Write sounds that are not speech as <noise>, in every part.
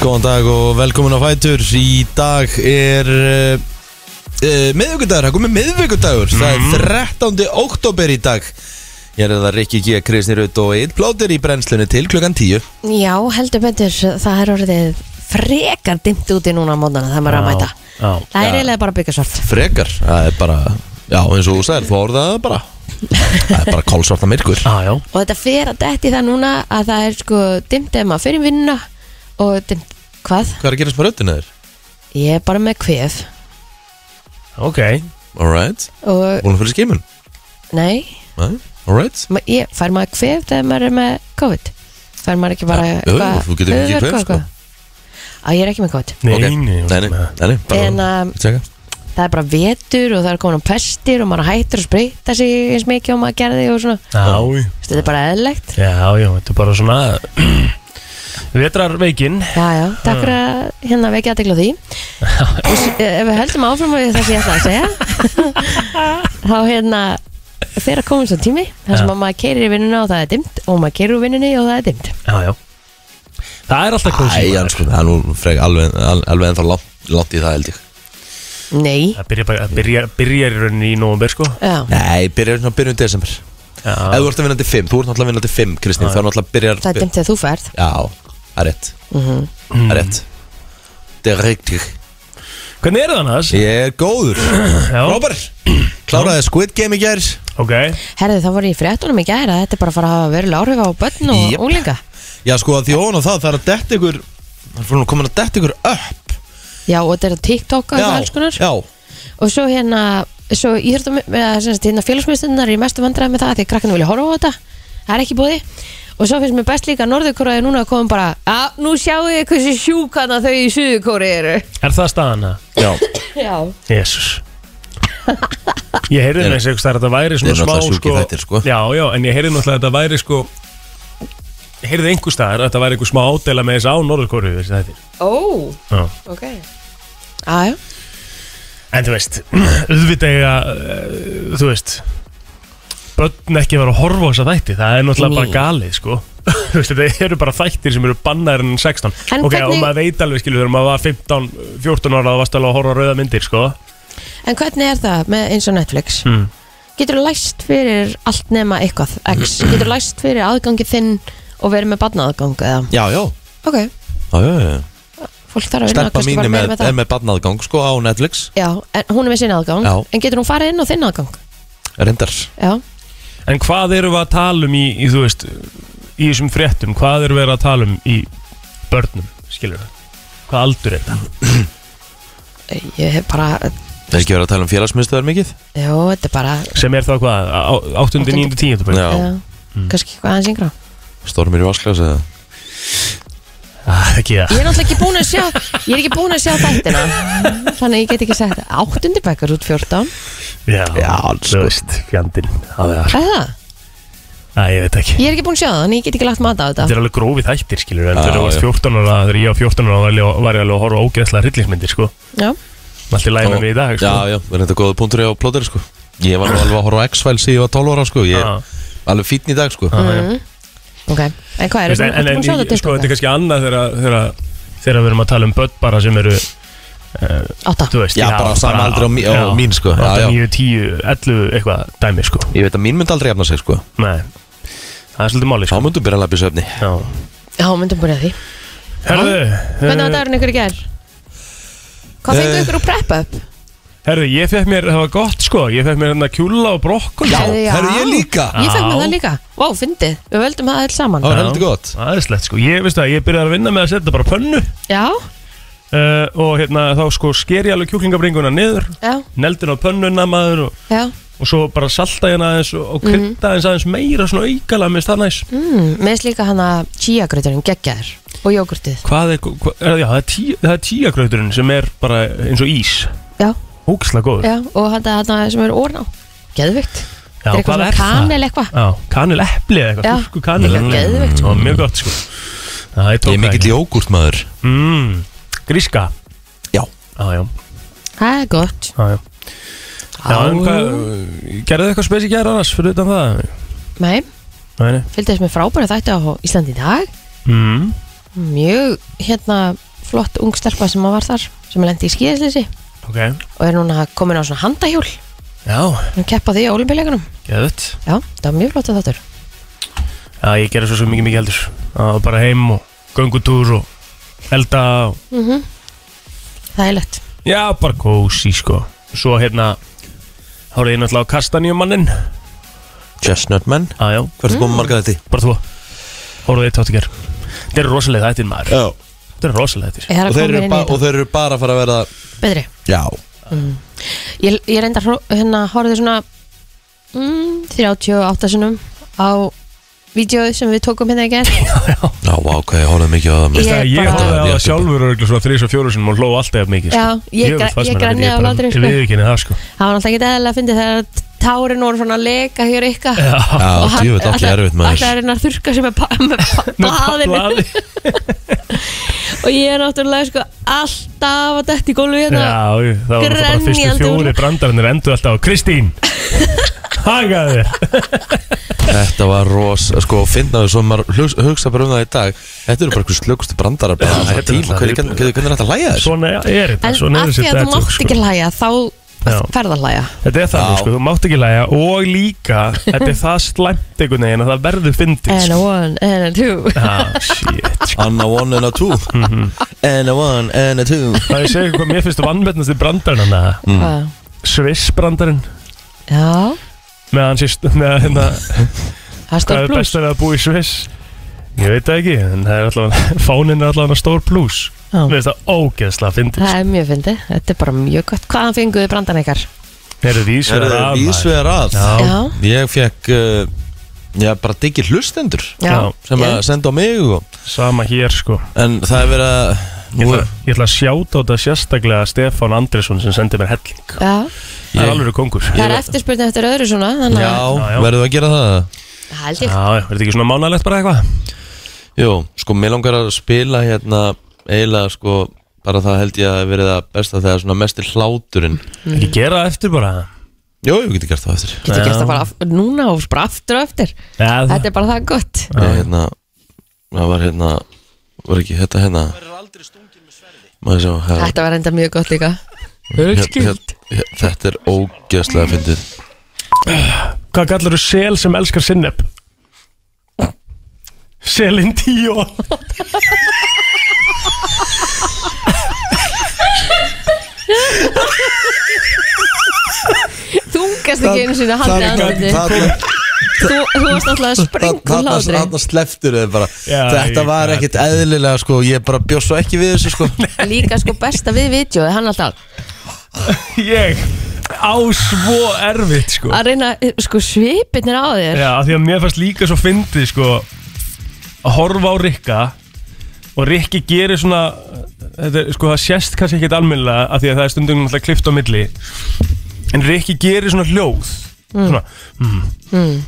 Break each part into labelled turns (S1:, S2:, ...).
S1: Góðan dag og velkomin á Fætur Í dag er uh, uh, miðvikudagur, það er komið miðvikudagur
S2: Mhm.
S1: Það er 13. oktober í dag Ég er það Rikki G, Kristi Rutt og Eid Plóter í brennslunni til klukkan 10
S3: Já, heldur betur, það er orðið frekar dimmt úti núna á mótana þegar maður er að mæta
S2: Já,
S3: Það er eiginlega bara að byggja svart
S1: Frekar, það er bara, já eins og þú sagðir, þú orðaði það bara Það er bara kólsvarta myrkur
S2: já, Ah, já,
S3: Og þetta fer að detti það núna að það er sko dimmt ef maður fyrir vinnuna Og dimmt, hvað?
S1: Hvað er að gerast með röddina þér?
S3: Ég er bara með kvef
S2: ok
S1: Alright,
S3: Og,
S1: búin að fyrir skimun
S3: nei,
S1: Alright
S3: ma- ég, fær maður kvef þegar maður er með COVID? Fær maður ekki bara
S1: Ja, jú, þú getur ekki kvef, sko.
S3: Á, ég er ekki með COVID
S2: Nei,
S1: Ok.
S2: nei,
S1: Nei, nei, nei, nei bara-
S3: En um,
S1: Tjekka.
S3: það er bara vetur og það er komin á pestir og maður hættur að spreita sig eins mikið og maður gerði og svona
S2: Já, já,
S3: Þetta er bara eðlilegt
S2: já, já, þetta er bara svona <clears throat> Vetrarveikin
S3: Já, já, takk fyrir að hérna vekja aðtegla því Og s- e, Ef við höldum áfram við það sem ég ætla að segja Þá hérna Þegar komum svo tími þar sem
S2: Já.
S3: að maður keirir í vinnuna og það er dimmt Og maður keirir úr vinnunni og það er dimmt
S2: Já, já Það er alltaf kósi
S1: Æ, hann sko, það er nú frek alveg, al- alveg ennþá langt, langt í það held ég
S3: Nei,
S2: Það byrjar bara- það byrjar- byrjar í rauninni í nóvumber sko
S3: já,
S1: Nei, byrjar svona byrjun desember Ef
S2: Já,
S1: þú ert að vinna til 5, þú ert náttúrulega að vinna til 5, Kristín
S2: Já.
S1: Þá náttúrulega byrjar
S3: það er dimmt þegar þú ferð
S1: Já, það er rétt
S2: Mm.
S1: Það er rétt Það er rétt
S2: Hvernig er það annars?
S1: Ég er góður
S2: Já,
S1: Róber, kláraði Squid Game í gær
S2: ok
S3: Herði, þá voru ég í fréttunum í gæra Þetta er bara að fara að hafa verulega áhrif á börn og
S1: Jep.
S3: yep. úlinga
S1: Já, sko, að því ofan á það, það er að detta ykkur Það er fyrir nú komin að detta ykkur upp
S3: Já, og þetta er á TikTok og alls
S1: Já,
S3: konar
S1: já
S3: Og svo hérna Svo íþjóttum hérna, félagsmyndstunnar í mestu vandræði með það af Því að krakkanu vilja horfa á þetta Það er ekki búði Og svo finnst mér best líka að Norðurkóraði núna að koma bara Já, nú sjáu ég hversu sjúkana þau í Suðurkóri eru
S2: Er það staðan það?
S1: Já,
S3: Já
S2: Jésus Ég heyrði
S1: Þeir-
S2: með þessi að þetta
S1: þeir
S2: væri svona
S1: eru
S2: smá
S1: náttúrulega sjúkir þættir, sko.
S2: Já, já, en ég heyrði náttúrulega að þetta væri sko Ég heyrði einhver staðar að þetta væri einhver smá ádela með þessi á Norðurkóru þessi þættir
S3: Ó,
S2: Já
S3: ok Já, já
S2: En þú veist, <clears throat> auðvitað eiga, uh, þú veist, börn ekki vera að horfa á þessa þætti, það er náttúrulega
S3: Nei.
S2: bara galið, sko. <laughs> þú veist, þetta eru bara þættir sem eru bannaðir en 16.
S3: En
S2: ok,
S3: hvernig-
S2: og maður veit alveg, skilur, þegar maður var 15, 14 ára, það varst alveg að horfa á rauða myndir, sko.
S3: En hvernig er það með eins og Netflix?
S2: Mm.
S1: Hmm.
S3: Getur þú læst fyrir allt nema eitthvað
S1: <clears throat>
S3: X? Getur þú læst fyrir aðgangi þinn og verið með badnaðgang eða?
S1: já, já,
S3: Ok,
S1: já, já, já.
S3: fólk þarf að vinna
S1: Stelpa
S3: kannski
S1: mín
S3: bara
S1: er
S3: meira
S1: með,
S3: það.
S1: er með badnaðgang, sko, á Netflix
S3: Já, en hún er með sinn aðgang
S1: Já.
S3: En getur hún farið inn á þinn aðgang?
S1: Rindar
S3: Já,
S2: En hvað erum við að tala um í, í, þú veist, í þessum fréttum, hvað erum við að tala um í börnum, skilur það? Hvað aldur er það?
S3: ég hef bara
S1: Það er ekki verið að tala um félagsmyndstöðar mikið
S3: Já, þetta er bara
S2: Sem er þá hvað, 8. 9. 10. bara?
S1: Já,
S3: Já,
S2: Mm.
S3: kannski eitthvað aðeins yngra
S1: stormir í vasklas eða
S2: Ah, ekki það.
S3: Ég er náttúrulega ekki búin að sjá Ég er ekki búin að sjá þættina Þannig að ég get ekki sagt Áttundi bekkar út 14
S2: Já,
S1: Já,
S2: þú veist, fjandinn, það er
S3: Það er það
S2: Æ, ég veit ekki
S3: Ég er ekki búin að sjá það Þannig að ég get ekki lagt mata á
S2: Þetta
S3: þetta
S2: er alveg grófið þættir, skilur En
S1: Já,
S2: þegar þú varst
S1: já.
S2: 14 ára, þegar ég var 14 ára var ég- var ég alveg að horfa á ógeðslega hryllingsmyndir, sko
S3: Já,
S2: Allt í læg með
S1: Og-
S2: mig í dag, sko
S1: Já, já, er þetta góða punktur á plóter sko Ég var nú alveg að horfa á X-Files þegar ég var 12 ára sko Ég
S2: Já.
S1: er alveg fítn í dag sko
S2: Ah,
S3: ok En hvað,
S2: Þú
S3: er
S2: veist,
S3: þetta
S2: En,
S3: búin ertu búin
S2: en,
S3: að sjá
S2: en
S3: þetta
S2: ég-
S3: til
S2: sko, þetta er kannski annað þegar- þegar þegar við erum að tala um börn bara sem eru eh,
S3: Átta
S2: Þú veist,
S1: Já, bara á sama aldri og mí- og
S2: já,
S1: mín, sko. Já,
S2: átta,
S1: já.
S2: níu, tíu, 11 eitthvað dæmi, sko
S1: Ég veit að mín myndi aldrei efna sig sko
S2: Nei, það er svolítið máli,
S1: Þá
S2: sko
S1: myndum byrja að lappi söfni
S2: Já.
S3: Já, myndum búin að því
S2: Herðu,
S3: Hvernig var
S2: eh,
S3: dagurinn ykkur í gær? Hvað fengu ykkur úr prep up?
S2: herðu, ég fekk mér, það var gott, sko Ég fekk mér hérna kjúla og brokkoli sko.
S3: Já.
S1: herru ég líka
S3: Ég fekk með
S2: Já.
S3: það líka Vá, fyndið Við völdum það alls saman
S1: Það var
S2: Ah. Já.
S1: heldur gott
S2: Aðeinslegt, sko Ég, veistu það, ég byrjaði að vinna með að setja bara pönnu
S3: Já,
S2: uh, og hérna þá sko sker ég alveg kjúklingabringuna niður
S3: já,
S2: neldin á pönnuna maður og,
S3: já
S2: og svo bara salta hérna aðeins og, og
S3: Mhm.
S2: krydda aðeins aðeins meira svona aukala með það næs
S3: Mm, Mér finnst líka hana chíagröðurinn geggjaður og jógurtið.
S2: hvað er, hvað, er, já, það, er tí, það er tíakrauturinn sem er bara eins og ís
S3: Já,
S2: húkslega góður
S3: já, og hana, hana sem er orna. Geðvikt.
S2: Já,
S3: er eitthvað
S2: hvað
S3: svona kanel eitthvað.
S2: Já, kanel epli eða
S3: Já.
S2: eitthvað, þurrku kanel
S3: Já, geðveikt,
S2: sko Mjög gott sko Það er
S1: Ég er
S2: tók
S1: mikill jógurt maður
S2: mm, Gríska
S1: Já
S2: Já, já,
S3: Það er gott.
S2: já, já. já
S1: um
S2: en hvað, gerðu eitthvað spes í gæra annars fyrir utan það?
S3: Nei,
S2: Nei, nei
S3: fylgdi þess með frábæri þætti á Íslandi í dag.
S2: mm.
S3: Mjög, hérna, flott ung stelpa sem að var þar sem lendi í skíðisleysi
S2: Ok,
S3: og er núna komin á svona handahjól
S2: já,
S3: hún keppa því á olimpíuleikunum
S2: geðut
S3: já, það var mjög flott að þáttur
S2: Já, ég gerði svo svo mikið mikið heldur Það var bara heim og göngutúr og elda og
S3: það er lett
S2: Já, bara kósi sko Svo hérna Háruði ég náttúrulega á kastanjumannin
S1: Chestnut man
S2: ah, Já,
S1: Hvert
S3: Mm.
S1: er búin marga þetta í?
S2: bara þú Háruði ég tótt í ger Þetta er rosalega þetta maður
S1: Já
S2: Þetta er rosalega þetta
S3: er
S1: Og
S3: að
S1: þeir,
S3: koma
S1: eru
S3: inn í
S1: ba- og
S3: þetta
S1: þeir eru bara að fara að verða
S3: betri
S1: Já
S3: ég, ég reyndar hró- hérna horfði svona mm, 38 sinum á vídeoið sem við tókum hérna í gerð
S1: Já, ok, ég horfði mikið á það
S3: Ég
S2: Ég,
S3: bara-
S2: ég horfði á
S1: Ég-
S2: það sjálfur örgulega svona þrís og fjóru sinum og hló alltaf mikið sko.
S3: Já, ég
S2: Jöfull
S3: græ-
S2: fannst
S3: ég
S2: mér það,
S3: græni
S2: ég
S3: af
S2: bara-
S3: hlátri, sko.
S2: Ég viðurkenni það sko
S3: það var náttúrulega ekki eðalega að fyndi þegar tárin voru svona að leka hér ykkar
S2: Já,
S1: Já, djúvill okkur erfitt maður
S3: alltaf er hérna að þurka sem er pa, með pa,
S2: <laughs> með
S3: baðinu
S2: blaði.
S3: og ég er náttúrulega sko alltaf að detta í gólfi hérna
S2: Já, jú, það var bara fyrstu
S3: Grenjandi
S2: fjóri
S3: úr-
S2: brandarinn endur alltaf á
S3: <laughs>
S2: Kristín Hagaði þér
S1: Þetta var ros, sko, finnaðu svo maður hugsa, hugsa bara um það í dag Þetta eru bara einhver slökustu brandarar bara
S2: Já,
S1: alltaf
S2: þetta er
S1: tíma
S2: alltaf-
S1: Hvernig hvernig- hvernig er þetta að læja þessu?
S2: Svona er þetta,
S3: en
S2: svona er
S3: af
S2: þessi
S3: því að þú
S2: dattjók,
S3: mátt
S2: sko.
S3: ekki hlæja þá
S2: Já.
S3: ferð að hlæja
S2: Þetta er
S1: Já.
S2: þannig sko, þú mátt ekki læja og líka, þetta er það slæmt einhvern veginn að það verður fyndið
S3: and
S2: sko.
S3: a one and a
S2: <laughs>
S3: two
S2: Ah, shit sko.
S1: And a one and a two And a one and a two
S2: Það ég segja hvað mér finnst vannmennast í brandarinn hann að
S3: mm.
S2: Sviss brandarinn
S3: já,
S2: með hans í st- með hérna,
S3: það er
S2: hvað
S3: stór
S2: er
S3: blús
S2: best að búa í Sviss Ég veit það ekki, en það er allavega fáninn er allavega stór plus
S3: Já.
S2: Mér finnst það ógeðslega fyndið
S3: það er mjög fyndið, þetta er bara mjög gott hvaðan fenguðu brandan ykkar?
S2: Er það
S1: Það
S2: vísverð
S1: eru
S2: að
S1: vísvegar að
S2: Já.
S3: já,
S1: Ég fekk, uh, já, bara diggi hlustendur
S3: já,
S2: Já,
S1: sem að senda á mig og,
S2: Sama hér sko
S1: En það er verið að
S2: Ég
S1: nú
S2: ætla,
S1: er-
S2: ég ætla að sjáta á þetta sérstaklega Stefán Andresson sem sendi mér helling
S3: já.
S2: Það er
S1: Ég-
S2: alveg kongur
S3: það er eftirspurning eftir öðru svona þannig
S1: Já,
S3: að
S2: Já, já.
S1: verðum við að gera það?
S3: Það held
S2: Já,
S3: ég
S2: já, er þetta ekki svona mánalegt bara eitthvað?
S1: Jú, sko, mér langar að spila hérna eiginlega, sko, bara það held ég að verið að besta þegar svona mest er hláturinn
S3: Mm.
S2: Ekki gera það eftir bara
S1: Jú, ég geti gert það eftir
S3: getur gert
S2: Já.
S3: það bara af- núna og bara aftur og aftur
S2: Já, það
S3: þetta er bara það gott
S1: Ég, hérna, það var hérna, var ekki þetta hérna Maður sjá, hérna,
S3: þetta var enda mjög gott líka
S1: hérna, hérna, þetta er ógeðslega fyndið
S2: Hvað kallar þú sel sem elskar sinneb? Selin tíó
S3: þungast ekki einu sinni handið andliti þú, þú varst alltaf að springa úr hlátri
S1: Þarna sleftur þau bara
S2: Já,
S1: Þetta
S2: ég
S1: var
S2: gat
S1: ekkit eðlilega sko Ég bara bjóst svo ekki við þessu
S2: <laughs>
S1: sko
S3: líka sko besta við vídjóið hann alltaf
S2: <laughs> Ég á svo erfitt sko
S3: að reyna sko svipinir á þér
S2: Já, af því að mér fannst líka svo fyndið sko að horfa á Rikka og Rikki gerir svona þetta, er, sko það sést kannski ekkert almennilega af því að það er stundum náttúrulega klift á milli en Rikki gerir svona hljóð svona mm.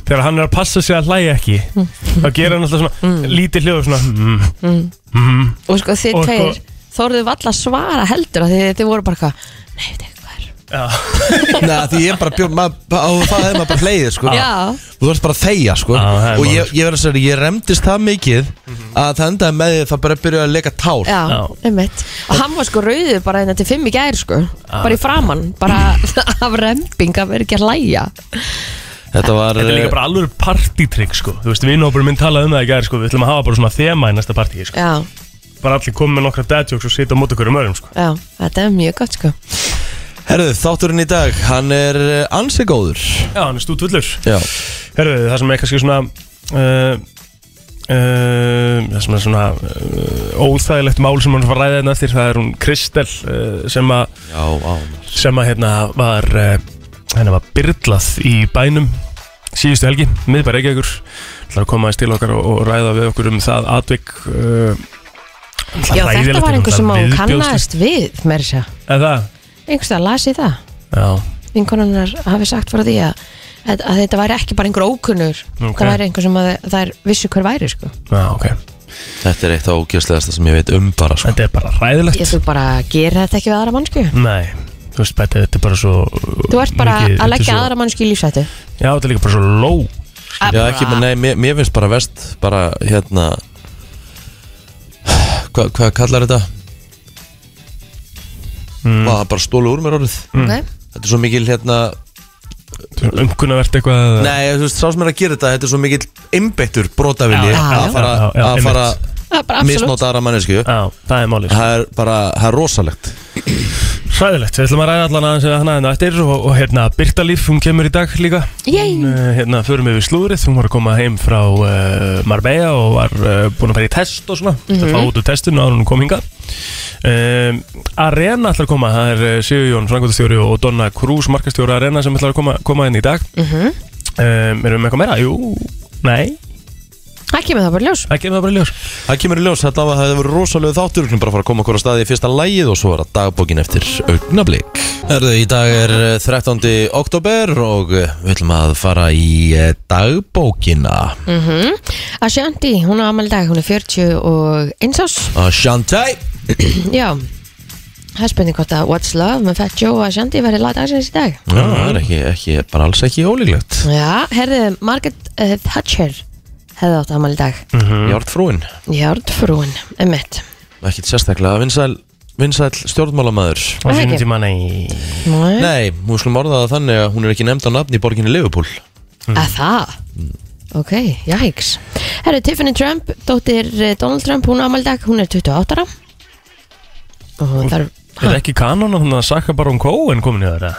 S2: þegar hann er að passa sig að hlæja ekki þá gerir hann alltaf svona lítið hljóð svona mm.
S3: og sko þið
S2: Og sko-
S3: tveir þorðuð valla svara heldur af því þið voru bara hvað nei, veit ekki hvað er
S2: <laughs> Já,
S1: Nei, af því ég bara bjóst Á það hefði maður bara hleið sko
S3: já,
S1: Þú verðist bara að þegja sko
S2: Já, það er
S1: Og
S2: málið, Mhm.
S1: ég, ég verði að segja, ég remdist það mikið Að það endaði með því að það bara byrjuði að leika tár
S3: já,
S2: Já.
S3: einmitt og hann var sko rauður bara einna til fimm í gær sko bara í framann, bara <laughs> af remping að vera ekki að læja
S1: Þetta var eh,
S2: þetta er líka bara alveg partytrygg sko Þú veist, vinnhópur minn talaði um það í gær sko Við ætlum að hafa bara svona þema í næsta partíi sko
S3: já,
S2: Bara allir komið með nokkra dadjóks og sita á mót okkur um öðrum sko
S3: já, þetta er mjög gott sko
S1: Herðu, þátturinn í dag, hann er eh, ansi góður
S2: Já, hann er stútvullur
S1: Já,
S2: Herðu, það sem er kannski svona uh, uh, Það sem er svona uh, óþægilegt mál sem hann var ræðið hérna eftir Það er hún Kristel uh, sem að,
S1: já, á
S2: sem að hérna var uh, Henni var byrlað í bænum síðustu helgi, miðbær Reykjavíkur Það er að koma aðeins til okkar og, og ræða við okkur um það atvik uh,
S3: já, þetta var einhver sem hún kannaðist við með þess að,
S2: Eða það?
S3: einhvers að lasi það
S2: Já,
S3: vinkonunnar hafi sagt frá því að, að, að þetta væri ekki bara einhver ókunnur
S2: Ok.
S3: það væri einhver sem að þær vissu hver væri sko.
S2: já, ok
S1: Þetta er eitt af ógjörslegasta sem ég veit um bara sko
S2: Þetta er bara ræðilegt
S3: ég þú bara gera þetta ekki við aðra mannsku
S2: Nei, þú veist, þetta þetta er bara svo
S3: þú ert bara
S2: mikið-
S3: að
S2: þetta er
S3: leggja
S2: svo-
S3: aðra mannsku í lífsættu
S2: Já, þetta er líka bara svo ló
S1: Já, ekki, menn, nei, mér, mér finnst bara vest Bara, hérna Hva, Hvað kallar þetta?
S2: Hmm.
S1: mm. var bara stólu úr mér orðið
S3: ok,
S2: Mm.
S1: þetta er svo mikil hérna
S2: Umkunnavert eitthvað eða-
S1: nei, þú veist, sá sem er að gera þetta, þetta er svo mikil einbeittur brotavilji
S2: Já, já,
S1: að
S2: já.
S1: fara
S2: Já, já,
S1: að fara
S3: það er bara absolutt
S1: misnóta aðra mannesku
S2: Já, það er málið
S1: það er bara, það er rosalegt
S2: Sæðilegt, við ætlum að ræða allan aðeins eða hana en eftir og, og hérna Birta Líf, hún kemur í dag líka
S3: Yay.
S2: Hún, eh, Hérna, förum við við slúrið, hún var að koma heim frá uh, Marbella og var uh, búin að fara í test og svona mm að fá út úr testinu áður en hún kom hinga um, Arena ætlar að koma, það er eh, Sigur Jón, frangvöldastjóri og Donna Cruz, markastjóri Arena sem ætlar að koma, koma inn í dag
S3: mm
S2: um, Erum við með eitthvað meira? Jú, nei,
S3: það kemur það bara í ljós
S2: það kemur það bara í ljós
S1: Það kemur í ljós, þetta var það hefur rosalega þáttur Við erum bara að fara að koma okkur á staði í fyrsta lægið og svo er það dagbókin eftir augnablík Herðu, í dag er eh, 13. oktober og eh, við ætlum að fara í eh, dagbókina
S3: mm Ashanti, hún á amal dag, hún er 40 og einsás
S1: Ah, Shantai
S3: Mm. já, það er spurning hvort að What's Love með Fat Joe og Ashanti verið laga dagsins í dag
S1: Ah, Það er ekki, ekki, bara alls ekki ólíklegt
S3: já, herðu, Margaret uh, Thatcher hefði átt amal dag Mm.
S1: Járt frúin,
S3: Járnfrúin, emitt
S1: ekkit sérstaklega Vinsæl, vinsæl stjórnmálamæður
S2: Á
S3: Það
S2: sínum
S3: ekki.
S2: tíma, nei
S3: Nei.
S1: Nei, hún skulum orða það þannig að hún er ekki nefnd á nafn í borginni Liverpool
S3: að það ok, jæks herru, Tiffany Trump, dóttir eh, Donald Trump hún ámaldag, hún er 28 ára og hún þarf
S2: Er ekki kanon að Saka Baron Cohen komin í þeirra?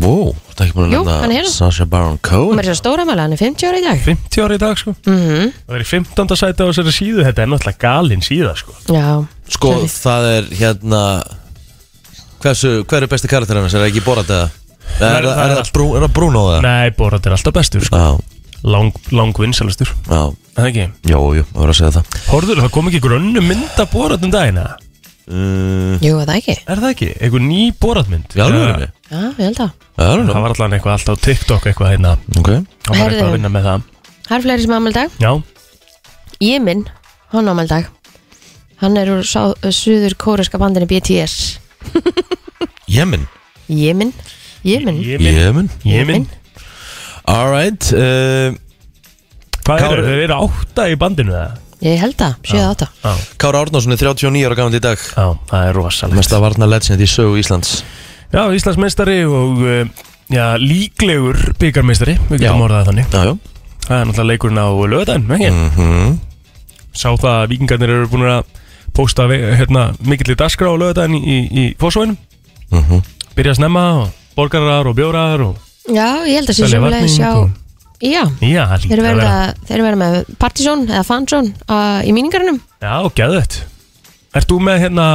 S1: Vó, það er ekki búin
S3: Jú,
S1: að
S3: hann er hérna.
S1: nefna Sasha Baron
S3: hún
S1: Cohen
S3: er svo stóra mæla, hann er 50 ára í dag
S2: 50 ára í dag, sko
S3: mm
S2: Það er í 15. sæti á þessari síðu, þetta er náttúrulega galinn síða sko.
S3: já,
S1: Sko,
S3: Sorry.
S1: það er hérna Hversu, hver er besti karakter hennar? Er það ekki Borat eða? Er, er, er,
S2: það er
S1: er,
S2: allt.
S1: það Brú- er það Bruno eða?
S2: Nei, Borat er alltaf bestur sko.
S1: Já,
S2: Lang, lang vinsalastur,
S1: já,
S2: það ekki
S1: já, já, það var að segja það
S2: Horður, það kom ekki einhver önnu mynd af Borat um dagina Uh,
S1: mm,
S3: jú, er það ekki
S2: Er það ekki? Einhver ný Borat mynd
S1: Já, nú erum við
S3: já, ég held að
S1: Já, nú
S2: Það
S1: erum
S2: var allan eitthvað alltaf á TikTok eitthvað hérna
S1: við Ok
S2: Það var eitthvað
S3: Heyrðu.
S2: að vinna með það
S3: það er fleiri sem ámaldag,
S2: Já,
S3: ég minn hann ámaldag hann er úr sá, suður kóreska bandinu BTS
S1: Jemen
S3: ég minn, ég minn
S2: ég minn
S1: Jemen
S2: Ég minn
S1: Alright uh,
S2: Hvað
S1: Kári-
S2: eru? Þeir eru átta í bandinu það
S3: ég held að, 7-8
S2: Já,
S1: Kára Árnason er 39 ára gammal í dag
S2: já, það er rosalegt
S1: Mesta varna legend í sögu Íslands
S2: Já, Íslandsmeistari og uh, já, líklegur byggarmeistari Við
S1: Já.
S2: getum orðað það þannig
S1: Já, já
S2: Það er náttúrulega leikurinn á lögadaginn, ekki?
S1: Mhm.
S2: sá það að vikingarnir eru búin að posta ve- hérna, mikill í dagskrá og lögadaginn í, í, í fósvænum
S1: Mhm.
S2: byrja að snemma og borgarar og bjórar og
S3: já, ég held að sé
S2: selja
S3: sjöfulega sjá
S2: og...
S3: já,
S2: Já, það
S3: Þeir
S2: hlýtur að
S3: verða,
S2: vera
S3: þeir verða með Partizón eða Fanzón uh, í míningarinnum
S2: Já, gæðvett Ert þú með hérna,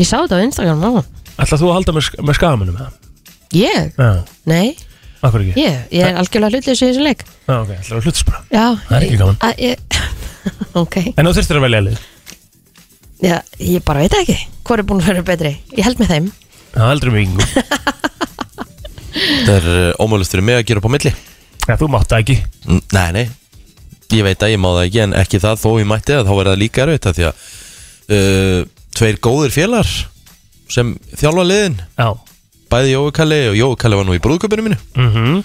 S3: Ég sá þetta á Instagram áðan.
S2: ætlað þú að halda með, sk- með skamunum? eða?
S3: Ég?
S2: Já,
S3: Nei,
S2: akkur ekki
S3: ég, ég er algjörlega hlutlega í þessum leik
S2: Já, ok, ætlaðu að hluta spra
S3: Já,
S2: Það er ekki
S3: ég-
S2: gaman.
S3: að ég, <laughs> Ok,
S2: En þú þurftir að velja lið
S3: Já, ég bara veit það ekki Hvor er búin að vera betri? Ég held með þeim
S2: Það heldur um vikingum
S3: <laughs>
S1: Það er uh, ómögulegt fyrir mig að gera upp á milli
S2: Já, þú mátt það ekki
S1: Mm, Nei, nei Ég veit að ég má það ekki En ekki það þó ég mætti það Þá verður það líka erfitt af Því að uh, Tveir góðir félagar Sem þjálfa liðin
S2: Já
S1: Bæði Jói Kalli Og Jói Kalli var nú í brúðköpinu mínu
S2: mm -hmm.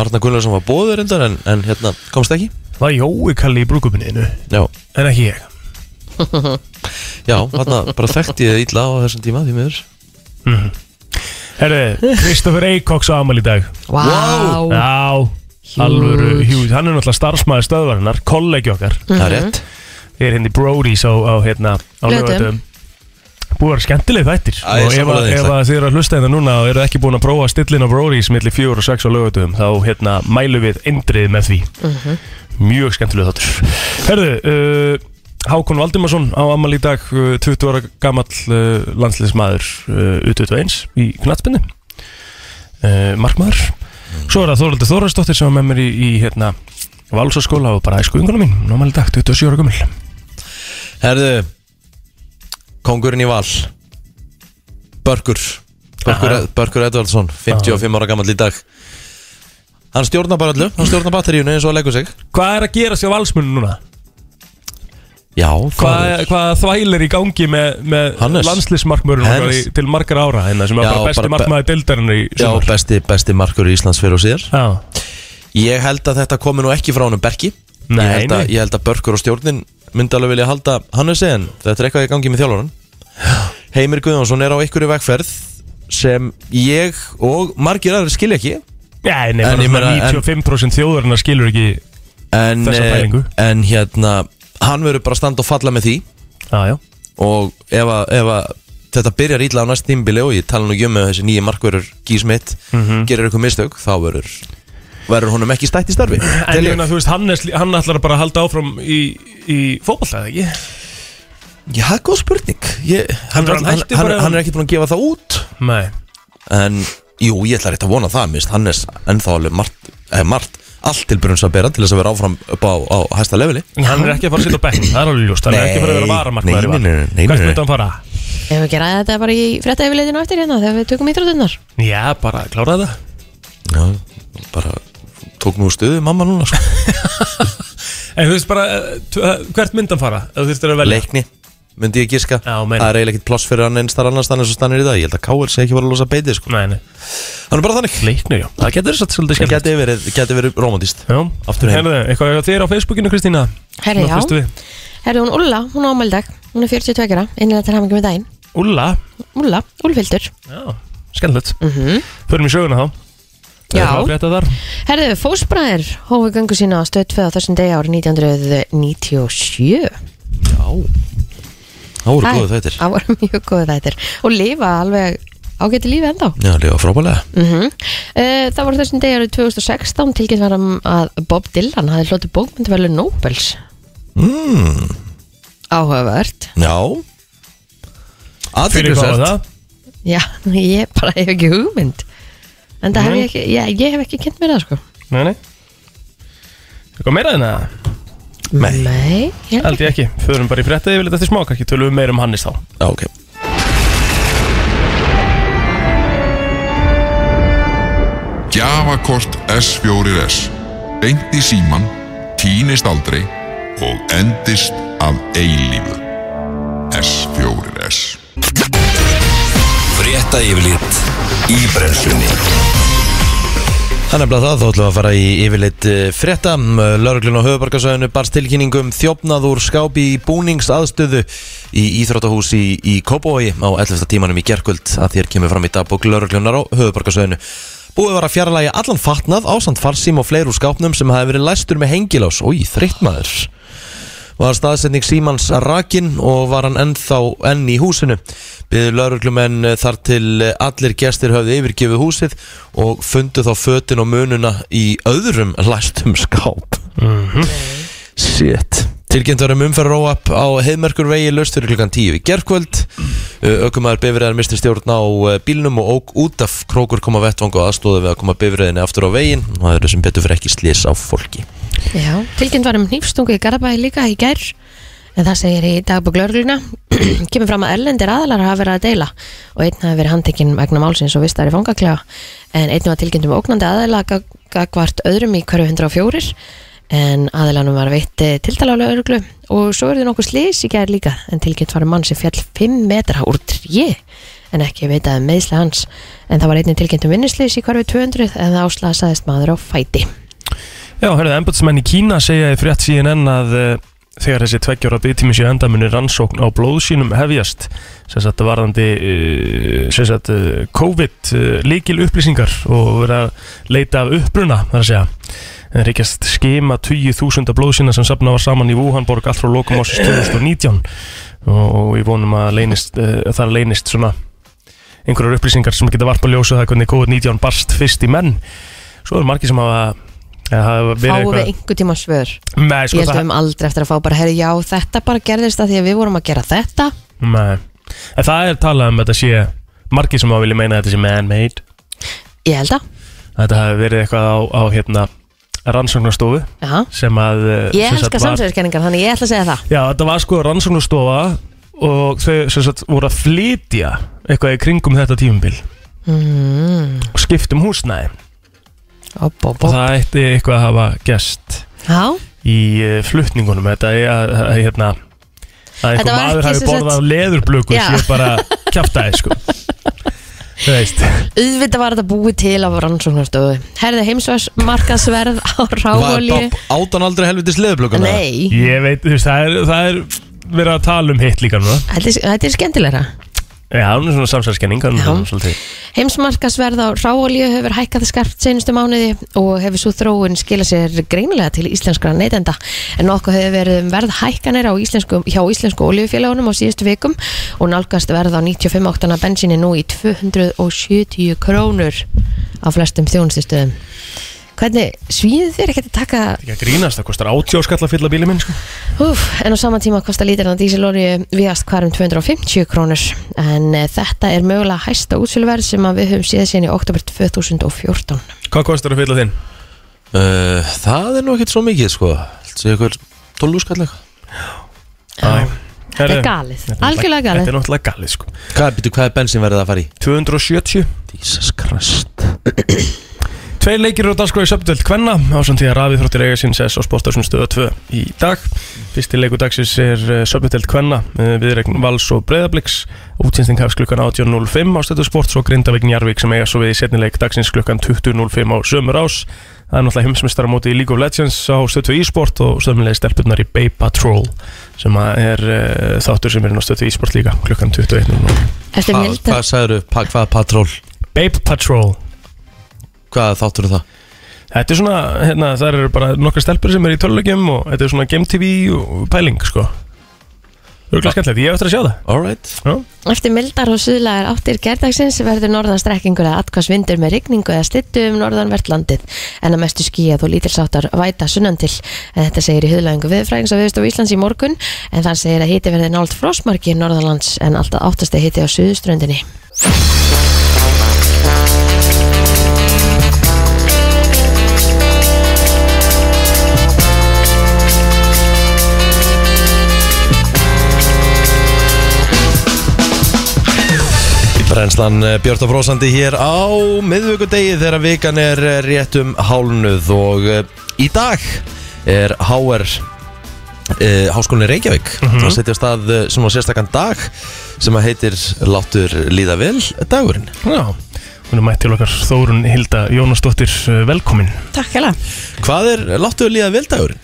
S1: Arna Gullarsson var bóður endar en, en hérna komst ekki
S2: Það er Jói Kalli í brúkupinniðinu
S1: Já
S2: En ekki ég
S1: Já, hérna bara þekkti ég það illa á þessum tíma Því miður
S2: Herri, Kristoffer Eikóks á amal í dag
S3: Vá wow.
S2: Já, alvöru hjúð Hann er náttúrulega starfsmæður stöðvarinnar, kollegi okkar
S1: Það er rétt
S2: Ég er hindi Brody's á, á hérna á
S3: Laugardögum.
S2: lögatum Búið að vera skemmtileg þættir
S1: Já, ég
S2: Og ef,
S1: sammála
S2: að-
S1: þér,
S2: ef að þið eru að hlusta þetta núna og eru ekki búin að prófa stillin á Brody's milli 4 og 6 á lögatum þá hérna mælu við indrið með því Mjög skemmtileg þáttur Herðu, uh, Hákon Valdimarsson á Amal í dag uh, 20 ára gamall uh, landsliðsmaður uh, U21 í knattspinni uh, Markmaður Svo er það Þoraldur Þoraldsdóttir sem var með mér í, í hérna, Valsaskóla og bara æsku ynguna mín Nómæli dag, 27 ára gömul
S1: Herðu Kongurinn í val Börkur Börkur,
S2: Aha.
S1: Börkur Edvardsson 55 ára gammal í dag Hann stjórnar bara öllu Hann stjórnar batteríunu eins og að leggur sig
S2: Hvað er að gerast hjá valsmunum núna?
S1: Já,
S2: Hvað, hvað þvæl er í gangi með, með
S1: Hannes.
S2: landslismarkmörun okkar
S1: Hannes.
S2: í- til margar ára hérna, sem er
S1: Já,
S2: bara besti
S1: bara be-
S2: markmaður deildarinn í
S1: Já,
S2: sumar?
S1: besti, besti markur í Íslands fyrir og síðar
S2: Já,
S1: Ég held að þetta komi nú ekki frá honum Berki
S2: Nei,
S1: ég held, að,
S2: nei.
S1: ég held að Börkur og stjórnin myndi alveg vilja halda Hannesi en þetta er eitthvað í gangi með þjálfurinn Heimir Guðjónsson er á einhverju vegferð sem ég og margir aðra skilja ekki
S2: Já, nei,
S1: En
S2: bara
S1: ég
S2: svona
S1: meina, en-
S2: 95% þjóðarinnar skilur ekki
S1: en,
S2: Þessa
S1: eh,
S2: pælingu.
S1: en hérna hann verður bara að standa og falla með því
S2: Já, já
S1: og ef að, ef að þetta byrjar ítla á næst tímbili og ég tala nú ekki um með þessi nýja markverður gísmitt mm
S2: Mhm.
S1: gerir eitthvað mistök, þá verður verður honum ekki stætt í starfi
S2: En
S1: Tel
S2: ég
S1: ég.
S2: meina, þú veist, hann, er, sli- hann ætlar bara að halda áfram í, í fótballta, eða ekki?
S1: Já, það er góð spurning ég, hann,
S2: Heldur
S1: hann,
S2: hann
S1: hann,
S2: hætti
S1: hann,
S2: bara-
S1: er ekki búin að gefa það út
S2: Nei
S1: en jú, ég ætla rétt að vona það mist, hann er ennþá alveg margt, eh, margt allt til brunns að bera til þess að vera áfram upp á, á hæsta leveli
S2: En hann er ekki að fara að sitja á bekknum, það er alveg ljóst Hann er ekki að fara að vera
S1: Nei,
S2: varamarkmaður
S1: nei,
S2: í val.
S1: nei, nei, nei,
S2: Hvert
S1: nei.
S2: myndi hann fara?
S3: Ef við gera þetta bara í frétta yfirleitinu eftir hérna þegar við tökum íþrótunar
S2: Já, bara klára það
S1: Já, bara tók nú stöðu mamma núna sko.
S2: En þú veist bara, eh, t- eh, hvert myndi hann fara? Ef þú þurftir að velja
S1: Leikni, myndi ég giska
S2: Já,
S1: Það
S2: meina.
S1: er eiginlega ekkit pláss fyrir hann einn starf annars þannig sem stannir í dag Ég held að Káir sé ekki bara að losa beiti sko.
S2: Nei, nei,
S1: Hann er bara þannig
S2: leiknir, já Það getur satt svolítið
S1: Það
S2: skemmt
S1: geti verið, geti verið romantist
S2: Já,
S1: Aftur heim.
S2: Herðu, eitthvað hjá þér á Facebookinu, Kristína?
S3: Herri,
S2: Nú
S3: já.
S2: fyrstu við.
S3: Herri, hún Ulla, hún á ámældag, hún er 42 ára, innlega til hamingi með daginn
S2: Ulla,
S3: Ulla, Úlfildur
S2: já, skemmtilegt
S3: mm
S2: Förum í söguna þá Það er
S3: Já.
S2: það að frétta þar.
S3: Herðu, fósbræðir hófu göngu sína á stöð 2 á þessum degi árið 1997
S1: Já Það voru
S3: Það-
S1: góðu þættir
S3: Það voru mjög góðu þættir og lifa alveg ágæti lífi ennþá
S1: Já, lífa frábælega
S3: mm Það voru þessum degi árið 2016 tilkynnt var um að Bob Dylan hafði hlotið bókmyndverlu Nobels
S1: mm,
S3: áhugavert
S1: Já
S2: Fyrir hvað var
S1: Aðteglisvert
S2: það?
S3: Já, ég bara hef ekki hugmynd En það hef ég ekki, ég, ég hef ekki kynnt mér það sko
S2: Nei, nei Eitthvað meira en það?
S1: Nei.
S3: Nei ég held
S2: Held ég ekki, förum bara í frétta yfirleitt eftir smá, kannski tölum við meira um Hannes þá
S1: Já, ok
S4: Gjafakort S4S Beint í síman, týnist aldrei og endist að eilífu S4S
S5: Frétta yfirlit í brennslunni
S1: Það er nefnilega það, þá ætlum við að fara í yfirleitt eh, frétta. Lauruglun á höfubarkasöðinu barst tilkynningum þjófnað úr skápi í búningsaðstöðu í Íþróttahús í, í Kópavogi á 11. tímanum í gerkvöld að þér kemur fram í dagbók lauruglunar á höfubarkasöðinu. Búið var að fjarlægi allan fatnað ásand farsím og fleir úr skápnum sem hafi verið læstur með hengilás. Új, þreytt maður var staðsetning Símans rakin og var hann ennþá enn í húsinu. Byður lauruglumenn eh, þar til eh, allir gestir höfðu yfirgefið húsið og fundu þá fötin og mununa í öðrum læstum skáp. Mm
S3: Mhm.
S1: Shit. Tilkynnt var um umferðaróapp á heimerkurvegi laust fyrir klukkan 10 í Eh, gerkvöld. Ökumæður bifræðar misti stjórn á eh, bílnum og ók út af krókur koma vettvang og aðstóða við að koma bifræðinni aftur á veginn og það eru sem betur fyrir ekki slís á fólki.
S3: ég. Já, tilkynnt var um hnífstungu í Garabæði líka í gær En það segir í dagbúk lögregluna <clears throat> Kemur fram að erlendir aðalar hafa verið að deila Og einn hafi verið handtekinn vegna málsins og vistar í fangaklega En einn var tilkynnt um ógnandi aðala Gagvart öðrum í hverju 104 En aðalanum var veitt eh, tiltal á lögreglu Og svo eru þið nokkuð slís í gær líka En tilkynnt var um mann sem fjall 5 metra úr 3 en ekki vitað um meðsli hans en það var einnig tilkynnt um vinnuslýs í hverfi 200 en það áslasaðist maður á fæti
S2: Já, hörðu, embudsmenn í Kína segja í frétt CNN að uh, þegar þessi tveggjóra byggtími sé enda muni rannsókn á blóðsýnum hefjast sem sagt varðandi uh, sem sagt uh, COVID uh, líkil upplýsingar og verið að leita af uppruna, þar að segja en reykjast skema 20.000 blóðsýna sem safna var saman í Wuhanborg allt frá lokum ásins 2019 og, og við vonum að, leynist, uh, að það leynist svona einhverjar upplýsingar sem geta varpa ljósa það hvernig COVID-19 barst fyrst í menn svo eru margir sem hafa eða hafa
S3: fáum
S2: verið
S3: við
S2: eitthvað-
S3: einhver tíma svör
S2: Nei,
S3: ég
S2: sko
S3: held við
S2: það
S3: um aldrei eftir að fá bara herri já þetta bara gerðist að því að við vorum að gera þetta
S2: Nei, en það er talað um að þetta sé Margir sem að vilja meina að þetta sé man-made
S3: ég held að,
S2: Að Þetta hafi verið eitthvað á, á hérna Rannsóknarstofu
S3: já
S2: sem að eh,
S3: ég
S2: sem sagt
S3: elska
S2: var-
S3: samsverðiskenningar þannig ég ætla að segja það
S2: Já, þetta var sko rannsóknarstofa Og þau sem sagt voru að flytja Eitthvað í kringum þetta tímubil
S3: mm,
S2: Og skiptum húsnæði
S3: op, op, op.
S2: Og það ætti eitthvað að hafa gest
S3: Já,
S2: Í eh, flutningunum Þetta er að, að, að hérna
S3: Þetta
S2: Að einhver
S3: var
S2: maður
S3: ekki
S2: hafi
S3: sem sagt-
S2: borðað leðurblöku
S3: Já.
S2: Sér bara kjaftaði sko Þú veist
S3: auðvitað var þetta búið til af rannsóknarstöðu Herði heimsvarsmarkasverð á ráolíu
S1: Átan aldrei helvitis leðublökuna?
S3: Nei,
S2: Ég veit, þú veist, það er, það er verið að tala um hitt líka núna
S3: þetta er- þetta er skemmtilegra
S2: Já, hún er svona samsælskenning hann er
S3: Já.
S2: svona svolítið
S3: Heimsmarkasverð á ráolíu hefur hækkað skarpt senustu mánuði og hefur svo þróun skilað sér greinilega til íslenskra neytenda. En nokkuð hefur verið um verð hækkanir á íslensku, hjá íslensku olíufélagunum á síðustu vikum og nálgast verð á 95 áktana bensinni nú í 270 krónur á flestum þjónustustöðum. Hvernig svíðu þér ekkert að taka
S2: Ekki að grínast, það kostar 80 áskall að fylla bíli minn sko.
S3: Úf, en á sama tíma kostar lítirna dísilolíu um viðast hvarum 250 krónur en eh, þetta er mögulega hæsta útsöluverð sem að við höfum séð síðan í oktober 2014
S2: Hvað kostar að fylla þinn?
S1: Uh, það er nú ekkert svo mikið sko Þessi ykkur 12 skall eitthvað
S2: Æ,
S3: Þetta
S2: herri,
S3: er galið,
S2: þetta er
S3: algjörlega
S2: náttúrulega- Þetta
S3: galið
S2: er náttúrulega galið sko.
S1: Hvað, býtu, hvað er bensin verið að fara í?
S2: 270
S1: Jesus Christ
S2: Tvei leikir eru á dagskrá í söpndöld Kvenna á samt því að rafið þróttir eiga sinn sess á sportarsunum stöða 2 í dag Fyrsti leiku dagsins er söpndöld Kvenna við regn Vals og Breiðabliks Útsynsting hefst klukkan 18.05 á stöðu sport svo Grindavík Njarvík sem eiga svo við í setni leik dagsins klukkan 20.05 á sömur ás Það er náttúrulega heimsmyndstara móti í League of Legends á stöð 2 e-sport og sömulega stelpurnar í Bay Patrol sem að er uh, þáttur sem er inn á stöð 2 e-sport líka klukkan 21.00
S3: Eftir
S1: Hva,
S3: milda
S1: Hvað sagður, pa, hvað patról?
S2: Babe Patrol
S1: Hvað þáttur um það?
S2: Þetta er svona, hérna, það eru bara nokkra stelpur sem eru í tölulegjum og þetta er svona Game TV og pæling, sko Rúkla skemmtilegt, ég hef eftir að sjá það
S1: Alright
S3: Eftir mildar og suðlagar áttir gerdagsins verður norðan strekkingur að atkvast vindur með rigningu eða slittu um norðanvert landið en að mestu skíjað og lítilsáttar væta sunnan til. En þetta segir í huðlæðingu viðfræðings á viðstofu Íslands í morgun en þann segir að hiti verði nált frosmarki í norðanlands en alltaf áttasti hiti á suðuströndinni.
S1: Brennslan eh, Björt og Frósandi hér á miðvíkudegi þegar vikan er eh, rétt um hálnuð og eh, í dag er HR eh, Háskólinni Reykjavík það setja á stað eh, svona sérstakann dag sem að heitir Láttur líða vel dagurinn
S2: Já, hún er mætt til okkar Þórun Hilda Jónasdóttir, eh, velkomin
S6: Takk hérlega.
S1: Hvað er Láttur líða vel dagurinn?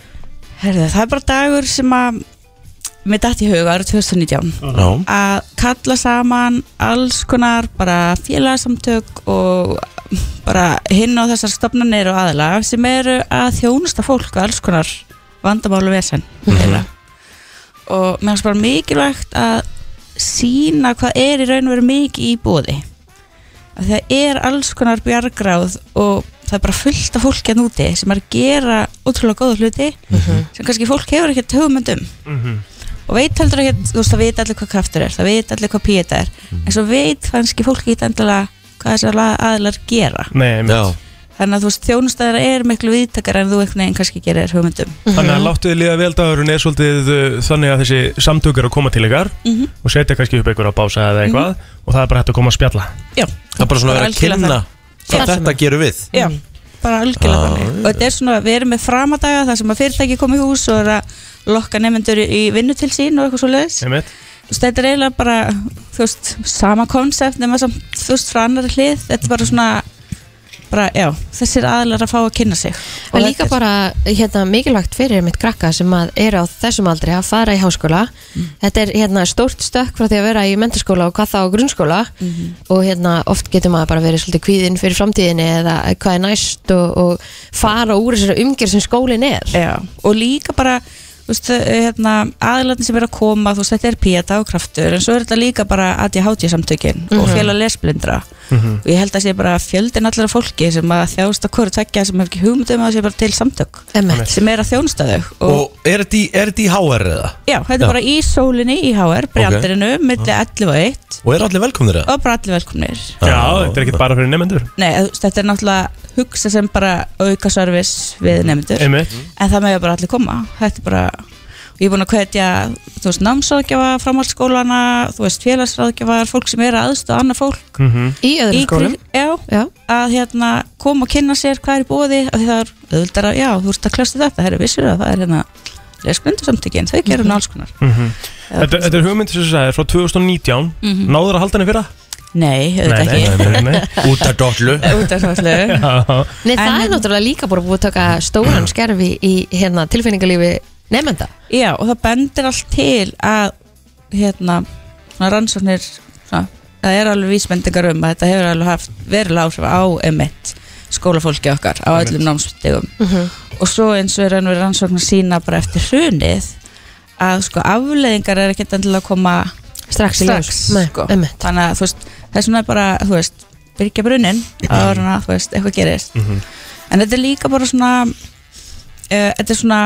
S6: Herðu, það er bara dagur sem að mér dætt í hug árið 2019
S1: Já,
S6: að kalla saman alls konar bara félagsamtök og bara hinn á þessar stofnanir og aðla sem eru að þjónusta fólk og alls konar vandamálu vesen mm. og mér finnst bara mikilvægt að sína hvað er í raun og veru mikið í bóði að það er alls konar bjargráð og það er bara fullt af fólki að núti sem er að gera ótrúlega góða hluti sem kannski fólk hefur ekkert hugmyndum og veit heldur ekki, þú veist, það veit allir hvað kraftur er það veit allir hvað píeta er en svo veit kannski fólk ekki endilega hvað þessar la- aðilar gera
S2: Nei,
S1: já,
S2: mitt.
S6: þannig að þú veist, þjónustæðar er miklu viðtakar en þú einhvern veginn kannski gerir um. þér hugmyndum
S2: þannig að láttu þið liða veldagurinn er svolítið eh, þannig að þessi samtök er að koma til ykkar
S6: Mhm.
S2: og setja kannski upp ykkur á bása eða eitthvað og það er bara hægt að koma að spjalla
S6: já,
S1: það er bara svona að vera að
S6: Algjörlega
S1: kynna hvað
S6: Já.
S1: þetta gerum við
S6: já, bara algjörlega
S1: Ah,
S6: þannig og þetta er svona, við erum með framadaga þar sem að fyrirtæki kom í hús og er að lokka nefnendur í í vinnu til sín og eitthvað svo leiðis
S2: Einmitt.
S6: þú veist, þetta er eiginlega bara þú veist, sama konsept nema samt, þú veist, frá annar hlið þetta er bara svona bara, já, þessir aðlar að fá að kynna sig
S3: Og líka
S6: þetta er-
S3: bara hérna, mikilvægt fyrir mitt krakka sem að eru á þessum aldri að fara í háskóla
S6: Mm.
S3: þetta er hérna, stórt stökk frá því að vera í mentaskóla og hvað þá á grunnskóla
S6: Mhm.
S3: og hérna, oft getur maður bara verið svolítið kvíðinn fyrir framtíðinni eða hvað er næst og, og fara úr þessari umgjör sem skólinn er
S6: Já, og líka bara þú veist, hérna, aðlarnir sem er að koma þú veist, þetta er píata og kraftur en svo er þetta líka bara ADHD samtökin og
S3: Mhm.
S6: félag lesblindra og ég held að sé bara fjöldin allra fólki sem að þjást að hverju tveggja sem hef ekki hugmyndum að sé bara til samtök
S3: Emmett.
S6: sem er að þjónusta þau og,
S1: Og er þetta í- er þetta í HR eða?
S6: já, þetta er bara í sólinni í HR, brjandurinu, milli 11 og 1
S1: Og er allir velkomnir eða?
S6: og bara allir velkomnir
S2: Já, þetta er ekkert bara fyrir nefnendur
S6: Nei, þú veist, þetta er náttúrulega hugsa sem bara auka servis við nefndur
S2: Einmitt.
S6: en það meður bara allir koma þetta er bara, og ég er búin að hvetja þú veist, námsráðgjafa, framhaldsskólana þú veist, félagsráðgjafar, fólk sem er að aðstu annað fólk
S2: Mhm.
S3: í öðrum
S6: Í
S3: skólum
S6: kring- já,
S3: Já.
S6: að hérna koma og kynna sér hvað er í bóði af því það er auðvitað að, já, þú veist að kljósta þetta það er vissur að það er hérna lesblindu samtökin, þau gerum mm
S3: Mhm.
S6: alls konar
S2: mhm. Þetta, þetta er hugmynd sem þú sagði frá 2019 mm -hmm. Náður að halda henni fyrir
S6: nei, Mhm. auðvitað
S2: nei,
S6: ekki
S2: nei, nei,
S6: <laughs>
S2: nei.
S1: Út af dollu
S6: <laughs> út af svolítið
S2: Já.
S3: Nei, það
S6: En-
S3: er náttúrulega líka bara búið að taka stóran skerfi í hérna, tilfinningalífi nefnda
S6: Já, og það bendir allt til að hérna, svona rannsóknir svona, það er alveg vísmendingar um að þetta hefur alveg haft verulega áhrif á emitt skólafólki okkar á öllum námstegum og svo eins og er hann verið rannsókn að sína bara eftir hrunið að sko afleðingar er ekkert endilega að koma
S3: strax í ljós
S6: strax
S3: Nei,
S6: sko.
S3: einmitt.
S6: þannig að þú veist þess vegna er bara, þú veist, byrja brunin
S3: Mhm.
S6: áður en að, þú veist, eitthvað gerist en þetta er líka bara svona uh, þetta er svona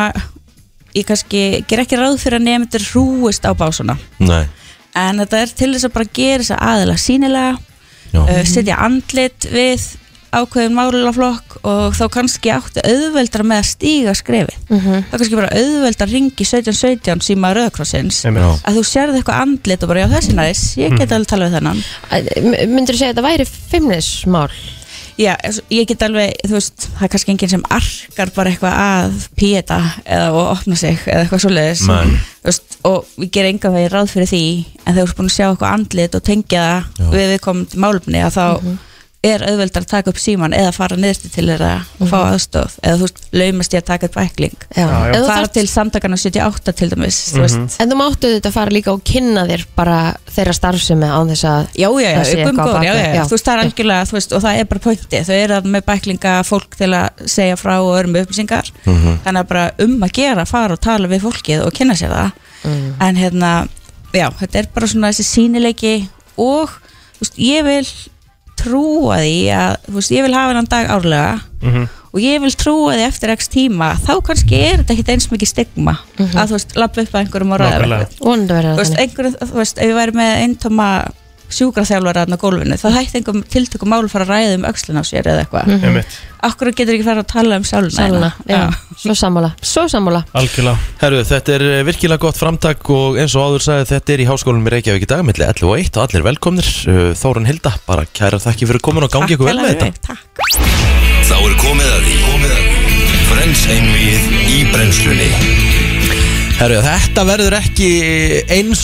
S6: ég kannski ger ekki ráð fyrir að nefndir hrúist á básuna
S1: Nei
S6: en þetta er til þess að bara gera þess að aðila sínilega
S1: Já.
S3: Mhm.
S6: uh, setja andlit við ákveðin málulaflokk og þá kannski áttu auðveldar með að stíga skrefið
S3: Mhm.
S6: þá kannski bara auðveldar ringi 1717 síma rauðkrossins
S1: Já.
S2: Einmitt.
S6: að þú sérði eitthvað andlit og bara já þessi næs, ég get
S1: Hmm.
S6: alveg talað við þennan
S3: Myndur þú segja að þetta væri fimmnismál?
S6: já, eins og- ég get alveg, þú veist, það er kannski enginn sem arkar bara eitthvað að píeta eða og opna sig eða eitthvað svoleiðis
S1: Nei.
S6: Þú veist, og við gerum enga veginn ráð fyrir því en þegar þú ert búin að sjá eitthvað andlit og tengja það
S1: Já.
S6: við við komum til málumni að þá er auðveldar að taka upp síman eða fara niðurstu til þeirra og fá aðstóð eða þú veist, laumast ég að taka upp ækling
S3: Já,
S2: já.
S3: Ef þú
S6: fara
S3: þarft-
S6: til samtakana 78 til dæmis, þú
S1: Mhm.
S6: veist
S3: En þú máttu þetta fara líka og kynna þér bara þeirra starfsemi án þess að
S6: já, já, já,
S3: Það sé
S6: guð minn
S3: eitthvað á
S6: góður,
S3: bak
S6: já,
S3: við,
S6: já,
S3: já.
S6: já, þú veist, það er algjörlega þú veist, og það er bara pointi, þau eru þarna með bæklinga fólk til að segja frá og örum upplýsingar þannig að bara um að gera fara og tala við fólkið og kynna sér það
S3: Mhm.
S6: en hérna, já, þetta er bara svona þessi sínileiki og þú veist, ég vil trúa því að, þú veist, ég vil hafa hennan dag árlega
S2: Mhm.
S6: og ég vil trúa því eftir x tíma, þá kannski er þetta ekki eins mikið stigma
S3: Mhm.
S6: að þú veist, lappa upp að einhverjum og ræða við
S2: Nákvæmlega.
S6: einhvern
S3: vonandi verða
S6: þú veist,
S3: þannig
S6: einhverjum, þú veist, ef við væri með eintóma sjúkraþjálfara þarna á gólfinu, þá hætti einhverjum tiltökum mál fara að ræða um öxlun á sér eða eitthvað. Mm.
S2: Einmitt.
S6: Akkur getur ekki fara að tala um sáluna.
S3: Sáluna,
S6: hérna?
S3: já, svo sammála Svo sammála
S2: Algjörlega
S1: Herru, þetta er eh, virkilega gott framtak og eins og áður sagði þetta er í háskólanum í Reykjavík í dag milli 11 og 1 og allir velkomnir Eh, Þórun Hilda, bara kæra þakki fyrir komin og gangi ykkur vel með
S6: Takk
S1: þetta
S6: hérlega fyrir mig, Takk.
S5: Þá er komið að því Komið að því Frens einvið í brennslunni
S1: Herru, þetta verður ekki eins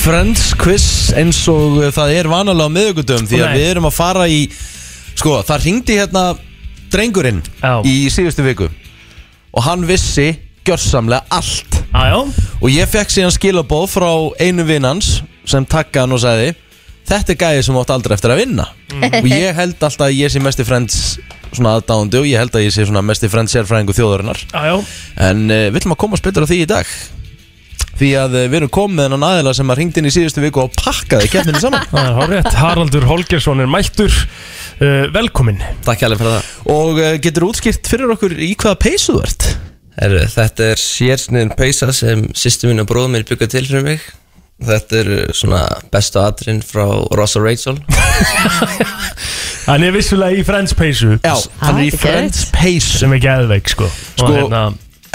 S1: friends quiz eins og það er vanalega á miðugundum því að
S2: Nei.
S1: við erum að fara í sko, það ringdi hérna drengurinn
S2: Já.
S1: í síðustu viku og hann vissi gjörsamlega allt
S2: Jájá
S1: og ég fekk síðan skilabóð frá einu vinnans sem takkaði hann og sagði þetta er gæði sem átt aldrei eftir að vinna
S2: Mhm.
S1: og ég held alltaf að ég sé mesti friends svona aðdáðandi og ég held að ég sé svona mesti friends sérfræðingu þjóðarinnar
S2: Jájá
S1: en uh, við ætlum að komast betur á því í dag því að uh, við erum komið með hennan aðila sem að ringdi inn í síðustu viku og pakkaði keppninu <laughs> saman
S2: Það er horrið Haraldur Holgersson er mættur uh, Velkomin
S1: Takk hérlega fyrir það Og uh, getur útskýrt fyrir okkur í hvaða peysu þú ert
S7: Herru, þetta er sérsniðin peysa sem sýstu mín og bróðum mín byggja til fyrir mig Þetta er eh, svona bestu atrinn frá Rosa Rachel
S2: Hann er vissulega í Friends peysu
S1: Já, hann er í
S3: þetta er
S1: friends peysu
S2: Sem er geðveik sko
S1: Sko-
S2: Og hérna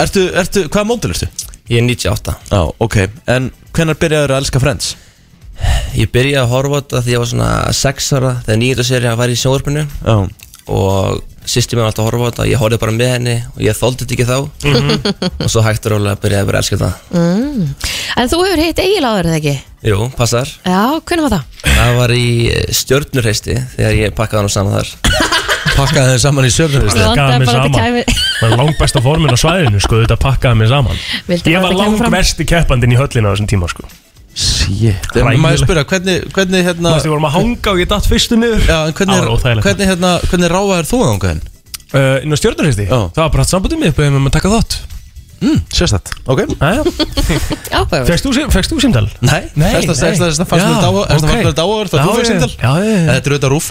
S1: Ertu, ertu, hvaða móndil ertu?
S7: Ég er 98
S1: Já, ok, en hvenær byrjaður að elska friends?
S7: Ég byrjaði að horfa á þetta því ég var svona 6 ára þegar nýjönda serið var í sjónvarpinu
S1: Já
S7: og sýstu mín var alltaf að horfa á þetta ég horfði bara með henni og ég þóldi þetta ekki þá og svo hægt og rólega byrjaði að vera að elska það
S3: Mm. En þú hefur hitt Egil áður eða ekki?
S7: Jú, passar
S3: Já, hvernig var það?
S7: Það var í stjörnurheisti þegar ég pakkaði hann og saman þar
S1: Pakkaði þeim saman í sörnurist
S3: Ég vandaði bara
S2: pakkaði mig
S3: að þetta
S2: saman
S3: kæmi-
S2: Það er langbesta formin á svæðinu sko Þetta pakkaði mig saman
S3: Vildi bara
S2: Ég var
S3: þetta kæmi fram.
S2: langmesti keppandinn í höllinu á þessum tíma sko
S1: Sjétt
S2: Hræðilegt.
S1: Maður spyrja, hvernig, hvernig
S2: Þú
S1: hérna
S2: veist, við vorum að hanga og ég datt fyrstu niður
S1: Já, en hvernig,
S2: Það var óþægilegt.
S1: hvernig, hérna, hvernig ráfaður þú þangað henn?
S2: uh, Inn á stjórnarhristi
S1: Já.
S2: Það var bara hatt sambandum mig Bæðið með að taka þátt
S1: Mm, sérstætt Ok
S2: Jæja.
S3: Ákveður
S2: Fékkst þú sí- Fékkst þú símdal?
S1: Nei,
S2: Nei,
S1: Þess að
S2: nei.
S1: fannst mér
S2: Já,
S1: dáa Þess að
S2: ok.
S1: fannst mér dáa Það
S2: Já,
S1: þú fyrir
S2: já,
S1: síndal
S2: já, já, já.
S1: Eh, Þetta er auðvitað rúf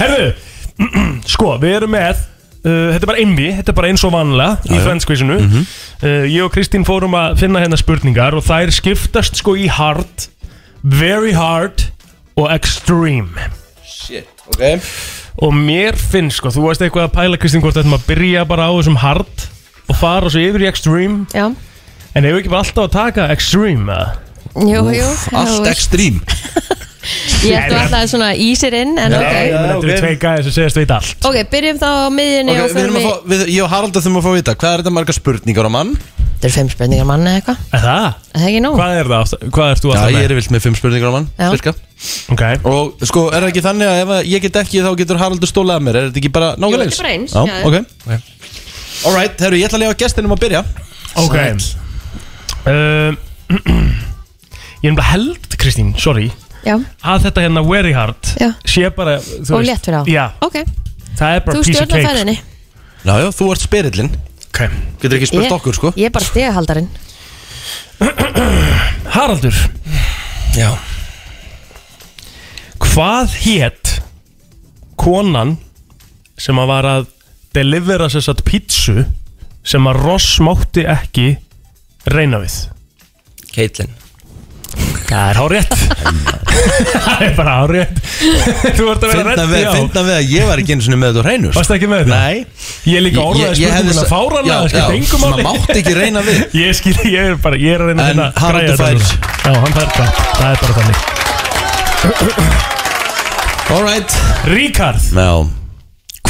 S2: Herðu, <clears throat> sko, við erum með uh, Þetta er bara einvi, þetta er bara eins og vanlega Í franskvísinu
S1: Mhm.
S2: uh, Ég og Kristín fórum að finna hérna spurningar Og þær skiptast sko í hard Very hard Og extreme
S1: Shit, ok
S2: Og mér finnst sko, þú veist eitthvað að pæla Kristín hvort Þetta maður byrja bara á þessum hard Og fara svo yfir í extreme
S3: Já,
S2: En hefur ekki bara alltaf að taka extreme eða?
S3: jú, jú
S1: Allt ekstrím
S3: Ég ætti alltaf svona í sér inn En
S2: Ég
S3: ok
S2: meina, Þetta
S1: ok.
S2: eru tvei gæði sem segist veit allt
S3: Ok, byrjum þá á miðjunni
S1: Ok,
S3: og
S1: við erum
S3: förum
S1: að
S3: í
S1: fá, við, ég og Haraldur þurfum að fá að vita Hvað er þetta marga spurningar á mann?
S3: Þetta er fimm spurningar manni eða eitthvað
S2: Er það?
S3: Er Það er ekki nóg
S2: Hvað er það? aftur- Hvað ert þú
S1: Já,
S2: alltaf
S1: ég
S2: með?
S1: er vilt með fimm spurningar á mann
S3: Já.
S1: cirka.
S2: Ok,
S1: Og sko, er það ekki þannig að ef að ég get ekki þá getur Haraldur stólað að mér Er þetta ekki bara
S3: Jú,
S1: nákvæmlega
S3: þetta er bara eins,
S1: Já,
S3: já, já.
S1: ok Alright, herru, ég ætla að lega gestinum að byrja
S2: ok <clears throat> uh, Ég er nefnilega held, Kristín, sorry
S3: Já,
S2: að þetta hérna very hard
S3: Já.
S2: sé bara, þú
S3: og létt fyrir á
S2: já,
S3: Ok,
S2: það er bara
S3: þú
S2: piece of
S3: stjórnar
S2: cake
S3: ferðinni
S1: Já, já, þú ert spyrillin
S2: okay.
S1: Getur ekki spurt
S3: Ég-
S1: okkur, sko
S3: Ég er bara stegahaldarinn
S2: Haraldur,
S7: Já
S2: hvað hétt konan sem að var að delivera sér satt pítsu sem að Ross mátti ekki reyna við
S7: Caitlyn
S2: það er hárétt <laughs> það er bara hárétt <laughs> þú ert að vera
S1: Finna
S2: rétt,
S1: við,
S2: já
S1: finna við að ég var ekki einu sinni með þetta á hreinu sko.
S2: varst ekki með þetta?
S1: Nei
S2: ég líka orðaði spurninguna
S1: sa-
S2: fárana það skipt engum
S1: svona
S2: máli
S1: mátti ekki reyna við
S2: Ég skil, ég er bara, ég er að reyna hérna
S1: En
S2: að finna
S1: Haraldur
S2: græja
S1: fær.
S2: þetta. Já, hann fær það, það er bara þannig
S1: All right
S2: Ríkard,
S1: Já,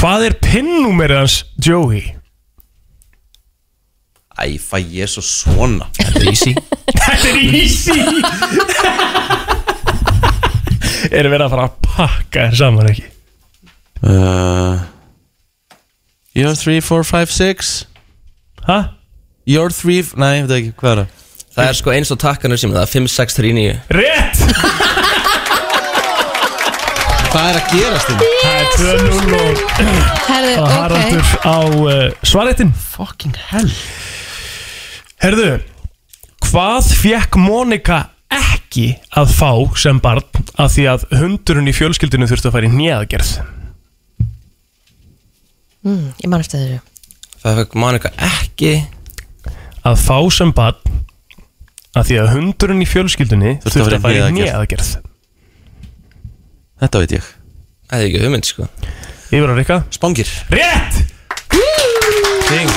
S2: hvað er pinnúmerið hans Joey? <laughs>
S1: æ, fæ ég svo svona
S7: Þetta er easy
S2: Þetta er easy <laughs> Erum við að fara að pakka þér saman ekki?
S1: uh, You're 3, 4, 5, 6
S2: Hæ?
S1: You're 3, nei, ég veit ekki, hvað er það?
S7: Það er sko eins og takkanur sem það er 5, 6, 3, 9
S2: Rétt!
S1: Hvað er að gerast hérna? þín?
S2: Það er 2-0 og
S3: Herðu,
S2: og
S3: ok
S2: Haraldur á uh, svaretinn Fucking hell Herðu, hvað fekk Mónika ekki að fá sem barn af því að hundurinn í fjölskyldinu þurfti að fara í nýjaðgerð?
S3: mm, Ég man eftir þessu
S7: Það fekk Monika ekki
S2: Að fá sem barn af því að hundurinn í fjölskyldinu
S1: Þurfti að fara
S2: þurfti
S1: í
S2: að fara í
S1: hnéaðgerð.
S2: nýjaðgerð
S1: Þetta veit ég
S7: Það er ekki hugmynd sko
S2: Yfir á Rikka
S1: Spangir
S2: Rétt!
S1: Ding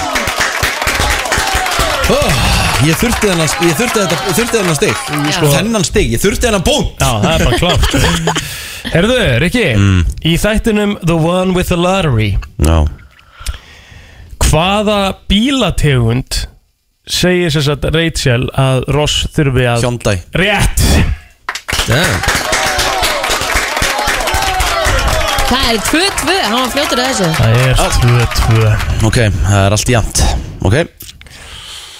S1: oh, Ég þurfti þennan ég þurfti þetta, ég þurfti þennan stig
S2: Sko-
S1: Þennan stig, ég þurfti þennan bónt
S2: Já, það er bara klárt <laughs> Herðu, Rikki
S1: Mm.
S2: Í þættinum The One With The Lottery
S1: Já
S2: Hvaða bílategund segir sér satt Rachel að Ross þurfi að
S1: Hyundai
S2: Rétt!
S7: Damn.
S3: Það er 2-2, hann var fljótur að þessu
S2: Það er 2-2
S1: Ok, það er allt jæmt Ok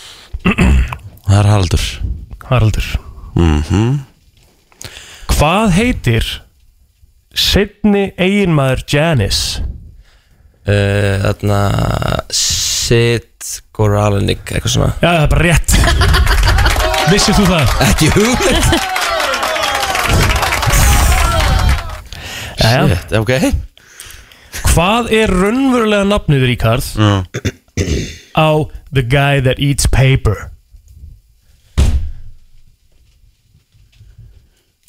S1: <clears throat> Það er Haraldur
S2: Haraldur Hvað heitir setni eiginmaður Janice?
S7: Uh, Þarna Sid Goralnik Eitthvað svona
S2: Já, það er bara rétt Vissir þú það?
S1: Ekki hugmynd
S2: Jæja.
S1: Shit, Ok
S2: Hvað er raunverulega nafnið Ríkard
S1: Mm.
S2: á The Guy That Eats Paper?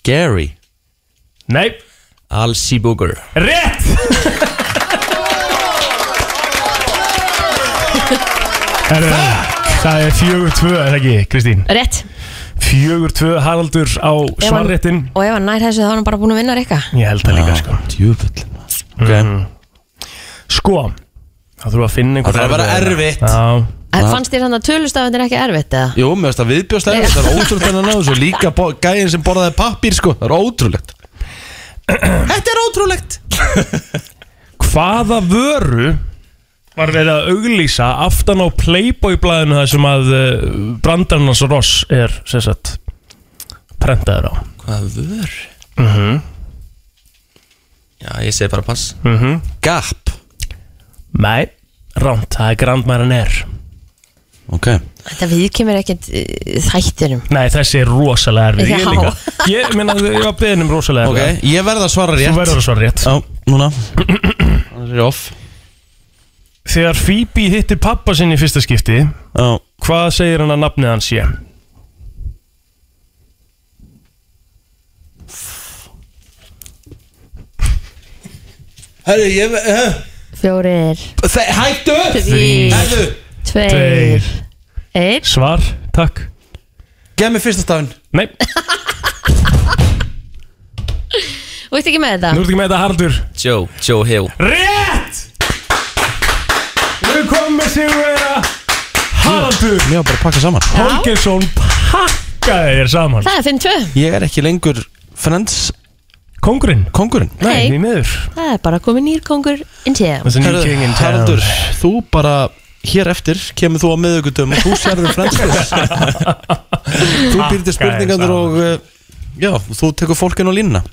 S1: Gary
S2: Nei,
S7: Al Seabooger
S2: rétt! Herra, það er fjögur tvö, er það ekki, Kristín?
S3: Rétt
S2: Fjögur tvö, Haraldur á
S3: Ef hann-
S2: svarréttin
S3: Og ef hann nær þessu þá er hann bara búin að vinna reyka
S2: Ég held það líka, sko Mhm.
S1: Djúfull Ok
S2: Sko, þá þurfum við að finna einhvern
S1: Það þarf að vera
S2: erfiðan.
S1: erfitt.
S2: Já,
S3: Fannst þér hann að tölustafin er ekki erfitt eða?
S1: Jú, mér finnst það viðbjóðslega Það er ótrúlegt að ná þessu Líka bo- gæinn sem borðaði pappír sko Það er ótrúlegt Þetta er ótrúlegt
S2: hvaða vöru var verið að auglýsa aftan á Playboy-blæðinu þar sem að uh, brandarnas Ross er, sem sagt, prentaður á
S7: Hvað vör?
S2: Mhm.
S7: Já, ég segi bara pass
S1: Mhm. Gap
S2: Nei, rámt, það er Grand Mariner
S1: Ok
S3: Þetta við kemur ekkert uh, þættinum
S2: Nei, þessi er rosalega erfið Ég
S3: Já.
S2: líka, ég meina ég var beðin um rosalega
S1: Ok,
S2: erfið
S1: ég verð að svara
S2: Þú
S1: rétt
S2: verður að svara rétt
S1: Já, núna Það er off
S2: Þegar Phoebe hittir pappa sinni í fyrsta skipti
S1: Já
S2: Hvað segir hann að nafnið hans sé?
S1: Herru, ég uh,
S3: Fjórir,
S1: Hættu
S3: þrýr,
S1: Herru
S3: tveir, einn
S2: Svar, takk
S1: Gef mér fyrsta stafin
S3: <laughs>
S2: Nei,
S3: Þú veist ekki með
S2: nú
S3: þetta?
S2: ertu ekki með þetta hardur
S7: Joe, Joe Hill
S2: Rétt! Við komum með sigurvera Haraldur
S1: Mér var bara að pakka saman
S2: Holgersson pakkaði þér saman
S3: Það er 5-2
S1: Ég er ekki lengur Friends
S2: Kongurinn
S1: kongurinn
S3: Nei.
S2: Því miður
S3: Það er bara komið nýr kongur in town
S2: Þessi
S1: Herru,
S2: nýr king in town.
S1: Haraldur, þú bara Hér eftir kemur þú á
S2: <laughs>
S1: miðugutum og þú sérður Friends Þú býrðir
S2: Pakkaði
S1: spurningarnir
S2: saman.
S1: og uh, Já, þú tekur fólkinu á línuna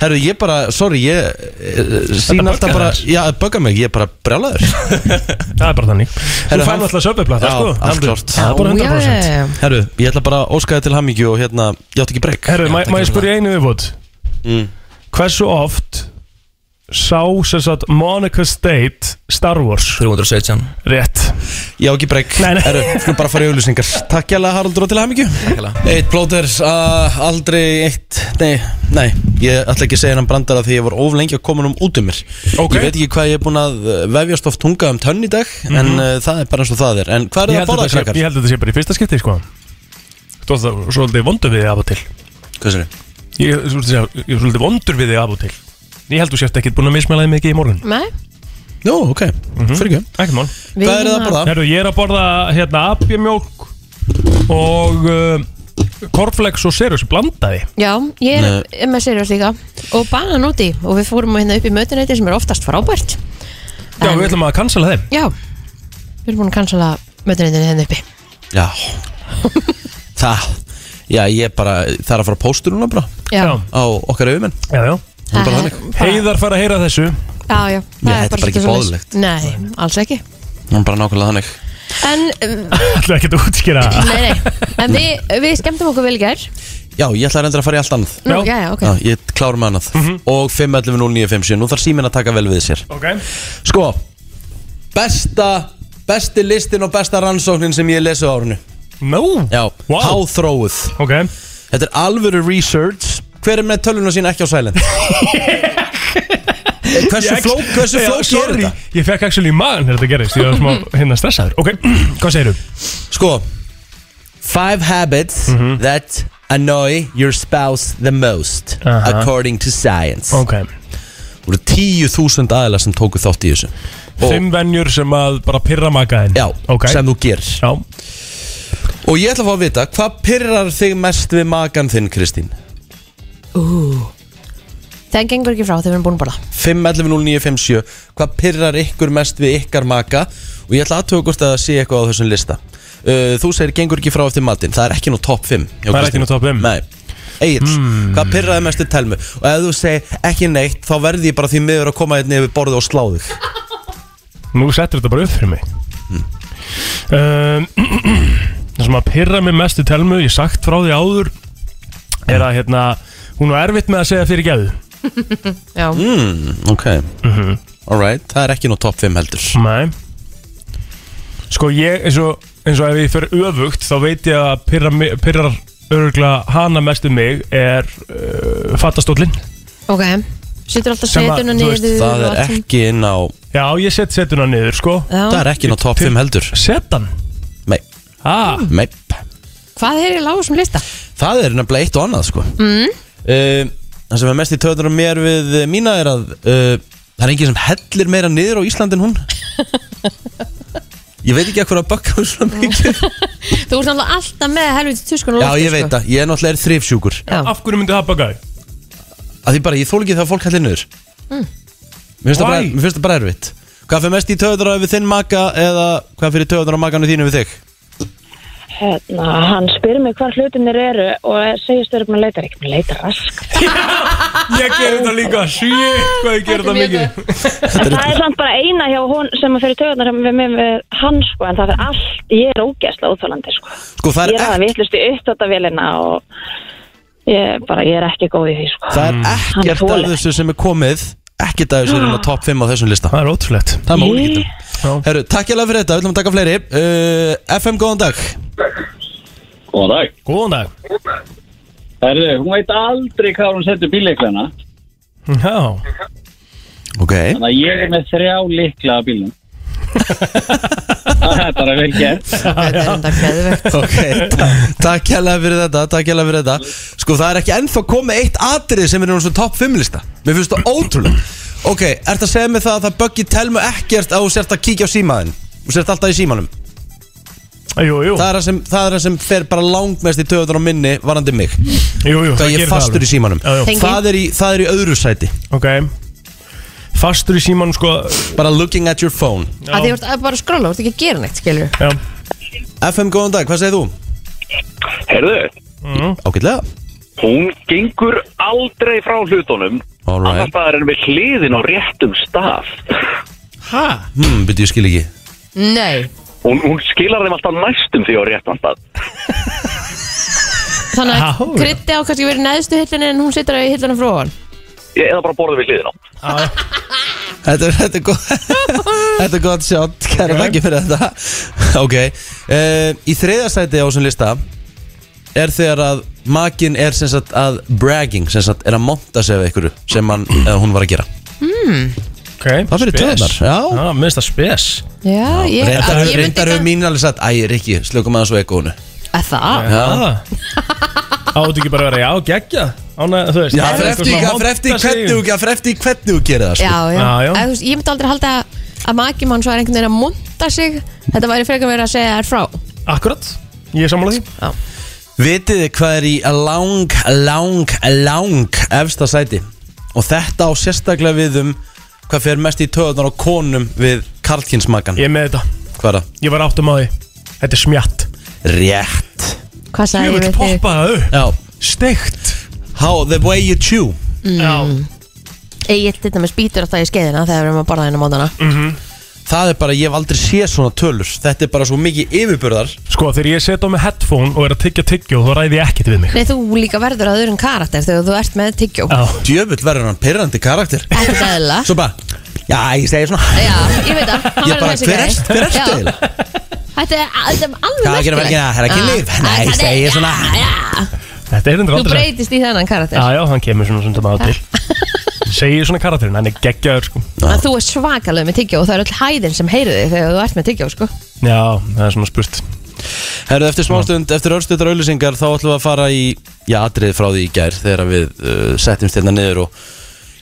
S1: Herru, ég bara, sorry, ég eh, Sýn
S2: Þetta
S1: alltaf
S2: buggar
S1: bara,
S2: þér.
S1: já, bögga mig, ég er bara brjálaður
S2: Það er bara þannig Þú
S1: Herra,
S2: fær
S1: hann-
S2: náttúrulega söpuplata
S1: Já,
S2: sko
S1: allt
S2: Aldrei-
S1: klárt.
S2: Það er bara 100%
S3: já, já.
S1: Herru, ég ætla bara að óska þið til hamingju og hérna, ég átti ekki Mm. breyk
S2: Herru, má má ég spyrja einu viðbútt Hversu oft sá sem sagt Monica State Star Wars
S7: 317
S2: rétt
S1: Ég á ekki breyk
S2: Nei, nei.
S1: Herru, skulum bara fara í auðlýsingar Takk jælega Haraldur og til hamingju
S7: Takkilega.
S1: Eitt plóter, uh, aldrei eitt Nei, nei, ég ætla ekki að segja hann brandara því ég var of lengi að koma um út um mér
S2: Ok.
S1: Ég veit ekki hvað ég er búin að eh, vefjast oft tunga um tönn í dag En uh, það er bara eins og það er En hvað er það að
S2: Mhm. Ég held að
S1: borða,
S2: þetta sé-
S1: krakkar?
S2: ég held að þetta sé bara í fyrsta skipti sko Þú ert það svolítið vondur við þig af og til
S1: Hvað sér þið?
S2: Ég þú ert að segja, ég er svolítið vondur við þig af og til Ég held þú sért ekkert búin að mismæla þig mikið í morgun
S3: Nei,
S1: Nú, ok,
S2: Mhm.
S1: fyrir ekki
S2: Ekkert mál
S3: við
S1: Hvað er það að borða?
S2: Herru, ég er að borða hérna apjamjólk og uh, korflex og serjus blandaði
S3: Já, ég er með seriós líka og banan úti og við fórum hérna upp í mötuneyti sem er oftast frábært
S2: Já, við ætlum að cancela þeim
S3: Já, við erum búin að cancela mötuneytinu hérna uppi
S1: Já Það Já, ég bara, það er að fara að póstur núna bara
S3: Já,
S2: Já.
S1: Á okkar auðmenn
S2: Já, já
S1: Það er bara þannig
S2: Heiðar fara að heyra þessu
S3: Já, já, það
S1: Já, þetta er bara ekki
S3: svolítið svoleiðis.
S1: boðlegt.
S3: Nei, alls ekki
S1: Það er bara nákvæmlega þannig
S3: En, um,
S2: Ætlum ekki að útskýra
S3: nei, nei, en við, við skemmtum okkur vel í gær
S1: Já, ég ætla að reynda að fara í allt annað
S3: Nú,
S2: Já.
S3: já, já, ok
S1: Já, ég klára með annað Og 5.11.09.57 Nú þarf síminn að taka vel við sér
S2: Ok
S1: Sko Besta Besti listin og besta rannsóknin sem ég lesi á árinu
S2: No
S1: Já
S2: Wow.
S1: Háþróuð
S2: Ok
S1: Þetta er alvöru research Hver er með töluna sín ekki á <laughs> silent? Eh, hversu
S2: Ég-
S1: flók Hversu
S2: Já,
S1: flók er
S2: sorry.
S1: þetta?
S2: Ég fekk actually í maðan þegar þetta gerist Ég var <clears throat> smá hérna stressaður Ok, hvað segirðu?
S1: Sko Five habits that annoy your spouse the most
S2: Aha.
S1: According to science
S2: Ok
S1: Þú eru 10.000 aðila sem tóku þátt í þessu Og-
S2: Fimm venjur sem að bara pyrra makaðin
S1: Já,
S2: Ok
S1: sem þú gerir
S2: Já
S1: Og ég ætla að fá að vita, hvað pyrrar þig mest við makan þinn, Kristín?
S3: Það gengur ekki frá þegar við erum búin að borða
S1: 5.11.09.57 Hvað pyrrar ykkur mest við ykkar maka? Og ég ætla aðtöku hvort að það sé eitthvað á þessum lista uh, Þú segir, gengur ekki frá eftir matinn Það er ekki nú topp 5 hjá
S2: Það
S1: Kristínu.
S2: er ekki nú topp fimm. Hmm.
S1: Nei Egil, hvað pyrraði mest við telmu? Og ef þú segir ekki neitt, þá verði ég bara því miður að koma hérna yfir borðið og slá þig
S2: Nú settur þetta bara upp fyrir mig
S1: Mm.
S2: um, <clears throat> Það sem að pyrra mig mest í telmu Ég hef sagt frá því áður Er að hérna Hún var erfitt með að segja fyrir geðu
S3: Já,
S1: mm, Ok
S2: Mhm.
S1: Alright, það er ekki nú topp 5 heldur
S2: Nei Sko ég eins og, eins og ef ég fer öfugt Þá veit ég að pyrra, mig- pyrrar örgla hana mest um mig Er uh, fattastóllin
S3: ok Sittur alltaf
S2: Sem að,
S3: setuna
S2: þú veist,
S3: niður
S1: Það
S3: og
S1: er
S3: allt sem-
S1: ekki inn á
S2: Já ég set setuna niður sko
S1: Það er
S3: Já,
S1: ekki nú topp 5 heldur
S2: Setan
S1: Nei,
S2: ah,
S1: nei
S3: hvað er í lágum sem lista?
S1: Það er nefnilega eitt og annað sko mm. Það sem er mest í töðunar og mér við eh, mína er að uh, Það er enginn sem hellir meira niður á Ísland en hún Ég veit ekki að hverja að bakka hún svona mikið
S3: Þú ert náttúrulega alltaf með helviti tuskun
S1: Já ég veit það, ég er náttúrulega er þrifsjúkur
S3: sko. Já,
S2: Af hverju myndi það baka þig?
S1: Af því bara ég þól ekki þegar fólk hellir niður mér, finnst það bara,
S2: Why?
S1: mér finnst það bara erfitt Hvað fyrir mest í töðunar við þinn maka Eða hvað fyrir töðunar á makanu þínu við þig
S8: Hérna, hann spyr mig hvað hlutinir eru og segist verið maður leitar ekki, maður leitar rask.
S2: Ég ger þetta líka Sjík hvað ég ger þetta mikið
S8: Það er samt bara eina hjá hún sem að fyrir töðunar með mig með hann sko, en það er allt, ég er ógæsla útfælandi sko.
S1: Sko það
S8: Ég er
S1: er,
S8: að
S1: ekk,
S8: vitlust í uppdóttavélina og ég, bara, ég er ekki góð í því sko.
S1: það er
S2: Mm.
S8: Hann
S1: ekkert
S8: þolir
S1: af þessu sem er komið Ekkert af þessu er inn á topp 5 á þessum lista
S2: Það er ótrúlegt
S1: Það er mjög líkitum
S2: Já.
S1: Herru, takk ég alveg fyrir þetta, við ætlum að taka fleiri uh, FM, góðan dag
S9: Góðan dag.
S2: Góðan dag
S9: Herðu, hún veit aldrei hvað hún setur bíleiklana.
S2: Já
S1: Ok
S9: Þannig að ég er með þrjá líkla á
S10: <laughs>
S9: bílnum. það er bara vel gert.
S3: það er enda geðvegt
S1: <laughs> Ok, ta takk hérlega fyrir þetta, takk hérlega fyrir þetta Sko það er ekki ennþá komið eitt atrið sem er í svona topp 5 lista Mér finnst það ótrúlega Ok, ert að segja mig það að það böggi telmu ekkert að þú sért að kíkja á símaðin Þú sért alltaf í símanum
S2: Jú, jú,
S1: Það er það sem, það er það sem fer bara langmest í töðunar á minni varandi mig
S2: jú, jú
S1: Hvað ég
S2: gerir
S1: er fastur
S2: alveg.
S1: í símanum
S2: Já, já.
S3: Tenging.
S1: það er, í, það er í öðru sæti
S2: Ok Fastur í símanum sko
S1: Bara looking at your phone
S2: Já.
S3: Að því þú ert að bara að skrolla, þú ert ekki að gera neitt, skilur
S2: Já
S1: FM, góðan dag, hvað segir þú?
S10: Herðu,
S1: Ágætlega
S10: Hún gengur aldrei frá hlutunum
S1: All right.
S10: Annars staðar en við hliðin á réttum stað
S1: Hæ? Hmm, byrju, ég skil ekki
S3: Nei
S10: Hún, hún skilar þeim alltaf næstum því á réttan stað
S3: Þannig
S10: Ha,
S3: að
S10: hóra.
S3: krytti á kannski verið neðstu hillinu en hún situr á hillinu frá hann
S10: Ég- Eða bara borðið við hliðin á
S1: Þetta er, þetta er góð <laughs> Þetta er gott sjátt, kæra þakki fyrir þetta Ok, uh, í þriðastæti á þessum lista er þegar að makin er sem sagt að bragging, sem sagt er að monta sig af einhverju sem hann, eða hún var að gera
S3: mm.
S2: okay.
S1: Það fyrir
S2: spes.
S1: töðnar, já
S2: Já, minnst það spes
S3: Já, ég,
S1: Reyndar
S3: að,
S1: hefur-
S3: ég myndi
S1: Reyndar hefur mín alveg sagt, æ, Rikki, slökum aðeins á ekoinu
S3: að það
S1: Já.
S2: Áttu ekki bara að vera já, geggja Ána, þú veist
S1: Já,
S2: það er eitthvað
S1: frefti,
S2: svona að
S1: frefti,
S2: monta sig.
S1: hvernig þú- frefti, hvernig þú gerir það
S3: Já,
S1: sko.
S3: já, Að, þú veist, Ég myndi aldrei halda að makim hans var einhvern veginn að monta sig Þetta væri frekar verið að segja þær frá
S2: Akkurat, ég er sammála því
S1: Vitið þið hvað er í lang, lang, lang efsta sæti og þetta á sérstaklega við um hvað fer mest í töðunar á konum við karlkinsmakan
S2: Ég er með þetta,
S1: Hvað er það?
S2: ég var áttum á því Þetta er smjatt
S1: Rétt
S3: Hvað sagði
S2: Ég
S3: ég
S2: vil
S3: við þig?
S2: poppa það upp
S1: Já
S2: Steikt
S1: How the way you chew
S3: Mm. Egil til dæmis býtur alltaf í skeiðina þegar við erum að borða hennar mótana
S1: Það er bara, ég hef aldrei séð svona tölur Þetta er bara svo mikið yfirbörðar
S2: Sko, þegar ég set á mig headphone og er að tyggja tyggjó Þá ræði ég ekkert við mig
S3: Nei, þú líka verður að öðrum karakter þegar þú ert með tyggjó
S2: Já,
S1: Djöfull verður hann pyrrandi karakter
S3: Ekki dæðilega
S1: Svo bara, já ég segi svona
S3: Já, ég veit það, hann
S1: Ég
S3: verður
S1: bara,
S3: þessi
S1: hver
S3: gæði.
S1: erst- hver ertu
S3: Já.
S1: eiginlega?
S3: Þetta er þetta er alveg
S1: Hvað gerum við ekki, það er ekki
S3: Ah.
S1: líf Nei, ég segi svona
S2: Þetta er hendur
S3: Þú
S2: aldrei
S3: breytist í þennan karakter
S2: Já, já, hann kemur svona svona maður til
S3: <laughs>
S2: Segir svona karakterinn, hann er geggjaður sko
S3: að þú er svakalög með tyggjó og það er öll hæðin sem heyrið þig þegar þú ert með tyggjó sko.
S2: Já, það er svona spurt
S1: Herðu, eftir smástund, eftir örstundar auðlýsingar þá ætlum við að fara í, já, atrið frá því í gær þegar við uh, settumst hérna niður og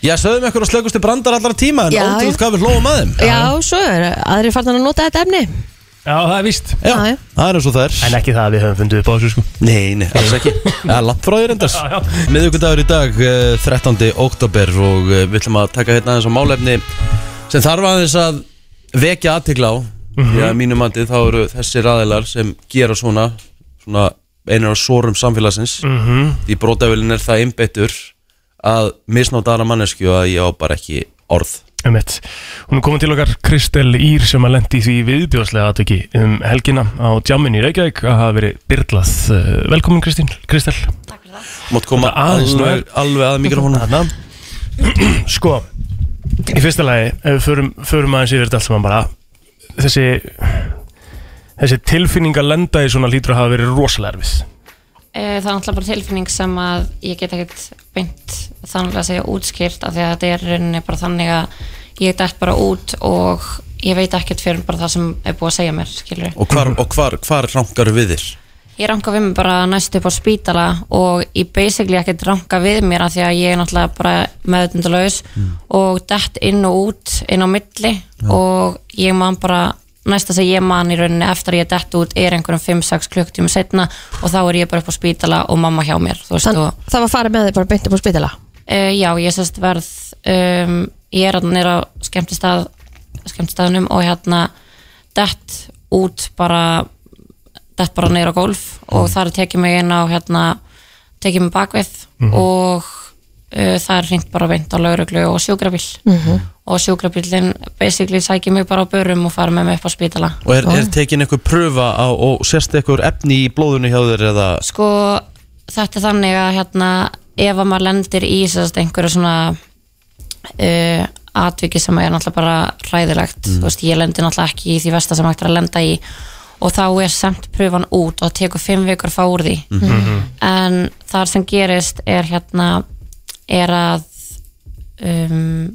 S1: já, sögðum ekkur á slökustu brandar allra tíma en
S3: Já,
S1: ótrúð
S3: já.
S1: hvað við hlóðum að þeim
S3: já, svo er aðri farnar að nota þetta efni
S2: Já, það er víst
S1: Já,
S3: já.
S1: það er eins og það er
S2: En ekki það að við höfum fundið upp á þessu sko
S1: Nei, nei, alls
S2: <laughs>
S1: ekki Það er langt frá þér endast Miðugundagur í dag, uh, 13. oktober og uh, við ætlum að taka hérna aðeins á málefni sem þarf aðeins að vekja aðtikla á
S2: Mhm.
S1: Já, að mínum mandi þá eru þessir aðilar sem gera svona, svona einar á sórum samfélagsins
S2: Mhm.
S1: Því brótavölin er það einbeittur að misnáta aðra mannesku að ég á bara ekki orð
S2: Emmett, hún er komin til okkar Kristel Ír sem að lendi því viðbjóðslega atveki um helgina á djamin í Reykjavík að hafa verið byrlað Uh, Velkomin Kristín, Kristel
S1: Mátt koma
S2: Þetta aðeins
S1: alveg, alveg að mikrofónu
S2: Þarna. Sko, í fyrsta lagi ef við förum, förum aðeins yfir þetta allt saman bara þessi þessi tilfinning að lenda í svona lítur að hafa verið rosalega erfið
S6: Eh, Það er náttúrulega bara tilfinning sem að ég get ekkert beint þannig að segja útskýrt af því að þetta er í rauninni bara þannig að ég dætt bara út og ég veit ekkert fyrir bara það sem er búið að segja mér, skilur.
S1: Og hvar, og hvar, hvar rankar við þér?
S6: Ég ranka við mér bara næst upp á spítala og ég basically ekkert ranka við mér af því að ég er náttúrulega bara meðutundalaus og dætt inn og út inn á milli og ég man bara næsta sem ég man í rauninni eftir að ég dætt út er einhverjum 5-6 klukktíma setna og þá er ég bara upp á spítala og mamma hjá mér, þú veist,
S3: Þann,
S6: og
S3: það var farið með þig bara beint upp á spítala
S6: Uh, já, ég sérst verð um, ég er hann er á skemmtistað skemmtistaðnum og hérna dett út bara dett bara neyra golf og þar tekið mig inn á hérna tekið mig bakvið
S11: Mhm.
S6: og uh, það er hringt bara veint á lauruglu og sjúkrabíl
S11: Mhm.
S6: og sjúkrabílinn basically sækir mig bara á börum og fara með mig upp á spítala
S1: Og er, er tekin einhver pröfa á, og sérst einhver efni í blóðunni hjá þér eða
S6: sko þetta er þannig að hérna ef að maður lendir í sérst einhverju svona uh, atviki sem er náttúrulega bara ræðilegt
S11: Mm.
S6: þú veist ég lendir náttúrulega ekki í því versta sem hægt er að lenda í og þá er semt pröfan út og það tekur fimm vikur að fá úr því
S11: Mhm.
S6: en þar sem gerist er hérna er að um,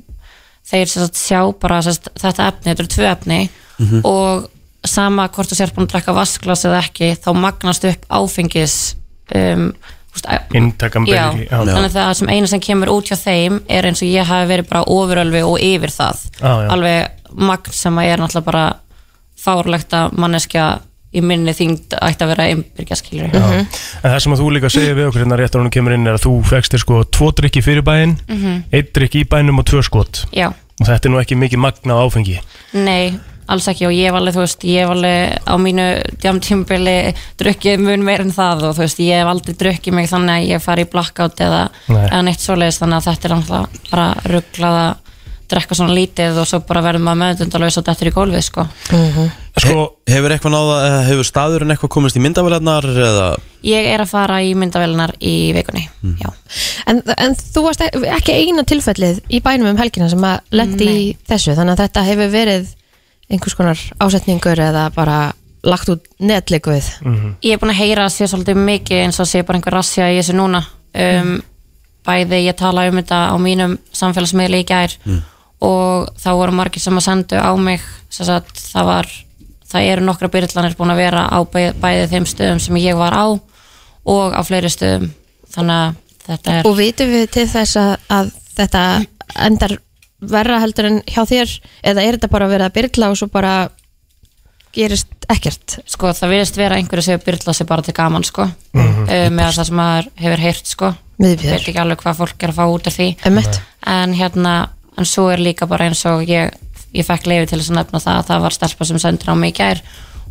S6: þeir sérst sjá bara sérst, þetta efni, þetta eru tvö efni
S11: Mhm.
S6: og sama hvort þú sér búin að drekka vasklas eða ekki, þá magnast upp áfengis um, húst,
S2: Inntakan
S6: já,
S2: basically, já.
S6: þannig að það sem eina sem kemur út hjá þeim er eins og ég hafi verið bara ofurölvi og yfir það
S11: Já, já.
S6: alveg magn sem að er náttúrulega bara fárlegt að manneskja í minni þyngd ætti að vera einbyrgja skilur
S2: Já. En það sem að þú líka segir við okkur hérna rétt að hún kemur inn er að þú fegst þér sko tvo drikki fyrir bæinn,
S6: Mhm.
S2: einn drikki í bænum og tvö skot.
S6: Já.
S2: Og þetta er nú ekki mikið magna á áfengi.
S6: Nei, alls ekki og ég hef alveg, þú veist, ég hef alveg á mínu djámtímbili drukkið mun meir en það og þú veist, ég hef aldrei drukkið mig þannig að ég fari í blackout eða,
S2: Nei.
S6: eða neitt svoleiðis þannig að þetta er náttúrulega bara rugglað að drekka svona lítið og svo bara verðum að meðundalösa og dettur í gólfið, sko.
S1: Sko, hefur eitthvað náða, eh, hefur staðurinn eitthvað komist í myndavélarnar eða
S6: Ég er að fara í myndavélunar í vikunni.
S3: En, en þú varst e- ekki eina tilfellið í bænum um helgina sem að lendi í þessu þannig að þetta hefur verið einhvers konar ásetningur eða bara lagt út netleikuð
S6: Ég er búin að heyra að sé svolítið mikið eins og sé bara einhver rassja í þessu núna um, bæði ég tala um þetta á mínum samfélagsmiðli í gær og þá voru margir sem að sendu á mig sem sagt það var það eru nokkra byrjlanir búin að vera á bæ, bæði þeim stöðum sem ég var á og á fleiri stöðum þannig að þetta er
S3: og vitum við til þess að, að þetta endar verra heldur en hjá þér eða er þetta bara að vera að byrgla og svo bara gerist ekkert
S6: sko það virðist vera einhverju sem byrla sig bara til gaman sko um, með það sem maður hefur heyrt sko
S3: Miðbjörg.
S6: veit ekki alveg hvað fólk er að fá út af því
S3: Einmitt.
S6: en hérna en svo er líka bara eins og ég ég fekk leiði til þess að nefna það að það var stelpa sem sendur á mig í gær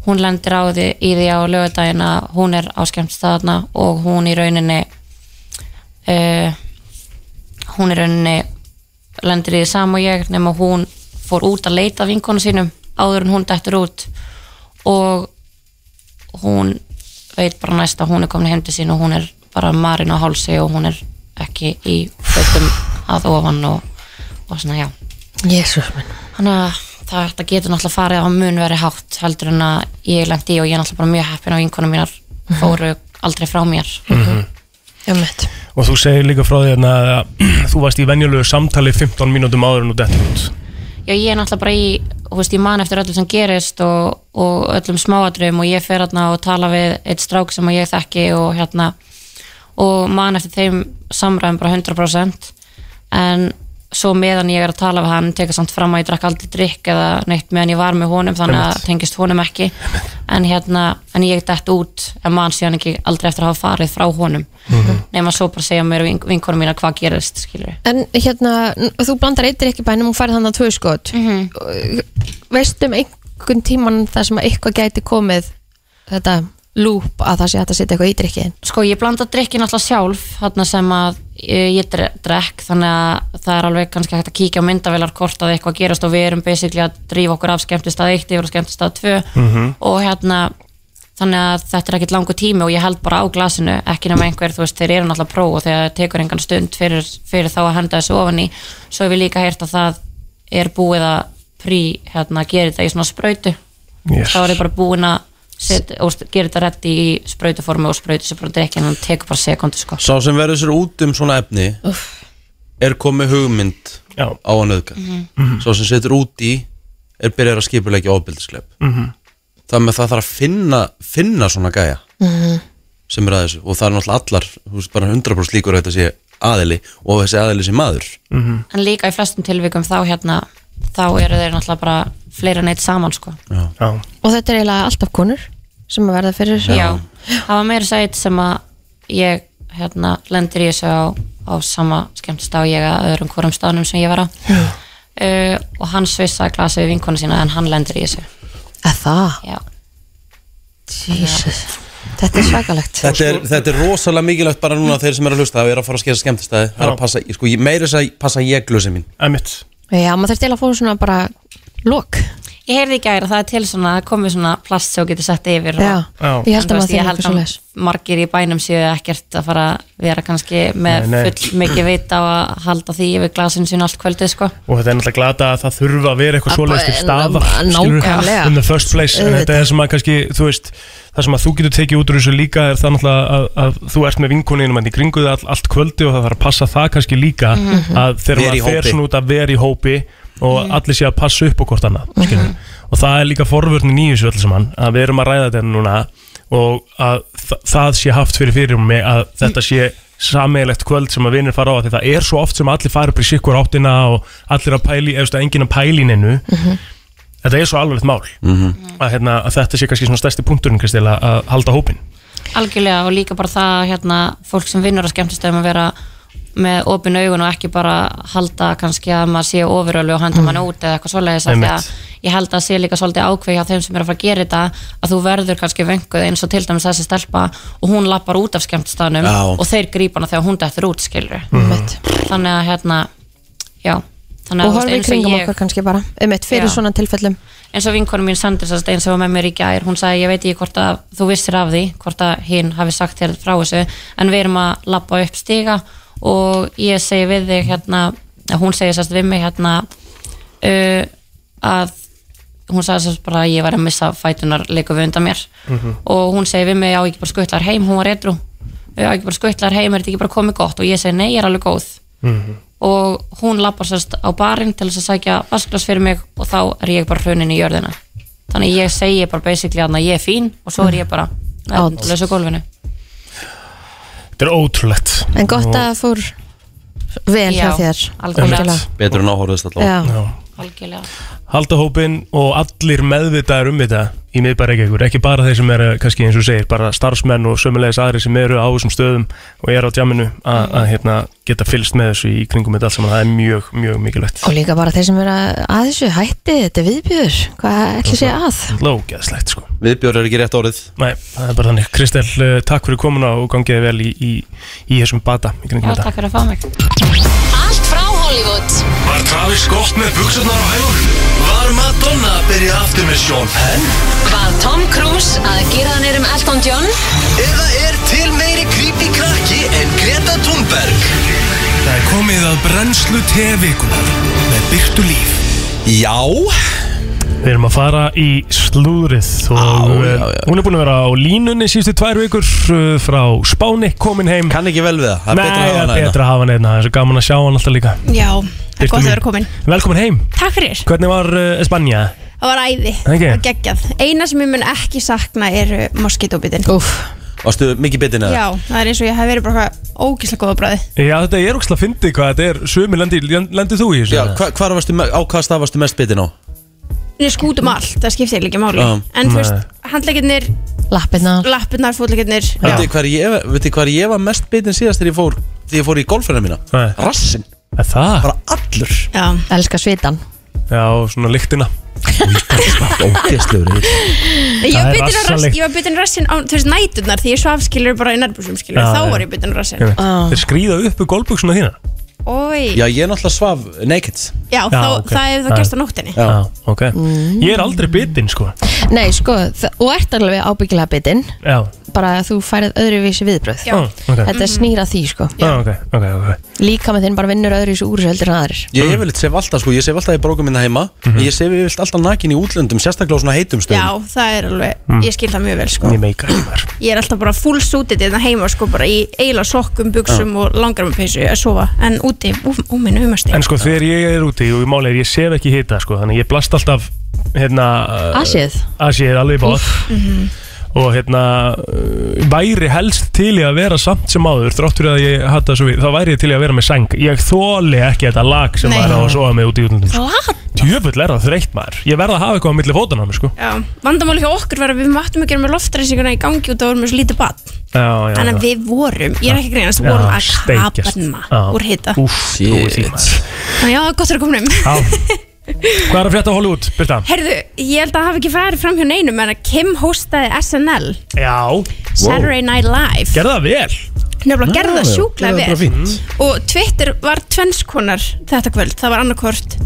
S6: hún lendir á því í því á lögadaginn að hún er á skemmtstaðarna og hún í rauninni uh, hún í rauninni lendir í því sama og ég nema hún fór út að leita að vinkonu sínum áður en hún dettur út og hún veit bara næst að hún er komin heim til sín og hún er bara marinn á hálsi og hún er ekki í fötum að ofan og, og svona já
S3: Jésús minn
S6: þannig að það, það getur náttúrulega farið á mun verið hátt heldur en að ég lendi í og ég er náttúrulega bara mjög heppin og vinkonum mínar fóru aldrei frá mér
S3: Emmett
S2: Og þú segir líka frá því hérna að þú varst í venjulegu samtali 15 mínútum áður en þú dettur út
S6: Já, ég er náttúrulega bara í, þú veist, ég man eftir öllu sem gerist og, og öllum smáadröfum og ég fer hérna og tala við eitt strák sem ég þekki og hérna og man eftir þeim samræðum bara 100% en svo meðan ég er að tala við hann teka samt fram að ég drakk aldrei drikk eða neitt meðan ég var með honum þannig að
S11: Einmitt.
S6: tengist honum ekki en hérna, en ég dætt út en man síðan ekki aldrei eftir að hafa farið frá honum nema svo bara segja mér vink, vinkonum mína hvað gerist, skilur
S3: En hérna, n- þú blandar eittir ekki bænum og færið þannig að tvö skot
S6: Mhm.
S3: mm Veistum einhvern tíman það sem að eitthvað gæti komið þetta lúp að það sé hægt að setja eitthvað eittir ekki
S6: sko ég blanda drikkin alltaf sjálf þarna sem að eh, ég dre- drekk þannig að það er alveg kannski hægt að kíkja á myndavélar hvort að eitthvað gerast og við erum basically að drífa okkur af skemmtistað 1 yfir á skemmtistað 2
S11: Mhm.
S6: og hérna þannig að þetta er ekkit langur tími og ég held bara á glasinu ekki nema einhver, þú veist, þeir eru náttúrulega pró og þegar það tekur engan stund fyrir, fyrir þá að henda þessu ofan í svo hef ég líka heyrt að það er búið að prí, hérna, gera þetta í svona sprautu
S2: Yes.
S6: þá er ég bara búin að set, og st- gera þetta reddi í sprautaformi og sprautu sem bara drekja en hann tekur bara sekundu sko
S1: Sá sem verður sér út um svona efni er komið hugmynd
S2: Já.
S1: á að nöðka
S6: Mhm.
S1: Sá sem setur út í er byrjar að skipulegja ofbildisleip
S2: Mhm.
S1: Það með það þarf að finna, finna svona gæja sem er að þessu og það er náttúrulega allar, þú veist, bara 100% líkur að þetta sé aðili og þessi aðili sé maður
S6: en líka í flestum tilvikum þá hérna þá eru þeir náttúrulega bara fleira neitt saman sko
S1: Já.
S2: Já.
S3: Og þetta er eiginlega alltaf konur sem að verða fyrir þessu
S6: Já, það var meira sætt sem að ég hérna lendir í þessu á, á sama skemmtist á ég að öðrum hvorum staðnum sem ég var á uh, og hann svissaði glasa við vinkonu sína en hann lendir í þessu
S3: Að það?
S6: Já
S3: Jesus Þetta er svakalegt
S1: þetta er, þetta er rosalega mikilvægt bara núna þeir sem eru að hlusta það er að fara að skera skemmtistæði það er að passa, sko, ég- meira þess að passa ég glösi mín
S2: Emitt
S3: Já, maður þarf til að fá svona bara lok
S6: Ég heyrði í gæri að það er til svona, það er komið svona plast sem þú getur sett yfir
S3: Já,
S6: og,
S3: Já. ég held að
S6: En þú
S3: maður
S6: veist,
S3: þurfi
S6: ég held
S3: eitthvað
S6: að
S3: svoleiðis.
S6: margir í bænum séu ekkert að fara að vera kannski
S2: Nei,
S6: með
S2: nei.
S6: full mikið veit á að halda því yfir glasin sín allt kvöldið sko.
S2: Og þetta er náttúrulega glata að það þurfa að vera eitthvað
S6: Að
S2: svoleiðist til
S6: bara-
S2: staðar
S6: að-
S2: skilurðu,
S6: nákvæmlega.
S2: In the first place En þetta er sem að kannski, þú veist Það sem að þú getur tekið út úr þessu líka er það náttúrulega að, að þú ert með vinkoninum en í kringu það all, allt kvöldi og það þarf að passa það kannski líka
S11: Mhm.
S2: að þegar
S11: Vera í
S2: maður fer
S11: hópi.
S2: svona út að vera í hópi og
S3: Mm.
S2: allir sé að passa upp á hvort annað
S3: Mhm.
S2: skilurðu. og það er líka forvörnin í þessu öll saman að við erum að ræða þetta núna og að þa það sé haft fyrir fyrir mig
S3: Mm.
S2: að þetta sé sameigilegt kvöld sem að vinnir fara á af því það er svo oft sem allir fara upp í sikkur áttina og allir að pæli, eða enginn að pæli nennu
S3: Mhm.
S2: þetta er svo alvarlegt mál
S11: Mhm.
S2: að, hérna, að þetta sé kannski svona stærsti punkturinn Kristel, að, að halda hópin
S6: Algjörlega og líka bara það að, hérna, fólk sem vinnur á skemmtistöðum að vera með Mm. opin augun og ekki bara halda kannski að maður sé ofurölu og handa mann út eða eitthvað svoleiðis af því að
S2: Einmitt.
S6: ég held að sé líka svolítið ákveð hjá þeim sem er að fara að gera þetta að þú verður kannski venguð eins og til dæmis þessi stelpa og hún lappar út af skemmtstæðnum
S11: Já.
S6: og þeir grípa hana þegar hún dettur út skilur
S2: Mm.
S3: Einmitt.
S6: þannig að hérna já þannig að,
S3: og
S6: þú veist,
S3: horfið
S6: eins og
S3: kringum
S6: ég-
S3: okkur kannski bara um fyrir
S6: Já.
S3: svona tilfellum
S6: eins og vinkonu mín Sandra sast eins og var með mér í gær hún sagði ég veit ekki hvort að þú vissir af því hvort að hinn hafi sagt þér frá þessu en við erum að labba upp stiga og ég segi við þig hérna að hún segi sast við mig hérna uh, að hún sagði sast bara að ég var að missa fætunar leikum við undan mér
S11: Mhm.
S6: og hún segi við mig á ekki bara skuttlar heim, hún var edru á ekki bara skuttlar heim, er þetta ekki bara komið gott og ég segi nei, ég er alveg góð og hún lappar sérst á barinn til þess að sækja vasklas fyrir mig og þá er ég bara hrunin í jörðina þannig að ég segi bara basically að ég er fín og svo er ég bara
S3: Ánd.
S6: að lausa gólfinu
S2: Þetta er ótrúlegt
S3: en gott að
S2: Og-
S3: það fór vel hjá
S6: Já,
S3: þér
S6: algjörlega.
S1: Betur en áhorðast
S3: Já.
S1: allavega
S6: algjörlega
S2: halda hópinn og allir meðvitaðar um þetta í miðbæra Reykjavíkur, ekki bara þeir sem eru eh, kannski eins og þú segir, bara starfsmenn og sömulegis aðri sem eru á þessum stöðum og eru á djaminu að, að hérna, geta fylgst með þessu í kringum þetta allt saman, það er mjög, mjög mikilvægt
S3: og líka bara þeir sem eru að að þessu hætti þetta er viðbjöður, hvað ætli sé að
S2: Lógeðslegt sko
S1: Viðbjörn er ekki rétt orðið
S2: Nei, það er bara þannig, Kristel, eh, takk fyrir komuna og gangiði vel í, í, í þessum bata í kringum
S6: já,
S2: þetta
S6: takk fyrir að fá mig
S12: Allt frá Hollywood
S5: Var Travis Scott með buksurnar á hægur? Var Madonna að byrja aftur með Sean Penn?
S12: Var Tom Cruise að gera hann erum Elton John?
S5: Eða er til meiri creepy krakki en Greta Thunberg?
S1: Það er komið að brennslu tevikunar með byrtu líf Já
S2: Við erum að fara í slúðrið og já, já, hún er búin að vera á línunni síðustu tvær vikur eh, frá Spáni komin heim
S1: Kann ekki vel við það, það er
S2: Nei,
S1: betra að hafa
S2: það
S1: hana
S2: er
S1: hérna.
S2: betra að hafa hann einna, það er svo gaman að sjá hann alltaf líka
S13: Já, það er
S2: Birta
S13: gott að
S2: mín.
S13: vera komin
S2: Velkomin heim
S13: Takk fyrir,
S2: Hvernig var uh, Spanja?
S13: það var æði
S2: Ekki?
S13: Það var geggjað Eina sem ég mun ekki sakna er moskitóbitin Úf
S1: Varstu mikið bitin eða?
S13: Já, það er eins og ég hef verið bara eitthvað ógislega góða bræði
S2: Já, þetta er ógslag fyndið hvað þetta er Sumi lendi, lendi þú í þessu?
S1: Já, hva, hvar varstu, me- á hvað stað varstu mest bitin á?
S13: En ég skútum allt, það skiptir líka máli
S1: Já.
S13: En þú
S1: Nei.
S13: veist, handleikirnir
S3: Lappirnar
S13: Lappirnar, fótleikirnir
S1: Veitir hvað ég, veitir hvar ég var mest bitin síðast þegar ég fór, þegar ég fór í golfina mína?
S2: Nei.
S1: Rassin
S2: Það?
S1: Bara allur
S13: Já,
S3: elska svitan
S2: Já, svona lyktina
S1: Ógæstlegur
S13: Ég var bitin á rass- ég var bitin rassin á, þú veist, næturnar Því ég svafskilur bara í nærbúsum skilur
S2: Já,
S13: Þá
S2: já.
S13: var ég bitin á rassin
S1: Ah.
S2: Þeir skrýða upp í golfbuksuna þína
S13: Ói
S1: Já, ég er náttúrulega svaf naked
S13: Já, þá,
S2: ok.
S13: það hefur það gerst á nóttinni
S1: Já,
S2: ok Ég er aldrei bitin, sko
S3: nei sko, þa- og ert alveg ábyggilega bitin
S2: Já,
S3: bara að þú færið öðruvísi viðbröð
S2: Já. Ah, ok.
S3: þetta
S2: Mhm.
S3: snýra því sko
S2: Já, ok, ok, ok
S3: líka með þinn bara vinnur öðruvísi úr þessu heldur en aðrir
S1: Ég hef vel sef alltaf sko, ég sef alltaf í brókum minna heima En ég sef yfirleitt alltaf nakin í útlöndum, sérstaklega á svona heitum
S13: Já,
S1: stöðum
S13: það er alveg,
S1: Mm.
S13: ég skil það mjög vel sko
S1: Ég meika
S13: ég er alltaf bara full suited þetta heima sko bara í eila sokkum, buksum og langar með peysu að sofa en úti, úminn umast
S2: En sko þegar ég er úti og í máli er ég sef ekki hita sko, þannig ég blast alltaf hérna, uh,
S3: Asið.
S2: Asið, alveg bótt
S13: Mhm.
S2: og hérna uh, væri helst til í að vera samt sem áður þráttur að ég hatta svo við, þá væri ég til í að vera með seng ég þóli ekki þetta lag sem
S13: Nei.
S2: maður á að sofa með úti í útlöndum sko.
S13: Lat.
S2: Tjöfull er það þreytt maður Ég verð að hafa eitthvað á milli fótana á mig sko
S13: Já, vandamáli hjá okkur var að við máttum að gera með loftreysinguna í gangi út og vorum með svo lítið bad
S2: Já, já,
S13: Þannig
S2: já.
S13: að við vorum, ég er ekki að greinast,
S2: Já,
S13: vorum að
S2: steikjast. Já.
S13: kapana úr hita
S2: Úff, trúi því maður
S13: Þannig já, gott er að koma um
S2: Já. Hvað er að frétta á Hollywood, Birta?
S13: Herðu, ég held að hafa ekki farið fram hjá neinum en að Kim hostaði SNL
S2: Já
S13: Saturday Night Live
S2: Gerða það vel
S13: Nefnilega gerði það
S2: Já, já,
S13: sjúklega
S2: gerði það bara
S13: vel
S2: fínt.
S13: Og Twitter var tvennskonar þetta kvöld Það var annarkvort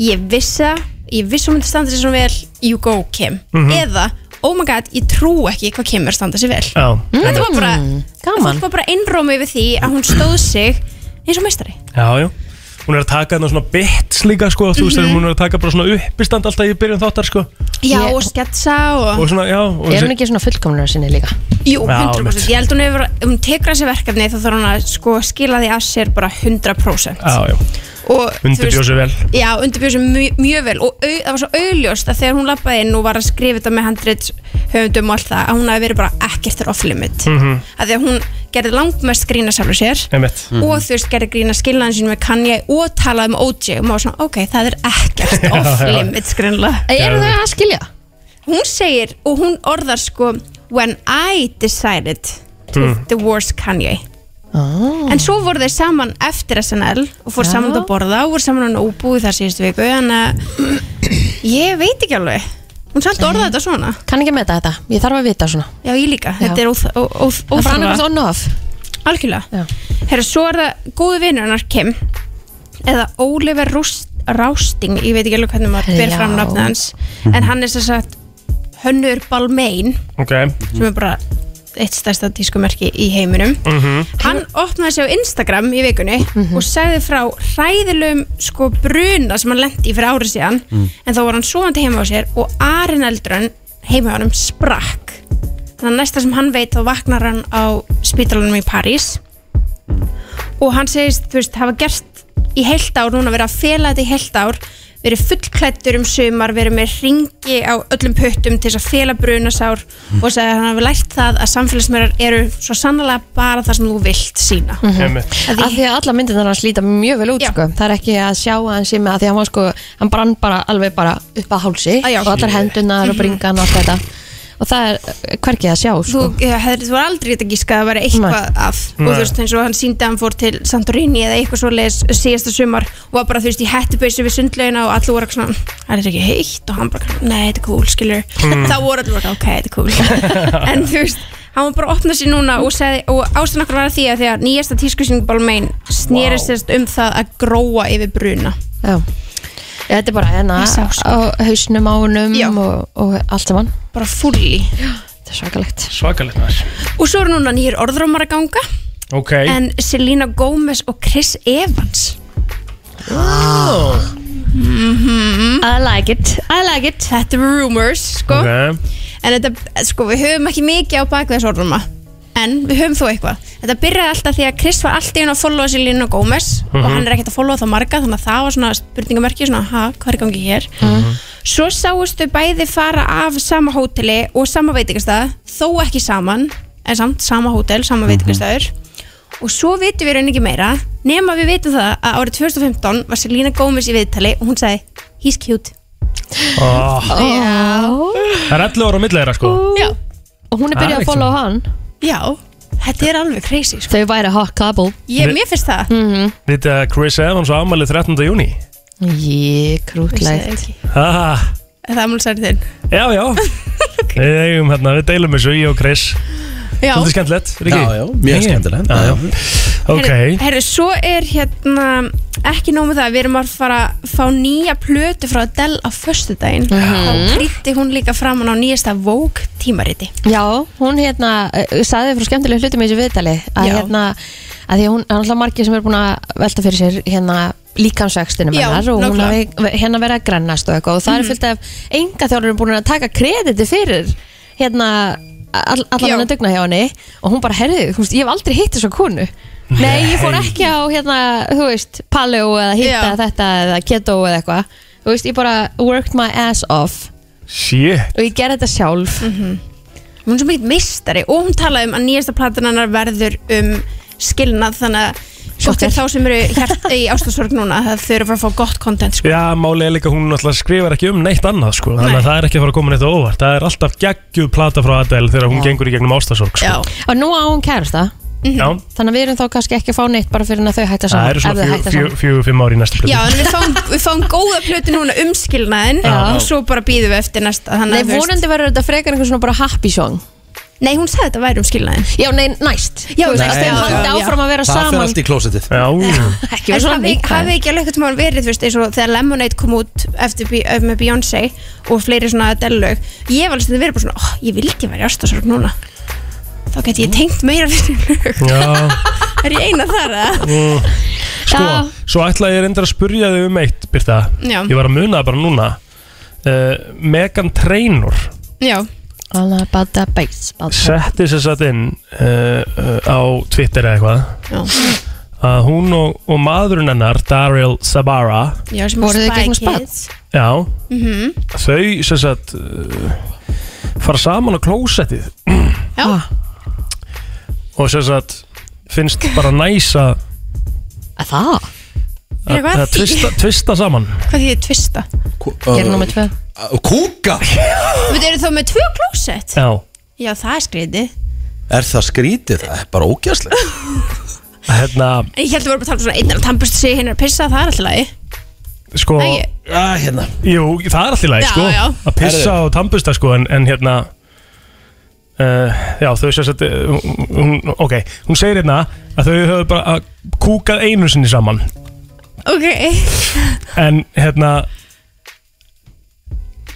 S13: Ég vissi það, ég vissi hún myndi standa sér svona vel You go Kim
S2: Mhm.
S13: Eða, oh my god, ég trú ekki hvað Kim er að standa sér vel
S2: Já.
S13: Þetta var bara,
S3: Hmm,
S2: Mm,
S13: fólk var bara einrómi yfir því að hún stóð sig eins og meistari
S2: Já, já Hún er að taka þarna svona bits líka sko Þú veist
S13: Mhm.
S2: þegar hún er að taka bara svona uppistand alltaf í byrjun þáttar sko
S13: Já, og sketsa og,
S2: Og svona, já og
S3: er hún ekki svona fullkomnur sinni líka
S13: Jú,
S2: Já,
S13: 100%
S2: mitt.
S13: Ég held hún hefur, ef hún tekur þessi verkefni þá þarf hún að sko skila því að sér bara 100%
S2: Já, já
S13: Og, þú
S2: Undirbjóð
S13: veist-
S2: sér vel
S13: Já, undirbjóð sér mjög, mjög vel og au, það var svo auðljóst að þegar hún lappaði inn og var að skrifa þetta með handrit höfundum og allt það að hún hafi verið bara ekkert er off-limit mm
S2: Mhm.
S13: að því að hún gerði langmest grína sjálfur sér
S2: Einmitt. Mhm.
S13: og þú veist gerði grína skilnaðin sínum með Kanye og talaði um OJ og maður var svona, ok, það er ekkert
S2: <laughs> Já, já.
S13: off-limit skrinlega
S2: Eru þau
S13: að skilja? Hún segir og hún orðar sko when I decided to
S2: Mm.
S13: divorce Kanye
S3: Ah.
S13: En svo voru þeir saman eftir SNL og fór
S3: Já.
S13: saman út að borða og voru saman á nóbúi þar síðustu viku en að Ég veit ekki alveg Hún samt orða þetta svona
S3: Kann ekki að meta þetta, ég þarf að vita svona
S13: Já, ég líka, þetta er óþ- ó- ó- óþarfa
S3: Það var annarkvæmst on off
S13: Algjörlega Herra, svo er það góðu vinur hennar Kim Eða Oliver Rúst, Rásting Ég veit ekki alveg hvernig maður ber
S2: Já.
S13: fram nafnið hans En hann er sem sagt Hönnur Balmain
S2: Ok
S13: Sem er bara eitt stærsta tískumerki í heiminum
S2: Mhm.
S13: Hann opnaði sig á Instagram í vikunni og sagði frá hræðilegum sko bruna sem hann lendi í fyrir árið síðan
S11: Mm.
S13: en þá var hann svoandi heima á sér og Arin Eldrun heima á hann sprakk þannig að næsta sem hann veit þá vaknar hann á spítalunum í París og hann segist, þú veist, hafa gert í heilt ár, núna verið að fela þetta í heilt ár verið fullklættur um sumar verið með ringi á öllum puttum til þess að fela brunasár og sagði að hann hafi lært það að samfélagsmyrjar eru svo sannlega bara það sem þú vilt sína
S3: Af því að alla myndirnar hans líta mjög vel út sko. Það er ekki að sjá að hann sé með að því að hann var sko Hann brann bara alveg bara upp að hálsi
S13: já.
S3: Og allar hendunar og bringan og allt þetta Og það er eh, hvergi að sjá sko.
S13: þú, ja, hefðir, þú var aldrei þetta gískað að vera eitthvað af og
S3: Nei.
S13: þú veist eins og hann síndi að hann fór til Santorini eða eitthvað svo leis síðasta sumar og var bara þú veist í hættubeysu við sundlaugina og allir voru eitthvað svona, það er ekki heitt og hann bara, nei þetta er cool, skilur
S11: Mm.
S13: þá voru allir bara, ok, þetta er cool <laughs> en þú veist, hann var bara að opna sér núna og, sagði, og ástæðan okkur var því að því að nýjasta tískusing Balmain
S3: Vá.
S13: snerist wow. um það að gróa yfir bruna
S3: Já Þetta er bara hérna
S13: Ég sá,
S3: á hausnum á honum og, og allt saman
S13: Bara fulli
S3: Þetta er svakalegt
S2: Svakalegt maður
S13: og svo eru núna nýjir orðrómar að ganga
S2: Ok
S13: en Selena Gomez og Chris Evans
S2: oh.
S13: I like it, I like it Mhm. Þetta eru rumors, sko
S2: Ok.
S13: En þetta, sko, við höfum ekki mikið á bakveðsorðuma En við höfum þó eitthvað Þetta byrjaði alltaf því að Chris var alltaf inn að followa Selena Gomez Og
S11: Mhm.
S13: hann er ekkert að followa þá marga Þannig að það var svona spurningamerki Svona, ha, hvað er í gangi hér? Svo sáust þau bæði fara af sama hóteli og sama veitingastæð Þó ekki saman, en samt sama hótel, sama veitingastæður Og svo vitum við raun ekki meira Nefn að við vitum það að árið 2015 var Selena Gomez í viðtali Og hún sagði, he's cute Já
S2: Ah, Það er 11 ára á milli þeirra sko
S13: Já
S3: Og hún er byrjað að follow hann
S13: Já, þetta er alveg crazy sko.
S3: Þau væri hot couple
S13: Ég, mér finnst það mm -hmm.
S2: Þetta er Chris Evans á afmælið 13. júni
S3: Ég krútlegt
S2: Já,
S13: Það er mjög særið þinn
S2: já Við eigum hérna, við deilum þessu, ég og Chris
S13: Já.
S2: Svolítið skemmtilegt, er ekki?
S1: Já, já, mjög
S2: Ekki?
S1: skemmtilegt.
S2: Já, já. Ok
S13: Herru, herru, svo er hérna ekki nóg með það, við erum að fara að fá nýja plötu frá Adele á föstudaginn þá krytti hún líka fram hann á nýjasta Vogue tímariti
S3: Já, hún hérna eh, sagði frá skemmtilega hlutum í þessu viðtali að
S13: Já.
S3: hérna, að því að hún er alltaf margir sem er búin að velta fyrir sér hérna líkansvextinum
S13: Já,
S3: hennar og hún
S13: nákvæmlega.
S3: hafi hérna verið að grannast og eitthvað og það
S13: Mhm.
S3: er fullt af enga þjóðurum búin að taka krediti fyrir hérna all, allan hann að dugna hjá henni og hún bara, herðu, þú veist, ég hef aldrei hitt þessa konu Nei, ég fór
S11: Nei.
S3: ekki á hérna, þú veist, paleo eða hitta þetta eða keto eða eitthvað Þú veist, ég bara worked my ass off
S2: Shit
S3: og ég gerði þetta sjálf
S13: Mhm. hún er svo mikið mistari og hún talaði um að nýjasta platan hennar verður um skilnað þannig að svo fyrir þá sem eru hjart í ástasorg núna það þau eru að fara að fá gott content sko.
S2: Já, málið er líka hún náttúrulega skrifar ekki um neitt annað sko, þannig að það er ekki að fara að koma neitt á óvart það er alltaf geggjuð plata frá Adele þegar hún
S3: Já.
S2: gengur í gegnum ástasorg sko.
S3: Og nú á hún kærasta
S2: Já.
S3: Þannig að við erum þá kannski ekki að fá neitt bara fyrir en að þau hætta
S2: það
S3: saman
S2: eru
S3: ef þau
S2: svona
S3: hætta
S2: fjögur, fjögur, fimm ári í næstu
S13: Já,
S2: plötu
S13: en við fáum, við fáum góða plötu núna um skilnaðin
S2: Já.
S13: og svo bara býðum við eftir næsta þannig
S3: Nei,
S13: að þú veist-
S3: vonandi verður þetta frekar einhvern svona bara happy song
S13: Nei, hún sagði þetta væri um skilnaðin
S3: Já, nei, næst
S13: Já,
S3: Þú veist, að
S1: já,
S3: þau haldi
S1: já.
S3: áfram að vera
S1: Það fer
S3: saman
S1: allt í klósetið
S3: <laughs>
S2: Já
S3: Ekki vera
S13: En
S3: svona
S13: hafi,
S3: neikvæð.
S13: hafi ekki alveg eitthvað verið þú veist, eins og þegar Lemonade kom út eftir, Be- eh, með Beyoncé og fleiri svona Adele-lög ég hef alveg stundum verið bara svona oh, ég vildi vera í ástasorg núna þá geti ég tengt meira við þessi lög
S2: Já.
S13: er ég eina þar að
S2: Mm. Sko,
S13: Já.
S2: svo ætlaði ég reyndar að spurja þig um eitt, Birta
S13: Já.
S2: Ég var að muna það bara núna uh, Megan Trainor
S13: Já
S3: All about the bass about the-
S2: setti sér satt inn uh, uh, á Twitter eða
S13: Já.
S2: eitthvað að hún og, og maðurinn hennar Daryl Sabara
S13: Já, sem
S3: Voruð þið gegnum
S2: Já,
S13: Mhm.
S2: þau sem sagt uh, fara saman á klósettið
S13: Já.
S2: og sem sagt finnst bara næsa
S3: Að það?
S13: Fyrir hvað
S2: að
S13: því?
S2: tvista, tvista saman
S13: hvað því ég tvista
S3: Gerðu númer tvö
S1: Kúka
S13: við erum þá með tvö klósett
S2: Já
S13: Já, það er skrítið
S1: Er það skrítið? Það er bara ógæslega
S2: Hérna
S13: En Ég held að við vorum að tala um svona einn er að tannbusta sig, hinn er að pissa, það er alltaf lagi
S2: Sko
S13: Æi.
S1: ah, hérna.
S2: Jú, það er allt í lagi
S13: Já,
S2: sko
S13: já.
S2: Að pissa á tampusta sko En, en hérna uh, Já, þau sér satt hún, Ok, hún segir hérna Að þau höfðu bara kúkað einu sinni saman
S13: Ok,
S2: En hérna,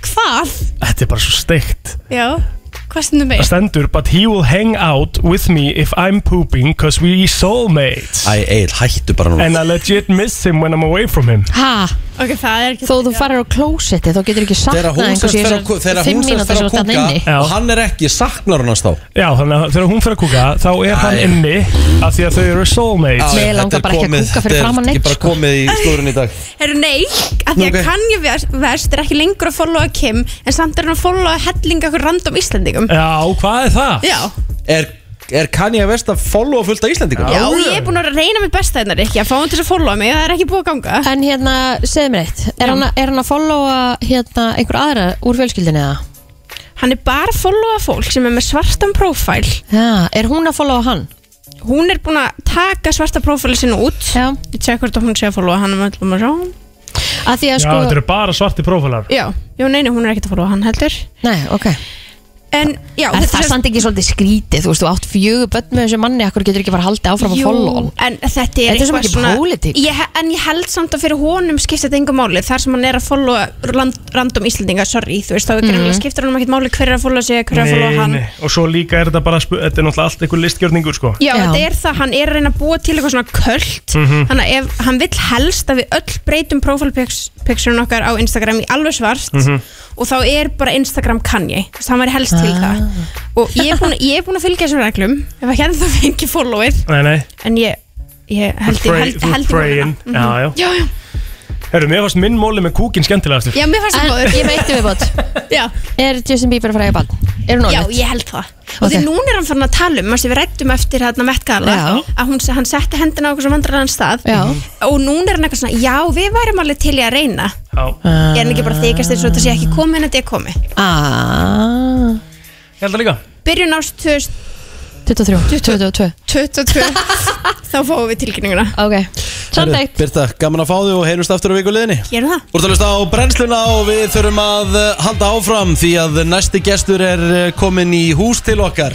S13: hvað?
S2: þetta er bara svo steikt
S13: Já, hvað stundum
S2: Það
S13: við?
S2: stendur, but he will hang out with me if I'm pooping Cause we soulmates
S1: Æ, Egil, hættu bara núna
S2: And I legit miss him when I'm away from him
S3: Ha?
S13: Ok, það er ekki
S3: Þó þú farir á klósetti, þá getur ekki
S1: Þegar
S3: saknað
S1: hún
S3: einhvers
S1: sest
S3: í
S1: fer að-
S3: þessar
S1: þegar
S3: fimm
S1: hún sest
S3: mínútur
S1: fer
S3: sem
S1: að
S3: þú stann inni
S1: kúka Og hann er ekki, saknar hún hans þá
S2: Já, þannig að þegar hún fer að kúka þá er hann inni af því að þau eru soulmates
S1: Já, já, þetta er komið- þetta er ekki
S3: sko.
S1: bara komið í slúrin í dag
S13: Herru, nei, að því að
S2: Ok.
S13: okay. Kanye West- West er ekki lengur að followa Kim en samt er hann að followa hellinga okkur random Íslendingum
S2: Já, hvað er það?
S13: Já,
S1: Er, er Kanye West að followa fullt af Íslendingum?
S13: já, og ég er búin að reyna mitt besta hérna, Rikki, að fá hann til að followa mig og það er ekki búið að ganga
S3: En hérna, segðu mér eitt Er hann, að- er hann að followa hérna, einhver aðra úr fjölskyldinni eða?
S13: Hann er bara að followa fólk sem er með svartan prófæl
S3: Já, er hún að followa hann?
S13: Hún er búin að taka svarta prófæli sinna út
S3: Já
S13: Ég tjekk hvort að hún sé að followa hann um öllum að sjá
S3: Að því
S2: Já,
S3: að sko
S2: þetta eru bara svarti prófælar
S13: Já, já, neini, hún er ekkert að followa hann heldur
S3: Nei, ok
S13: En, já
S3: Er það samt ekki svolítið skrítið, þú veist, þú átt fjögur börn með þessu manni, akkur getur ekki bara haldið áfram að followa hann?
S13: en þetta er
S3: Þetta er svo mikið pólitík.
S13: ég, En ég held samt að fyrir honum skiptir þetta engu máli Þar sem hann er að followa land, random Íslendinga, sorry, þú veist, þá mm
S2: Mhm.
S13: skiptir honum ekkert máli hver er að followa sig, hver er að followa
S2: Nei,
S13: hann
S2: nei, og svo líka er þetta bara spu- þetta er náttúrulega allt einhver listgjörningur sko
S13: Já, þetta er það, hann er að reyna að búa til eitthvað svona köld
S2: Mhm.
S13: Þannig að ef hann vill helst að við öll breytum profilpicturein okkar á Instagram í alveg svart
S2: Mhm.
S13: Og þá er bara Instagram kanji, þess að hann væri helst til það
S3: Ah.
S13: Og ég er búin, ég er búin að fylgja þessum reglum Ef ekki ennþá fengi followið
S2: Nei, nei,
S13: En ég, ég held
S2: Þú ert
S13: ég
S2: pray-
S13: held,
S2: þú ert
S13: held ég
S2: praying.
S13: vonina. Mhm.
S2: Já, já.
S13: já, já.
S2: herru, mér fannst minn móli með kúkin skemmtilegastur
S13: Já, mér fannst það
S3: En
S13: góður
S3: ég veit um viðbót
S13: Já
S3: Er Justin Bieber að fara í barn? Er hún
S13: Já,
S3: orðið?
S13: ég held það Og því núna er hann farin að tala um, mástu við rættum eftir hérna Met Gala
S3: Já.
S13: Að hún, hann setti hendina á okkur sem vandrarlegan stað
S3: Já.
S13: Og núna er hann eitthvað svona, já, við værum alveg til í að reyna Ég er hann ekki bara að þykast eins og þetta sé ekki komið en þetta er komið
S3: Ah.
S2: Ég held það líka
S13: Byrjun ást 2000
S3: 23, 22
S13: 22 Þá fáum við tilkynninguna
S3: Ok,
S13: samdægt
S1: Birta, gaman að fá þig og heyrjumst aftur á vikuleginni
S13: Gerum það
S1: Þú ert að hlusta á brennsluna og við þurfum að eh, halda áfram því að næsti gestur er eh, kominn í hús til okkar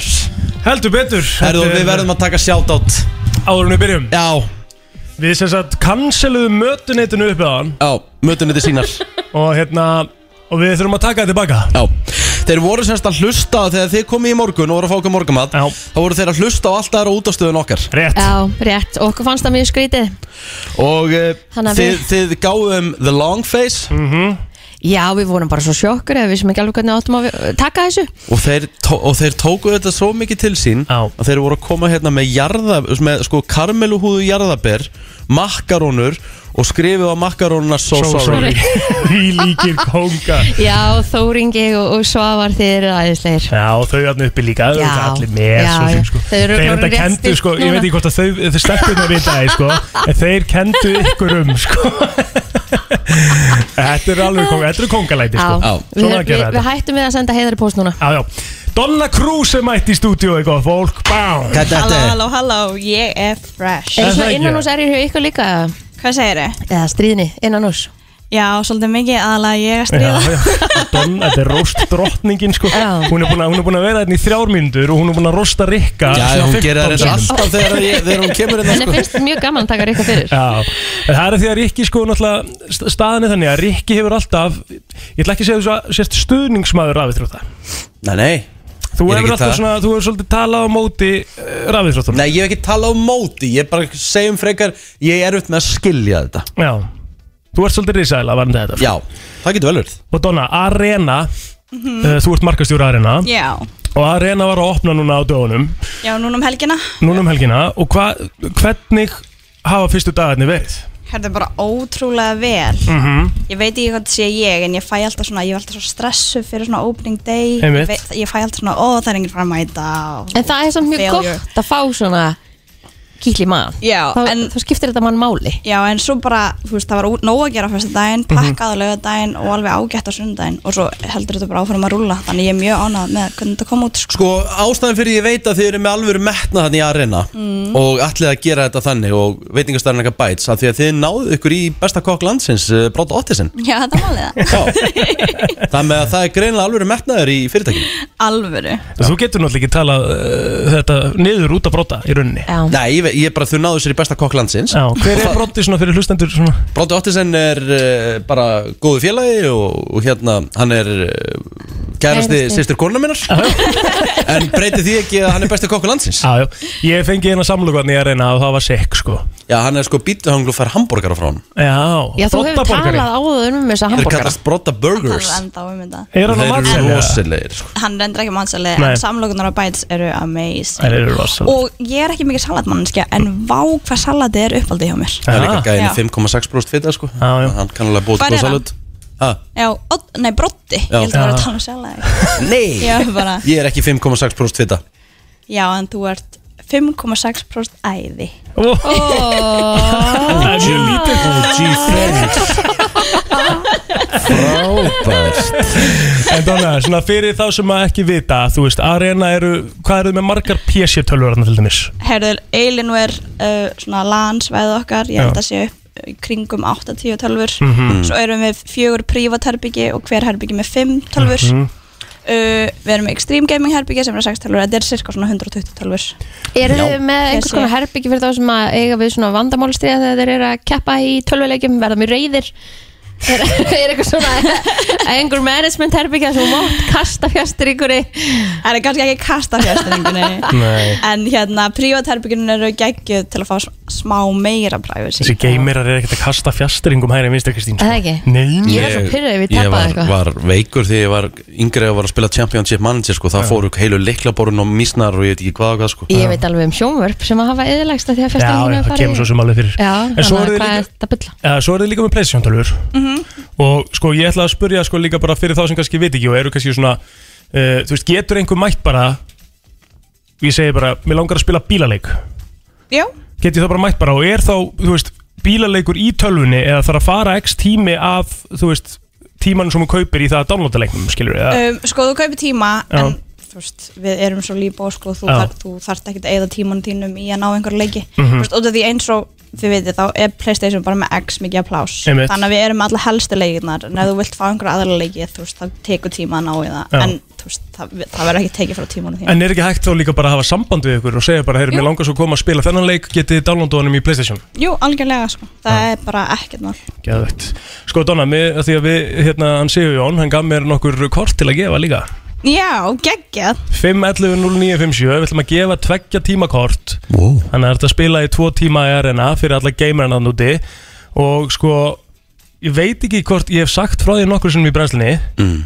S2: Heldur betur eh,
S1: Herðu, og við verðum að taka shoutout
S2: Áður en við byrjum
S1: Já
S2: Við sem sagt canceluðum mötuneytinu upp eða hann
S1: Já, mötuneyti sínar
S2: Og hérna, og við þurfum að taka þetta tilbaka
S1: Já, þeir voru semst að hlusta þegar þið komið í morgun og voru að fá okkur morgumat Já. þá voru þeir að hlusta á allt aðra útastöðun okkar
S2: Rétt
S3: Já, rétt, okkur fannst það mjög skrítið
S1: Og uh,
S3: Þannig að
S1: þið,
S3: við-
S1: þið gáðum The Long Face -hmm.
S3: Já, við vorum bara svo sjokkur eða við sem ekki alveg hvernig áttum að við- taka þessu
S1: og, þeir tó, og þeir tóku þetta svo mikið til sín Já. að þeir voru að koma hérna með, jarða, með sko, karmeluhúðu jarðaber makkarónur og skrifið á makkarónuna So,
S2: So <laughs>
S1: sorry,
S2: Því líkir konga
S3: Já, Þóringi og, og Svavar þeir eru aðeinsleir
S2: Já, og þau hann uppi líka, þau
S3: Já.
S2: eru allir með
S3: Já,
S2: svo sem,
S3: já.
S2: sko.
S3: Þau eru-
S2: Þeir
S3: eru
S2: þetta
S3: rétt
S2: kendu,
S3: stillt
S2: sko, ég
S3: núna.
S2: veit ekki hvort að þau, þau stelpurnar vita það, sko En þeir kendu ykkur um, sko Þetta eru alveg konga, þetta eru kongalæti,
S3: Já,
S2: sko
S3: við,
S2: Svona að
S3: við,
S2: gera
S3: við
S2: þetta
S3: hættum við að senda heiðar í post núna
S2: Já, já Donna Cruz er mætt í stúdíu, eitthvað, fólk, bá
S3: halló, ég er fresh Er
S2: Er það
S3: það
S2: ekki?
S3: innan hús erjur hjá ykkur líka?
S14: Hvað segir þið?
S3: Eða stríðni, innan hús
S14: Já, svolítið mikið aðalega ég að stríða
S2: Já, já, Donna, þetta er rost drottningin sko
S14: Já.
S2: Hún er búin að, hún er búin að vera hérna í þrjár mínútur og hún er búin að rosta Rikka
S1: Já,
S2: svona
S1: hún gerir það
S2: 15
S1: reyndar
S2: sinnum.
S1: alltaf þegar ég- þegar hún kemur hérna,
S3: <laughs> Henni finnst mjög gaman að taka Rikka fyrir
S2: Sko. Já, en það er því að Rikki sko náttúrulega st- staðan er þannig að Rikki hefur alltaf ég ætla ekki að segja þess að sérst stuðningsmaður rafið
S1: Nei, nei Ég er
S2: Þú hefur
S1: ekki
S2: alltaf
S1: það.
S2: svona, þú hefur svolítið talað á móti eh, rafið þróttunum
S1: Nei, ég hef ekki talað á móti, ég bara segjum frekar ég er upp með að skilja þetta
S2: Já, þú ert svolítið risæla varandi þetta
S1: Já, það getur vel verið
S2: Og Donna, Arena, uh, þú ert markastjóra Arena
S14: Já,
S2: og Arena var að opna núna á dögunum
S14: já, núna um helgina
S2: núna um helgina og hva, hvernig hafa fyrstu dagarnir verið?
S14: Hérna bara ótrúlega vel
S2: Mm
S1: Mhm.
S14: Ég veit ekki hvað þetta sé ég En ég fæ alltaf svona, ég er alltaf svo stressu fyrir svona opening day Ég
S2: Einmitt.
S14: veit- Ég fæ alltaf svona, ó það er enginn fara að mæta og-
S3: En það er samt mjög
S14: Failure.
S3: gott að fá svona kýtli maðan
S13: Já,
S3: þá,
S13: en-
S3: þá skiptir þetta mann máli
S13: Já, en svo bara, þú veist, það var út- nóg að gera fyrsta
S1: Mhm.
S13: daginn, pakkað á lögadaginn og alveg ágætt á sundaginn og svo heldur þetta bara áfram að rúlla þannig ég er mjög ánað með hvernig þetta kom út sko.
S1: Sko ástæðan fyrir ég veit að þið eru með alvöru metna þannig í arena
S13: Mm.
S1: og allir að gera þetta þannig og veitingastarinn eitthvað bæts að því að þið náðu ykkur í besta kokk landsins uh, Bróta Ottisen
S13: Já, þetta málið það
S1: Það með að það er greinilega alvöru metnaður í fyrirtækinu
S13: <laughs> Alvöru
S2: Þú getur náttúrulega ekki talað uh, þetta niður út að brota í rauninni
S1: Nei, ég, ve- ég bara þau náðu sér í besta kokk landsins
S2: Já, Hver er brotti svona fyrir hlustendur svona?
S1: Bróti Ottisen er uh, bara góðu félagi og, og hérna hann er uh, kærasti
S2: Kærasti.
S1: sýstur konuna minnar en breyti því ekki að hann er besti kokkur landsins
S2: Já, já, ég fengi hérna samlokan í arena og það var sekk sko
S1: Já, hann er sko býttu hann glúfær hambúrgar frá hann
S2: Já,
S3: Já, þú hefur
S1: broddborgari.
S3: talað áður um þessa
S1: Þeir
S3: hambúrgara
S1: kallast Brodda Burgers
S13: er enda um þetta
S2: Er hann á
S1: Þeir eru
S2: matseðli, eða?
S1: rosalegir sko.
S13: Hann er endur ekki mannsalið,
S1: Nei.
S13: en samlokunar á bæts eru amazing
S1: Þær eru rosaleg.
S13: Og ég er ekki mikið salatmannskja, en vá hvað salati er uppaldið hjá mér
S1: Það er líka
S13: Já.
S1: gæðin 5,6% fita sko ah, Hann kann alveg bóta
S13: Hvar er
S1: góð
S13: hann?
S1: salut ha,
S13: Já, odd, nei, brotti, ég
S1: Já.
S13: held að vera
S1: Já.
S13: að tala um
S1: <laughs>
S13: salati
S1: Nei.
S13: Já, bara,
S1: Ég er ekki 5,6% fita
S13: já, en þú ert 5,6% æði
S2: oh. <laughs> er
S13: Það
S2: mjög lítið
S1: Oh, gee, thanks Frábært
S2: En þannig að svona fyrir þá sem að ekki vita Þú veist, arena eru, hvað eru þið með margar PC-tölvur þarna til dæmis?
S13: Herður, Alienware, uh, svona landsvæðið okkar, ég
S2: Já.
S13: held að sé upp uh, í kringum 8-10 tölvur
S2: Mhm.
S13: svo erum við fjögur prívat herbyggi og hver herbyggi með 5 tölvur
S2: Mhm.
S13: uh, við erum með Extreme Gaming herbyggi sem er 6 tölvur, þetta er cirka svona 120 tölvur
S3: Eru þið með einhvers konar herbyggi fyrir þá sem að eiga við svona vandamálstriða þegar þeir eru að keppa í tölvuleikjum, verða mjög reyðir <laughs> er, er eitthvað svona <laughs> einhver management herbyggi þar sem þú mátt kasta fjastur ykkur
S13: Það er kannski ekki kasta fjastringunni
S2: <laughs> Nei.
S13: en hérna, prívat herbyggin eru geggjuð til að fá s- smá meira privacy
S2: Þessi geimerar er ekkert að kasta fjastringum hægri minnstu Kristín
S3: Er það ekki?
S2: Nei, nei.
S3: Ég var svo pirruð við
S1: Ég
S3: tapaði
S1: var,
S3: eitthvað
S1: var veikur þegar ég var yngri og var að spila Championship Manager sko, það fóru heilu leiklaborun og misnar og ég veit ekki hvað og hvað sko
S3: Ég veit alveg um sjónvörp sem að hafa eðilagst að því að fjastur
S2: Já, já, það kemur svo sem alveg fyrir.
S3: Já,
S2: En
S3: þannig
S2: svo
S3: að
S2: eru þið
S3: hvað
S2: líka-
S3: er þetta bylla?
S2: Ja, Eh, svo er þið líka með Playstation-tölvur Og sko, ég ætla að spurja sko líka bara fyrir þá sem kannski veit ekki og eru kannski svona uh, Þú veist, getur einhver mætt bara Ég segi bara, mér langar að spila bílaleik
S13: Já,
S2: Get ég þá bara mætt bara og er þá, þú veist, bílaleikur í tölvunni eða þarf að fara x tími af, þú veist, tímanum sem hún kaupir í það að downloada leiknum, skilur við eða-
S13: um, sko þú kaupir tíma
S2: Já.
S13: en þú veist, við erum svo lípa og sko, þú,
S2: Já.
S13: þar, þú þarft ekkert að eigða tímanum þínum í að ná einhverju leiki mm
S2: Mhm.
S13: -hmm. veist, út af því eins og þið veitir þá er Playstation bara með x mikið aplás
S2: Einmitt.
S13: þannig að við erum með alla helstu leikinar en ef þú vilt fá einhverju aðra leiki þú veist, þá tekur tíma að ná í það
S2: Já.
S13: en þú veist, það, það verður ekki tekið frá tímanum þínum
S2: En er ekki hægt þá líka bara að hafa samband við ykkur og segja bara, heyrðu, mér langar svo að koma að spila þennan leik, getið þið downloada honum í Playstation?
S13: Jú, algjörlega sko, það er bara ekkert mál
S2: Geðvegt. Sko Donna, mér, því að við, hérna, hann Sigur Jón, hann gaf mér nokkur kort til að gefa líka.
S13: Já, geggjað
S2: 5.11.09.57, við ætlum að gefa tveggja tíma kort. Wow. Þannig að þetta að spila í tvo tíma í arena fyrir alla gamerina núti. Og sko, ég veit ekki hvort, ég hef sagt frá því nokkur sem í brennslunni,
S1: mm.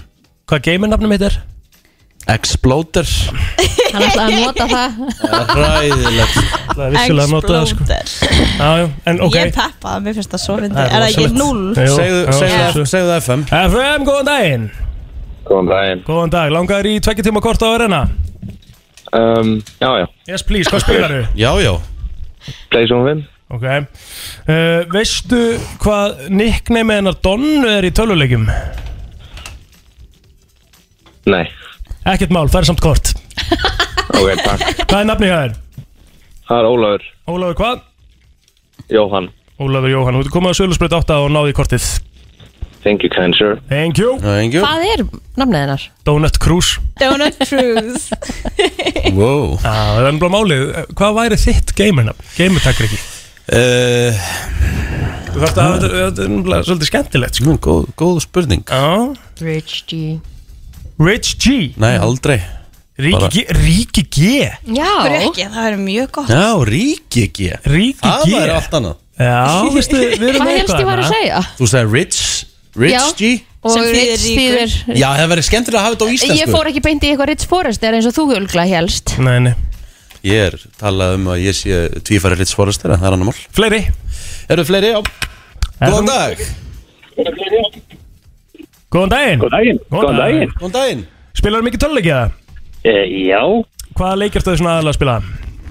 S2: hvað gamernafnum mitt er?
S1: Exploder
S3: Hann ætlaði að nota það
S1: Ræðilegt
S2: Það er vissulega að nota það sko. Já, já, en ok.
S13: Ég er peppað, mér finnst það svo fyndi
S2: Það
S13: Er það ekki
S2: rosalegt.
S13: null?
S2: Jú, já,
S13: Já.
S2: svo-
S1: segðu FM
S2: FM, góðan daginn
S7: Góðan daginn
S2: Góðan dag, langar í tveggja tíma kort á arena?
S7: um, Já, já
S2: Yes please, hvað spilarðu?
S1: Já, já
S7: Playstation 5
S2: Ok uh, Veistu hvað nickname hennar Donnu er í töluleikjum?
S7: Nei,
S2: Ekkert mál, það er samt kort
S7: <laughs> ok, takk
S2: Hvað er nafnið hjá þér?
S7: Það er Ólafur
S2: Ólafur hvað?
S7: Jóhann
S2: Ólafur Jóhann, þú ert komið að sölusbreyt 8 og náði í kortið
S7: Thank you, kind sir
S2: Thank you
S1: Thank
S3: Hvað er nafnið hennar?
S2: Donut Cruise
S13: Donut Cruise
S1: Wow
S2: ah, Það er ennblá málið, hvað væri þitt gamernafn? Gamertakri ekki
S1: uh,
S2: Þú þarfst að þetta er- þetta er nefnilega svolítið skemmtilegt sko.
S1: góð, góð spurning
S2: Já
S3: Rich G
S2: Rich G
S1: Nei, aldrei
S2: Ríki G, Ríki G.
S3: Já
S13: Hver ekki, það er mjög gott
S1: Já, Ríki G
S2: Ríki
S1: Það
S2: G.
S1: væri allt annað
S2: Já, <laughs> veistu, við erum
S3: Hvað
S2: með
S3: helst
S2: eitthvað hérna.
S3: ég var að
S2: þarna.
S3: segja?
S1: Þú segir Rich Rich
S3: Já,
S1: G
S3: Og
S13: Sem þýðir
S3: Rich
S13: ríkur.
S3: þýðir
S1: Já, það verið skemmtilega að hafa þetta á íslensku
S3: Ég fór ekki beint í eitthvað Rich Forrester eins og þú hulgla helst
S2: Nei, nei
S1: Ég er talað um að ég sé tvífæri Rich Forrester en það er annar mál
S2: Fleiri
S1: Eru fleiri, já Góðan dag
S2: Góðan daginn Góðan daginn
S1: Góðan daginn. Góðan daginn
S2: Spilarðu mikið töluleikja?
S9: Eh,
S7: e, Já
S2: Hvaða leik ertu þau svona aðalega að spila?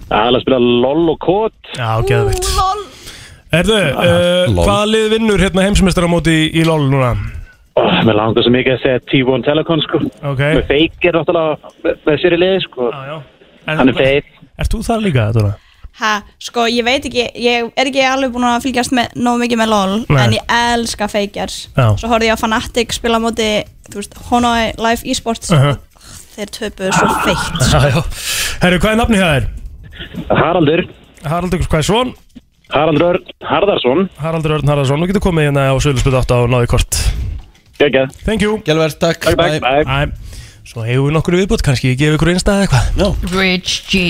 S9: Það er að spila LOL og KOT
S2: Já, geðveikt Erðu, uh,
S9: lol.
S2: hvaða lið vinnur hérna heimsmeistar á móti í, í LOL núna?
S9: oh, Mér langar svo mikið að segja T1 Telecom sko
S2: Ok
S9: Með feik er náttúrulega með, með sér í liði sko
S2: Já, já
S9: Hann er feit
S2: Ert þú þar líka, Dóra?
S14: Ha, sko, ég veit ekki, ég er ekki alveg búin að fylgjast með nóg mikið með LOL
S2: Nei.
S14: en ég elska feikjar
S2: Já.
S14: svo horfði ég á Fnatic spila á móti þú veist, Honoi Live Esports
S2: Uh-huh.
S14: þeir töpuðu svo feikt
S2: <laughs> Já, já Herru, hvað er nafni það er?
S9: Haraldur
S2: Haraldur, hvað er svon?
S9: Haraldur Örn Harðarsson
S2: Haraldur Örn Haraldsson, þú getur komið hérna á Söðlusbyrð 8 og náði kort
S9: Gægjað
S2: Thank you
S1: Gjálfverð, takk
S9: Takk, takk,
S2: Bye. Svo hefur við nokkur viðbútt, kannski ég gefi ykkur einstað eða eitthvað
S1: no.
S15: Rich G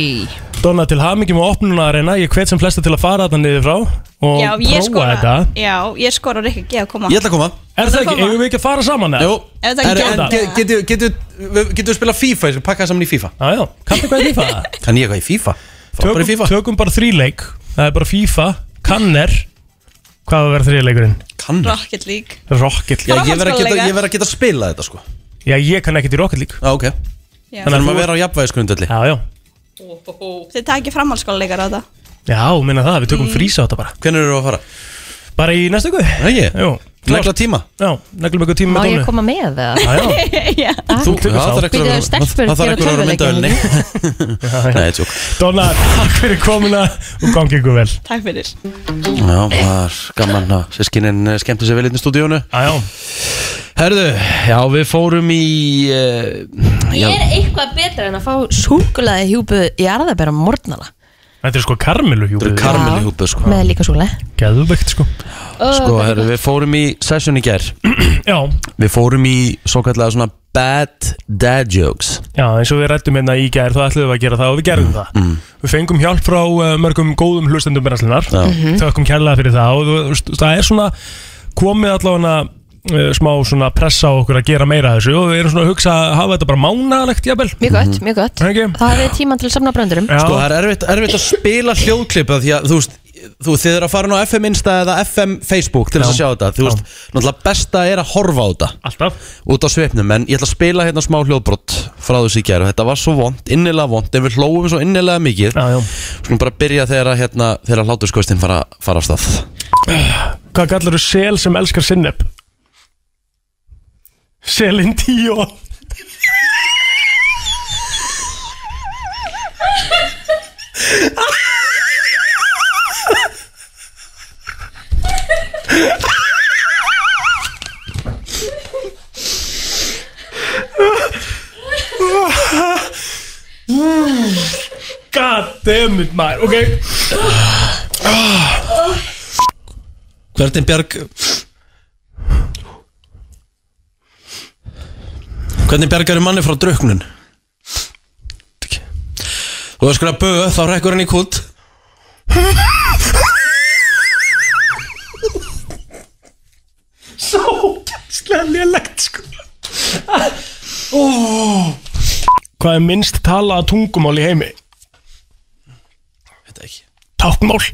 S2: Donna, til hamingjum og opnuna að reyna Ég hvet sem flesta til að fara þarna niður frá Og
S14: já, ég
S2: prófa þetta
S14: skora, já, ég skora Rikki G að koma
S1: Ég ætla að koma
S2: Er það ekki, eigum við ekki að fara saman eða?
S1: Jú,
S14: Ef það ekki
S1: Herru, en
S14: gerðist.
S1: ge- getur- getur- getur við spila FIFA í þessu, pakka saman í FIFA
S2: Já, já, kanntu hvað í FIFA?
S1: Kann ég eitthvað í FIFA? Fá bara í
S2: Tökum,
S1: FIFA
S2: tökum bara þríleik Það er bara FIFA, Kanner Hvað á að vera þríleikurinn?
S1: Kanner?
S14: Rocket League
S2: Rocket
S1: Já, ég
S2: League
S1: verð að geta- ég verð að geta að spila þetta sko
S2: Já, ég kann ekkert í Rocket League
S1: Já, ok
S14: Já.
S1: Þannig að maður vera á jafnvægisgrundölli
S2: Já, já
S14: Þið takir framhaldsskóla leikar á
S13: <laughs>
S14: þetta
S2: Já, minna það, við tökum
S14: Mm.
S2: frísa á þetta bara
S1: Hvernig eru að fara?
S2: Bara í næstu guð
S1: Ekki?
S2: Jú
S1: Negla tíma?
S2: Já, neglum eitthvað tíma
S3: Má
S2: með
S3: ég
S2: Dónu
S3: koma með það?
S2: Já, já.
S3: <laughs> já
S1: Þú, já, það þarf
S3: Býtu,
S1: eitthvað að-
S3: stelpur
S1: það þarf
S3: gera
S1: eitthvað að vera mynda
S3: tölvuleiki.
S1: ölni Nei, tjók
S2: Donna, takk fyrir komuna og gangi ykkur vel
S14: Takk fyrir
S1: Já, var gaman að sískinin skemmti sér vel hérna í stúdíónu
S2: Já, já
S1: Herðu, já, við fórum í uh, já,
S3: Er eitthvað betra en að fá súkulaði hjúpu í arðabæra morgnala
S2: Þetta er sko karmelu hjúpið
S1: Þetta er karmelu hjúpið sko
S3: með líka súkulaði
S2: Geðvegt sko
S1: Sko, herru, við fórum í session í gær
S2: Já
S1: Við fórum í svo kallega svona bad dad jokes
S2: Já, eins og við rættum hérna í gær, þá ætluðum við að gera það og við gerðum það mm. Við fengum hjálp frá uh, mörgum góðum hlustendum brennslunar
S1: Mhm.
S2: Þökkum kærlega fyrir það og þú veist, það er svona komið allavega uh, smá svona pressa á okkur að gera meira af þessu og við erum svona að hugsa að hafa þetta bara mánalegt jafnvel
S3: Mjög gott, mjög gott
S2: okay.
S3: Það er tíman til að samna bröndurum
S1: Sko, það er erfitt, erfitt að spila hljóðklippa því að, þú veist, þú, þið eru að fara nú á FM Insta eða FM Facebook til þess að sjá þetta Þú veist, náttúrulega besta er að horfa á þetta
S2: Alltaf
S1: Út á svipnum, en ég ætla að spila hérna smá hljóðbrott frá þessu í gær og þetta var svo vond, innilega vond en við hlófum svo innilega mikið
S2: já, já.
S1: Skulum bara byrja þegar að hérna, þegar að hláturskostin fara, fara af stað
S2: Hvað kallar þú sel sem elskar sinneb? Selin tíó God damn it, maður, ok
S1: Hvernig bjarg Hvernig bjargar er manni frá drauknun? Þú veist skilja böð, þá rekkur hann í kút
S15: Svo
S2: gæmslega lélegt sko Hvað er minnst talaða tungumál í heimi?
S1: Þetta ekki
S2: Táknmál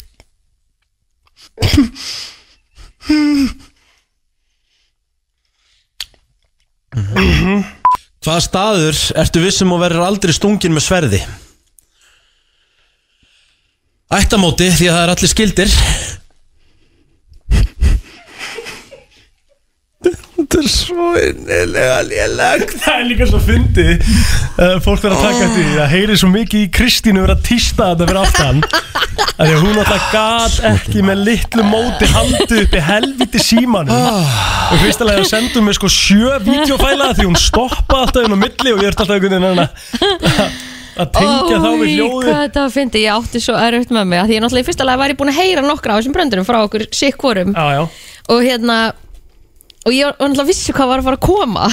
S1: Hvaða staður ertu vissum og verður aldrei stungin með sverði? Ættamóti því að það er allir skildir Þetta er svo innilega lélegt
S2: <laughs> Það er líka svo fyndið uh, Fólk verður að taka eftir
S1: Ah.
S2: því Það heyri svo mikið í Kristínu verið að tísta þetta fyrir aftan Af Því að hún alltaf gat ekki með litlu móti Haldi uppi helviti símanum
S1: Ah.
S2: Og fyrst að leiða sendum mig sko sjö Vídeofæla því hún stoppa alltaf inn á milli Og ég ert alltaf einhvern veginn að- Að tengja
S3: Oh
S2: þá við hljóðið
S3: Hvað þetta fyndi, ég átti svo erfitt með mig af Því ég náttúrulega í fyrsta lagi var ég búin að heyra nokkra af þessum bröndurum frá okkur sikkurum
S2: Já, já
S3: Og hérna Og ég var og náttúrulega vissi hvað var að fara að koma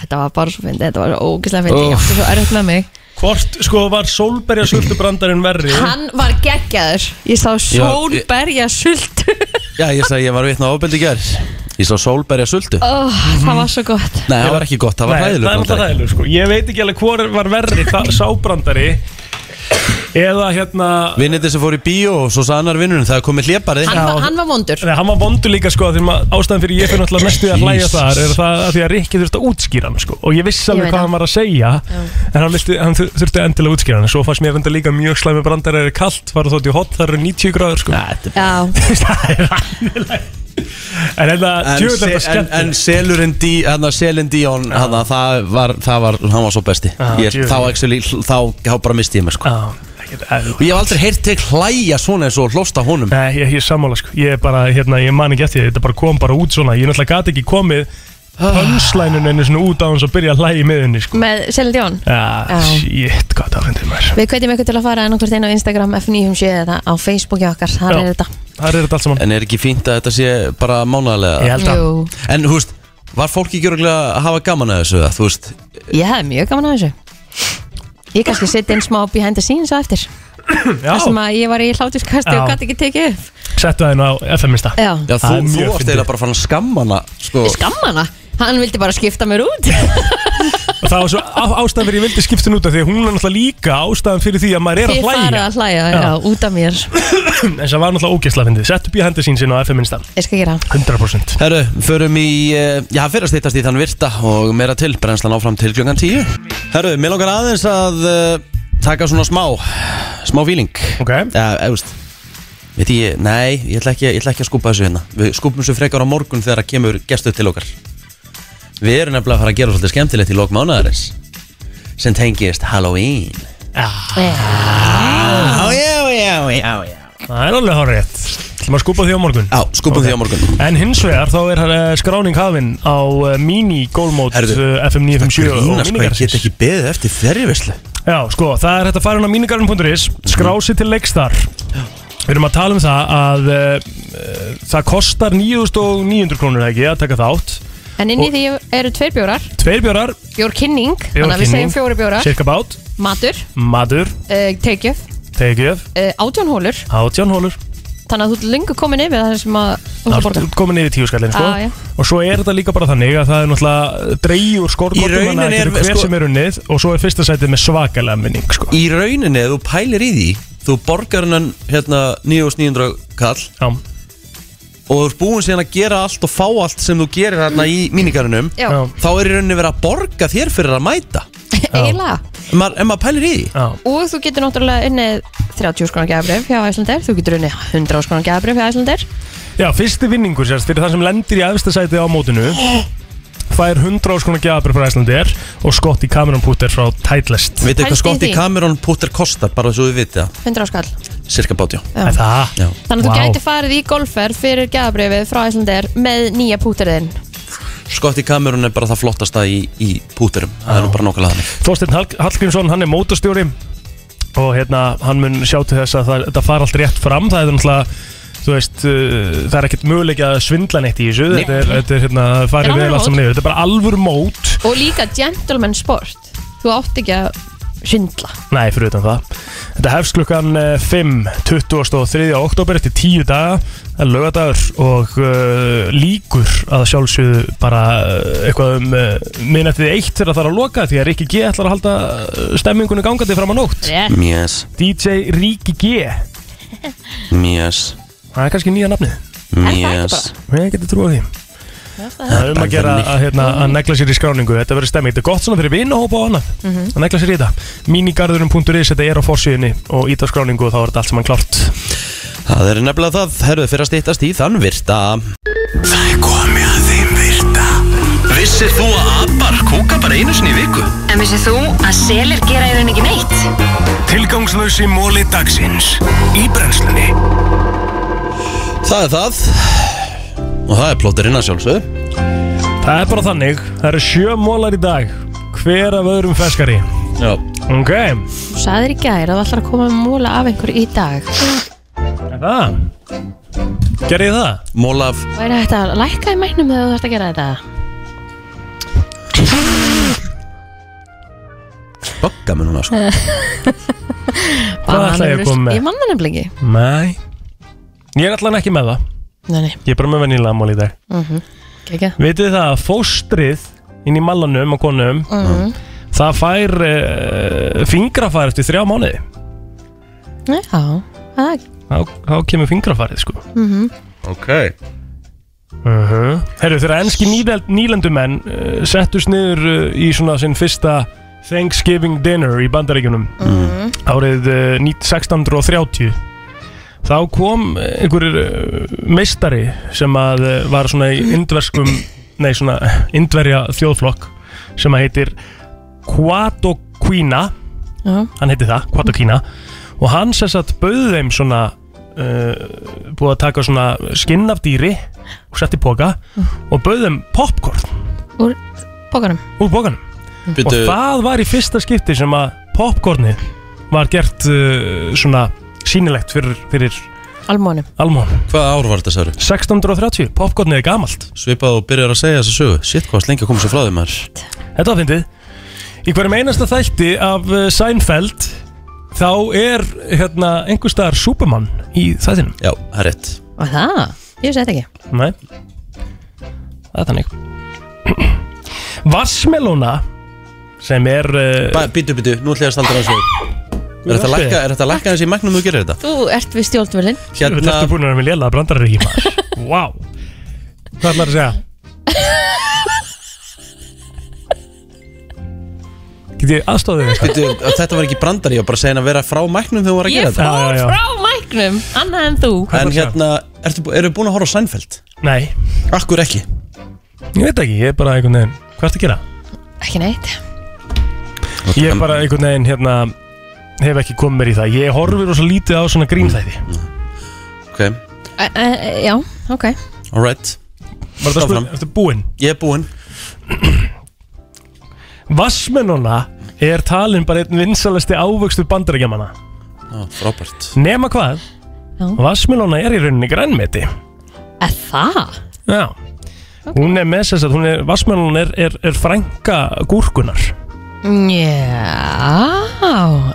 S3: Þetta var bara svo fyndi, þetta var svo ógislega fyndi Ég
S2: Úff.
S3: átti svo erfitt með mig
S2: Hvort sko var sólberja sultubrandarinn verri
S3: Hann var geggjaður Ég sá sólberja sult <laughs>
S1: Já, ég sagði ég var vitna ábeldi gær Ég sá sólberja sultu
S3: oh, Það var svo gott
S1: Nei, það var ekki gott, það var
S2: Nei,
S1: hræðilegur
S2: Það er alltaf
S1: brandari.
S2: ræðilur sko Ég veit ekki alveg hvor var verri það- sá brandari Eða hérna
S1: Vinnandi sem fór í bíó og svo sannar vinnunum Það er komið hléparið
S3: Hann var- hann var vondur
S2: Nei, hann var vondur líka sko Því að ástæðan fyrir ég fyrir náttúrulega næstu í að hlæja þar Er það að því að Rikki þurfti að útskýra hann sko Og ég vissi
S3: Ég
S2: alveg
S3: veit
S2: hvað
S3: það.
S2: hann var að segja En hann, vilti, hann þur- þurfti endilega að útskýra hann Svo fannst mér enda líka mjög slæmi brandar Er kalt, fara þótt í hot, það eru 90 gráður sko Næ,
S3: Já
S2: En þetta,
S1: En,
S2: djöfull er þetta
S1: se- en,
S2: skemmt
S1: en selurinn dí, hana, selin Díón hana, það, var, það var, hann var svo besti
S2: Já,
S1: ég,
S2: djöfull.
S1: þá, actually, hl- þá, þá bara misti ég mig sko.
S2: og
S1: ég hef aldrei heyrt til hlæja svona eins og hlosta honum
S2: Nei, ég, ég er sammála sko Ég er bara, hérna, ég man ekki eftir því Þetta bara kom bara út svona Ég náttúrulega gat ekki komið Pönslænun einu svona út á hans og byrja að hlæja í miðunni sko
S3: Með Selin Dion
S2: Já,
S3: Já.
S2: shit, hvað það finnir mér
S3: Við kveitjum ykkur til að fara annarkvært inn á Instagram F957 eða hérna á Facebooki okkar Þar
S1: Já.
S3: er þetta
S2: Það er þetta allt saman
S1: En er ekki fínt að þetta sé bara mánaðlega
S3: Ég held að. Jú.
S1: En þú veist, var fólk ekki örugglega að hafa gaman að þessu eða, Þú veist,
S3: Ég hefði mjög gaman að þessu Ég kannski setja inn smá behind the scenes á eftir
S2: Já.
S3: Það sem að ég var í hlátuskasti
S2: Já.
S3: og gæti ekki tekið upp
S2: Settu það inn á FM-insta
S3: Já. Já,
S1: þú- þú varst eiginlega bara fann að skamma hana sko.
S3: Ég skamma hana Hann vildi bara skipta mér út
S2: Og það var svo á, ástæðan fyrir ég vildi skipta hún út af Því að hún er náttúrulega líka ástæðan fyrir því að maður er
S3: Þið
S2: að
S3: farið
S2: hlæja
S3: að hlæja, já,
S2: Já.
S3: út af mér
S2: <clears throat> En það var náttúrulega ógæsla fyndið Settu býja hendi sín sinna á FM-insta
S3: Ég skal gera
S2: 100%
S1: Herru, förum í, eh, já, fyrir að stýttast í þann virta og meira til, brennslan áfram til klukkan 10 Herru, mér langar aðeins að uh, taka svona smá, smá fíling
S2: Ok
S1: Já, eða, veist, veit ég, nei, ég ætla, ekki, ég ætla ekki að skúpa þessu hérna Við skúpum þessu frekar á morgun þegar að kemur gestu til okkar Við erum nefnilega að fara að gera svolítið skemmtilegt í lok mánaðarins sem tengist Halloween Já, já, já, já, já
S2: Það er alveg hár rétt Það maður skúpa því á morgun
S1: Já, skúpum því á morgun
S2: En hins vegar þá er uh, skráning hafinn á uh, mini-gólmót uh, FM 957 og
S1: Grínast hvað ég
S2: minigarðsins.
S1: get ekki beðið eftir ferrivislu
S2: Já, sko, það er hægt að fara inn á mínigarðin.is
S1: Mhm.
S2: skrási til leiks þar Við erum að tala um það að uh, það kostar 9.900 krónur eða ekki að taka þátt
S3: En inn í því eru tveir bjórar
S2: Tveir bjórar,
S3: Bjórkynning, þannig að við segjum fjóri bjórar
S2: Cirka bát,
S3: Matur,
S2: madur,
S3: uh, teikjöf,
S2: tegjöf,
S3: uh, átjónhólur
S2: átjánhólur
S3: Þannig að þú ert lengur komin yfir það sem að þú ert að
S2: Það
S3: borga
S2: er komin niður í tíu skallin sko.
S3: Ah, Já, já.
S2: Og svo er þetta líka bara þannig að það er náttúrulega dreigjur
S1: Í
S2: skorgóttum
S1: rauninni
S2: Þannig að
S1: er-
S2: getur hver
S1: sko-
S2: sem er unnið Og svo er fyrsta sætið með svakalega minning sko.
S1: Í rauninni, ef þú pælir í því Þú borgar hennan hérna 9900 kall
S2: Já.
S1: Og þú ert búin síðan að gera allt og fá allt sem þú gerir hérna í mínikarunum
S3: Já. Já.
S1: Þá er í rauninni verið að borga þér fyrir að mæta
S3: <laughs> Eiginlega
S1: En maður, en maður pælir í því
S2: Já.
S3: Og þú getur náttúrulega unnið 30 skrónar gæðabrif hjá Æslander Þú getur unnið 100 skrónar gæðabrif hjá Æslander
S2: Já, fyrsti vinningur sérst fyrir það sem lendir í efsta sætið á mótinu Fær 100 áskona gjafabri frá Æslandir Og skott í kamerunpúttir frá Titleist
S1: Vitið hvað
S3: Pældu í
S1: skott í
S3: því.
S1: kamerón púttir kostar Bara svo við vitið það
S3: 100 skall
S1: Cirka bátjá
S3: Já. Er
S2: Það
S3: Þannig að þú gæti farið í golfer fyrir gæðabrifið frá Æslander með nýja púterinn
S1: Skott í kamerón er bara það flottasta í, í púttirum Það er nú bara nokkulega þannig
S2: Þorsteinn Hall Hallgrímsson, hann er mótastjóri og hérna, hann mun sjá til þess að það, þetta fara allt rétt fram, það er náttúrulega þú veist, uh, það er ekkert möguleik að svindla neitt í þessu,
S3: Nei.
S2: þetta er, þetta er hérna, það
S3: Þetta er
S2: farið vel
S3: alvöru
S2: allt saman
S3: mót.
S2: niður, þetta er bara alvöru mót
S3: Og líka gentleman sport Þú átt ekki að syndla
S2: nei, fyrir utan það þetta hefst klukkan eh, 5, 23. oktober eftir 10 daga, það er lögadagur og uh, líkur að sjálfsögðu bara uh, eitthvað um uh, minnættið eitt þegar það þarf að loka því að Rikki G ætlar að halda eh, stemmingunni gangandi fram á nótt
S3: yeah.
S1: Mjæs,
S2: DJ Ríki G
S1: mjæs,
S2: Það er kannski nýja nafnið
S1: mjæs
S2: Ég geti trúið því Það er um
S1: bara
S2: að gera
S1: þannig.
S2: að, hérna, að negla sér í skráningu Þetta verður stemming, þetta er gott svona fyrir vinnahópa og annað
S1: Mhm.
S2: Að negla sér í þetta Minigarðurinn.is, þetta er á forsíðinni Og ít á skráningu og þá er þetta allt saman klárt
S1: Það er nefnilega það, herruð fyrir að stýttast í þann virta
S5: Það er komið að þeim virta Vissir þú að abar kúka bara einu sinni í viku?
S12: En vissið þú að selir gera í raun ekki neitt?
S5: Tilgangslösi móli dagsins Í brennslunni
S1: Það er það Og það er plóterinn að sjálfsögðu
S2: Það er bara þannig, það eru sjö mólar í dag Hver af öðrum feskari
S1: Já
S2: Ok,
S3: Þú sagðir í gær að þú ætlar að koma að múla af einhver í dag Það
S2: er það Gerði ég það?
S1: Móla af
S3: er þetta að lækka í mænum þegar þú þarfst að gera þetta
S1: bögga með núna sko.
S3: Eh.
S2: Hvað ætla ég að
S3: Bananarusl-
S2: koma með?
S3: Ég manna nefnilega ekki
S2: Nei Ég er allan ekki með það
S3: Nei, nei
S2: Ég er bara með venjulega mól í dag
S3: mm -hmm. Kekja
S2: Vitið þið það að fóstrið inn í mallanum og konum
S3: Mhm.
S2: það fær uh, fingrafær eftir þrjá mánuði
S3: Já, það er
S2: þá, þá kemur fingrafarið sko
S3: mhm.
S2: Ok Herru, Uh-huh. þegar enski nýlend, nýlendumenn uh, settust niður uh, í svona sinn fyrsta Thanksgiving dinner í bandaríkjunum
S15: Mhm.
S2: árið uh, 19- 1630 þá kom eh, einhverjir uh, meistari sem að uh, var svona í indverskum nei svona indverja þjóðflokk sem að heitir Quatoquina
S3: Já.
S2: hann heiti það, Quatoquina og hann sem sagt bauði þeim svona uh, búið að taka svona skinn af dýri og sett í póka og bauði þeim popcorn
S3: Úr bókanum
S2: úr pókanum og
S1: Bíddu.
S2: það var í fyrsta skipti sem að popcornið var gert uh, svona sýnilegt fyrir, fyrir
S3: Almónum
S2: Almón
S1: Hvaða ár var þetta særu?
S2: 1630, popcornið er gamalt
S1: Svipað og byrjar að segja þessa sögu Sitt hvað varst lengi að koma svo frá þeim maður
S2: Þetta var fyndið Í hverjum einasta þætti af uh, Seinfeld Þá er hérna einhver staðar Superman í þættinum
S1: Já, það er rétt
S3: Og það, ég vissi þetta ekki
S2: Nei Það er þannig <clears throat> Vassmelóna Sem er uh,
S1: Býtu, býtu, nú ætlum ég að standa á þessu Er þetta að lækka- er þetta að lækka þessi í magnum þú gerir þetta?
S3: Þú ert við stjórnvölinn
S1: Hérna-
S2: Þetta er búin að vera með lélega brandar ekki maður <laughs> Vá Hvað ætlar að segja? Get ég aðstofið þig?
S1: Býtu, þetta var ekki brandar, ég var bara að segja henni að vera frá magnum þegar þú var að
S3: Ég
S1: gera þetta
S3: fór frá mæknum, annað en þú
S1: En hérna, ertu, bú- eru búin að horfa á Seinfeld?
S2: Nei
S1: Akkur ekki?
S2: Ég veit ekki, ég er bara einhvern veginn Hvað ertu að gera?
S3: Ekki neitt
S2: Ég er bara einhvern veginn hérna hef ekki komið mér í það Ég horfi rosa lítið á svona grínþæði
S1: Ok,
S3: Æ, æ, Já, ok
S1: alright
S2: Var þetta spurning? Ertu búinn?
S1: Ég er búinn
S2: Vassmennuna er talin bara einn vinsalasti ávöxtur bandarækjamanna
S1: Ó, Frábært
S2: Nema hvað?
S3: Já.
S2: Vassmennuna er í rauninni grænmeti
S3: Er það?
S2: Já Hún er með þess að hún er, vassmennun er, er, er frænka gúrkunar
S3: Já,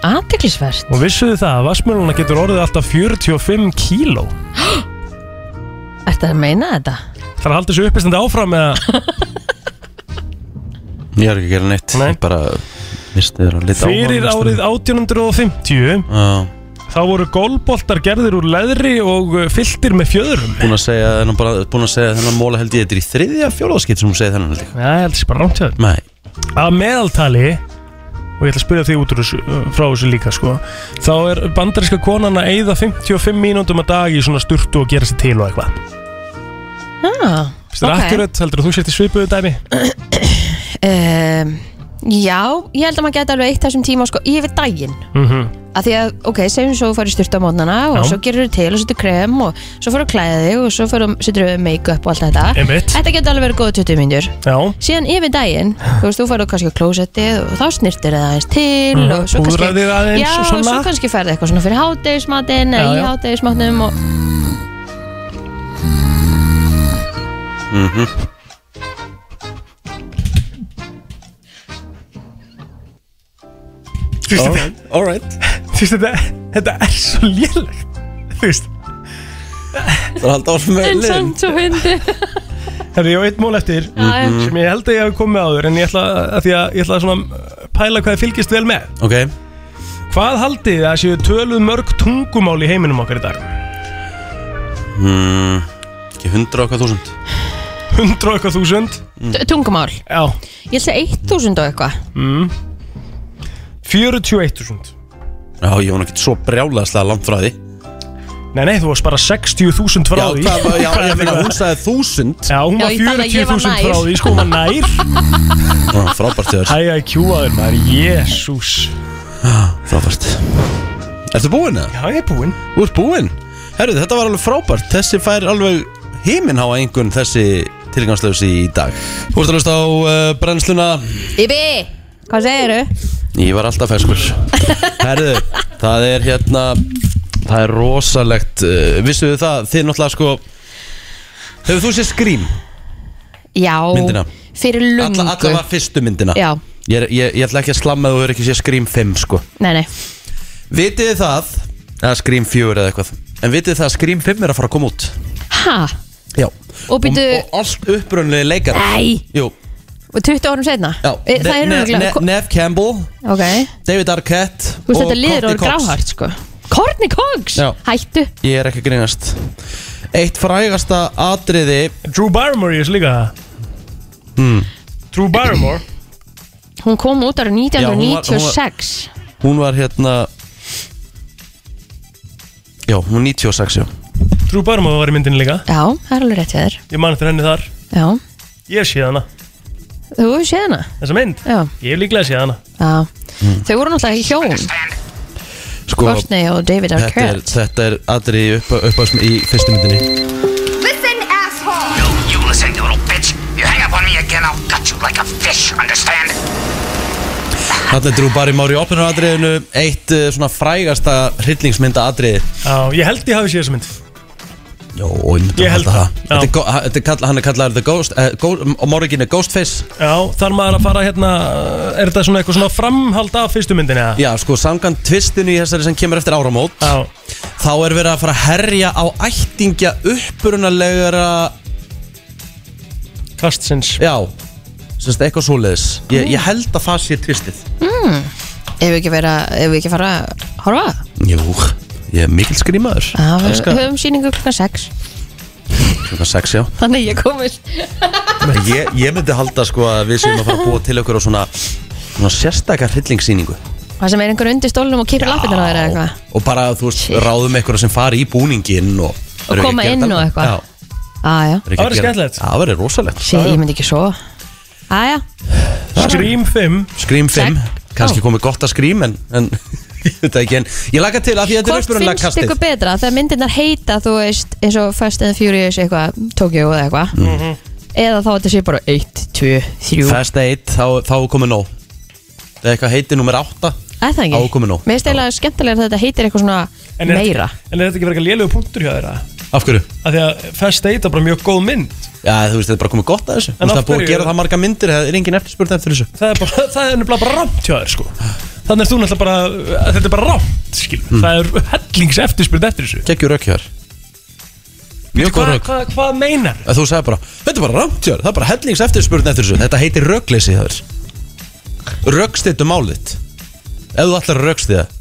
S3: aðteklisvert
S2: og vissuðu það að vassmennuna getur orðið alltaf 45 kíló
S3: Ertu að meina þetta?
S2: Það er að halda þessu uppistandi áfram eða
S1: Ég er ekki að gera neitt Nei. Ég bara misti þér að lita
S2: fyrir árið 1850
S1: Já
S2: Þá voru gólboltar gerðir úr leðri og uh, fylltir með fjöðrum
S1: Búin að segja þennan bara Búin að segja þennan móla held ég Þetta er í þriðja fjólaðskipt sem hún segir þennan held ég
S2: Já, ég held þessi bara rámt hjá þér
S1: Nei
S2: Að meðaltali Og ég ætla að spyrja þig út úr þessu, uh, frá þessu líka sko Þá er bandaríska konan að eyða 55 mínúndum að dag í svona sturtu og gera sér til og eitthvað
S3: Ah,
S2: Þetta er akkurat, heldur þú sért í svipuðu dæmi?
S3: um, Já, ég held að maður geti alveg eitt þessum tíma sko, yfir daginn
S2: Mm -hmm.
S3: að því að, ok, segjum svo þú færi styrta á mótnana og
S2: Já.
S3: svo gerur þú til og setur krem og svo færi að klæða þig og svo færi að setur þú make-up og allt þetta
S2: Einmitt.
S3: Þetta getur alveg verið góða 20 mínútur
S2: Já
S3: Síðan yfir daginn, þú veist, þú færi kannski á klósettið og þá snirtir það aðeins til
S2: Mhm,
S3: og svo kannski,
S2: púðrar þig aðeins
S3: já,
S2: og svona.
S3: svo kannski færði eitthvað svona fyrir hátegismatinn
S2: Já,
S3: eða í
S2: já.
S3: hátegismatnum og
S1: mm
S2: Þú veist þetta
S1: Alright
S2: Þú veist þetta, þetta er svo lélegt Þú veist
S1: Það er að halda áfram með
S3: En
S2: leiðin.
S3: samt svo fyndi
S2: Herri, ég á eitt mól eftir
S3: Já, Mhm. já.
S2: sem ég held að ég hafi komið áður en ég ætla að, því að, ég ætla að svona uh, pæla hvað þið fylgist vel með
S1: Ok
S2: Hvað haldið þið að séu töluð mörg tungumál í heiminum okkar í dag?
S1: mm, Ekki hundra okkar þúsund
S2: 100 og eitthvað þúsund
S3: T- Tungumál
S2: Já
S3: Ég ætla 1000 og eitthvað
S2: mm. 41.000
S1: Já, ég var ekki svo brjálaðslega langt frá því
S2: Nei, nei, þú varst bara 60.000 frá
S1: Já,
S2: því
S1: hvað var- já, ég <laughs> meina, hún sagði 1000
S2: Já, hún
S3: Já,
S2: var
S3: ég fann að ég var
S2: 40.000 frá
S3: nær.
S2: því, sko, hún var
S3: <laughs>
S2: nær
S1: Já, Frábært þér
S2: Æ, æ, kjúaður maður, jésús
S1: Frábært Ertu búinn eða?
S2: Já, ég er búinn
S1: Þú ert búinn? Herru, þetta var alveg frábært Þessi fær alveg himinháa einhvern þessi tilgangslösi í dag Þú ert að hlusta á uh, brennsluna
S3: Ibi, hvað segiru?
S1: Ég var alltaf feskur Herðu, það er hérna Það er rosalegt uh, Vissuðu það, þið náttúrulega sko Hefur þú séð Scream
S3: Já,
S1: myndina?
S3: fyrir lungu
S1: Alla, alla var fyrstu myndina
S3: Já.
S1: ég, er- ég, ég ætla ekki að slamma að þú hefur ekki séð Scream 5 sko
S3: Nei, nei
S1: Vitið þið það Eða Scream 4 eða eitthvað En vitið þið það að Scream 5 er að fara að koma út
S3: Ha?
S1: Já
S3: Og býtu,
S1: Og allt upprunnilega leikar
S3: Nei.
S1: Jú
S3: 20 árum setna?
S1: Já,
S3: E, Það
S1: Ne-
S3: er
S1: Ne-
S3: röglega
S1: Ne- Neve Campbell
S3: Ok
S1: David Arquette
S3: Þú veist
S1: og
S3: þetta liður
S1: Courtney
S3: orður
S1: Cox.
S3: gráhart sko Courtney Cox
S1: Já.
S3: Hættu
S1: Ég er ekki að grínast Eitt frægasta atriði
S2: Drew Barrymore í þessu líka
S1: hmm.
S2: Drew Barrymore
S3: Hún kom út árið
S1: Já, hún var- hún var-
S3: 1996
S1: Hún var hérna Já, hún var 96 já.
S2: Drew Barrymore var í myndinni líka
S3: Já, það er alveg rétt hjá þér
S2: Ég man eftir henni þar
S3: Já,
S2: Ég hef séð hana
S3: þú hefur séð hana
S2: Þessa mynd
S3: Já,
S2: Ég hef líklega séð hana
S3: já
S1: Hmm.
S3: Þau voru náttúrulega í hjón
S1: Sko,
S3: Courtney og David
S1: Þetta er,
S3: Arquette
S1: þetta er atriði upp, upp á, í fyrstu myndinni
S15: Listen, asshole! No, you listen, you little bitch. You hang up on me again, I'll gut you like a fish, understand?
S1: Þarna er Drew Barrymore í opnur atriðinu Eitt eh, svona frægasta hryllingsmynda atriði
S2: Já, ég held ég hafi séð þessa mynd
S1: Jó, og ég myndi
S2: Ég
S1: að
S2: held
S1: halda það
S2: það, já.
S1: Þetta er go- Þetta er kallað, hann er kallaður The Ghost eh, Go- Og morgin er Ghostface
S2: Já, þar maður að fara hérna Er þetta svona eitthvað svona framhald af fyrstu myndinni eða?
S1: Já, sko, samkvæmt tvistinu í þessari sem kemur eftir áramót
S2: Já.
S1: Þá er verið að fara að herja á ættingja upprunalegara
S2: Kastsins
S1: Já, semst eitthvað svoleiðis ég, ég held að það sé tvistið
S3: mm. Ef við ekki, vera, ef við ekki fara að horfa
S1: Jú, ég er mikil skrýmaður
S3: Já, við höfum síningu klukkan 6
S1: Klukkan 6, já
S3: Þannig ég komist
S1: ég, ég myndi halda sko að við séum að fara að búa til okkur á svona, svona sérstakar hryllingssýningu
S3: Það sem er einhver undir stólnum og kýrur lappinnar á þeirra eða eitthvað
S1: Og bara, þú veist, ráðum eitthvað sem fari í búningin Og,
S3: Og koma inn og eitthvað.
S1: Já,
S3: Aja,
S1: eru ekki að gera- Já, Það verður rosalegt
S3: Sér, ég myndi ekki svo Aja,
S2: Scream 5
S1: Scream 5 kannski komið gott að Scream en, en <laughs> ég veit það ekki en ég laka til að því að þetta er
S3: hvort
S1: uppurunlega
S3: finnst
S1: kastið
S3: ykkur betra þegar myndirnar heita, þú veist, eins og Fast and Furious eitthvað, Tokyo eða eitthvað
S1: Mhm.
S3: eða þá þetta sé bara 1, 2, 3
S1: Fast 1, þá, þá er komið nóg Það er eitthvað heiti nummer 8
S3: Æ, það
S1: Þá er
S3: ekki
S1: komið nóg
S3: Mér stæla skemmtilega að þetta heitir eitthvað svona
S2: En er-
S3: meira
S2: En er þetta ekki verið eitthvað lélugu punktur hjá þeirra?
S1: Af hverju?
S2: Af því að Fast 8 er bara mjög góð mynd
S1: Já, þú veist, þetta er bara komið gott að þessu
S2: En
S1: Þú veist, það
S2: af
S1: er búið
S2: hverju-
S1: að gera það marga myndir Það er engin eftirspurð eftir þessu
S2: Það er, bara, það er nefnilega bara rámt hjá þér sko Þannig er þú náttúrulega bara Þetta er bara rámt, skil
S1: Mm.
S2: Það er hellings eftirspyrð eftir þessu
S1: Kekjur aukjör Mjög góð
S2: Hvað
S1: rauk.
S2: hva, hva meinar?
S1: Að Þú sagði bara, þetta er bara rámtjör Það er bara hellings eftirspurð eftir þessu Þetta heitir rögleysi það er Rögstittu málit Ef þú ætlar að rögsti það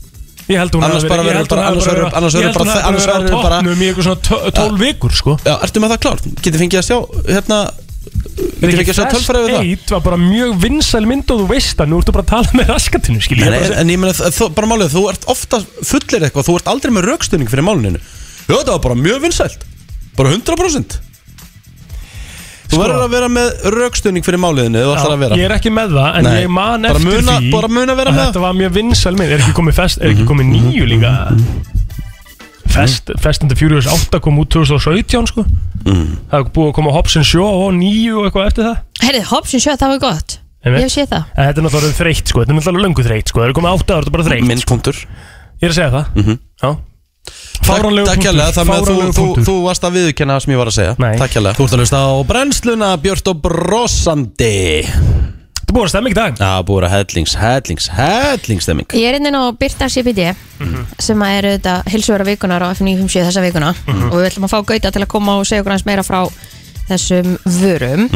S2: Ég held hún
S1: Annars
S2: hafi
S1: bara verður
S2: verið- ég held
S1: bara-
S2: hún hafi
S1: annars verður-
S2: verið-
S1: annars
S2: ég
S1: verður
S2: held hún
S1: bara-
S2: hafi
S1: annars
S2: verið á
S1: verður bara-
S2: toppnum í eitthvað svona 12 vikur sko
S1: Já, ertu með það klárt? Getur fengið að sjá, hérna Getur fengið að sjá tölfræðu það?
S2: Fast 8 var bara mjög vinsæl mynd og þú veist að nú ertu bara að tala með raskatinu skil
S1: En, en, en ég meina, þ- þó- bara málið, þú ert ofta fullir eitthvað, þú ert aldrei með raukstunning fyrir máluninu. Jó, þetta var bara mjög vinsælt. Bara 100%. Þú verður að vera með raukstunning fyrir máliðinu, þú ætlar að vera.
S2: Sko- Ég er ekki með það en
S1: Nei,
S2: ég man
S1: bara
S2: eftir
S1: muna-
S2: því
S1: bara muna vera
S2: að
S1: með Mm-hmm.
S2: Þetta var mjög vinsæl mynd Er ekki komið fest, er ekki komið nýju líka Fest, Fest and the Furious 8 kom út 2017 sko
S1: Mm.
S2: Það er búið að koma Hobbs and Shaw og nýju og eitthvað eftir það
S3: Herrið, Hobbs and Shaw, það var gott Ég
S2: Einmitt.
S3: hef séð það
S2: En Þetta er náttúrulega orðið þreytt sko, þetta er náttúrulega löngu þreytt sko Það er komið átta ára, þetta er bara þreytt
S1: Minnspunktur
S2: Ég er að segja það
S1: Mhm.
S2: Já Fáránlegur
S1: Takk
S2: punktur,
S1: kjærlega, það með að þú,
S2: fáránlegur
S1: þú,
S2: punktur.
S1: þú varst að viðurkenna það sem ég var að segja.
S2: Nei.
S1: Takk kjærlega. Þú ert að hlusta á brennsluna, Björn og brosandi.
S2: Þú búið að stemma í dag?
S1: Já, búið að hellings, hellings, hellingstemming.
S3: Ég er innin á Byrta CBD sem að er auðvitað hilsuverða vikunar á F957 þessa vikuna
S12: Mhm.
S3: og við ætlum að fá gauta til að koma og segja okkur hans meira frá þessum vörum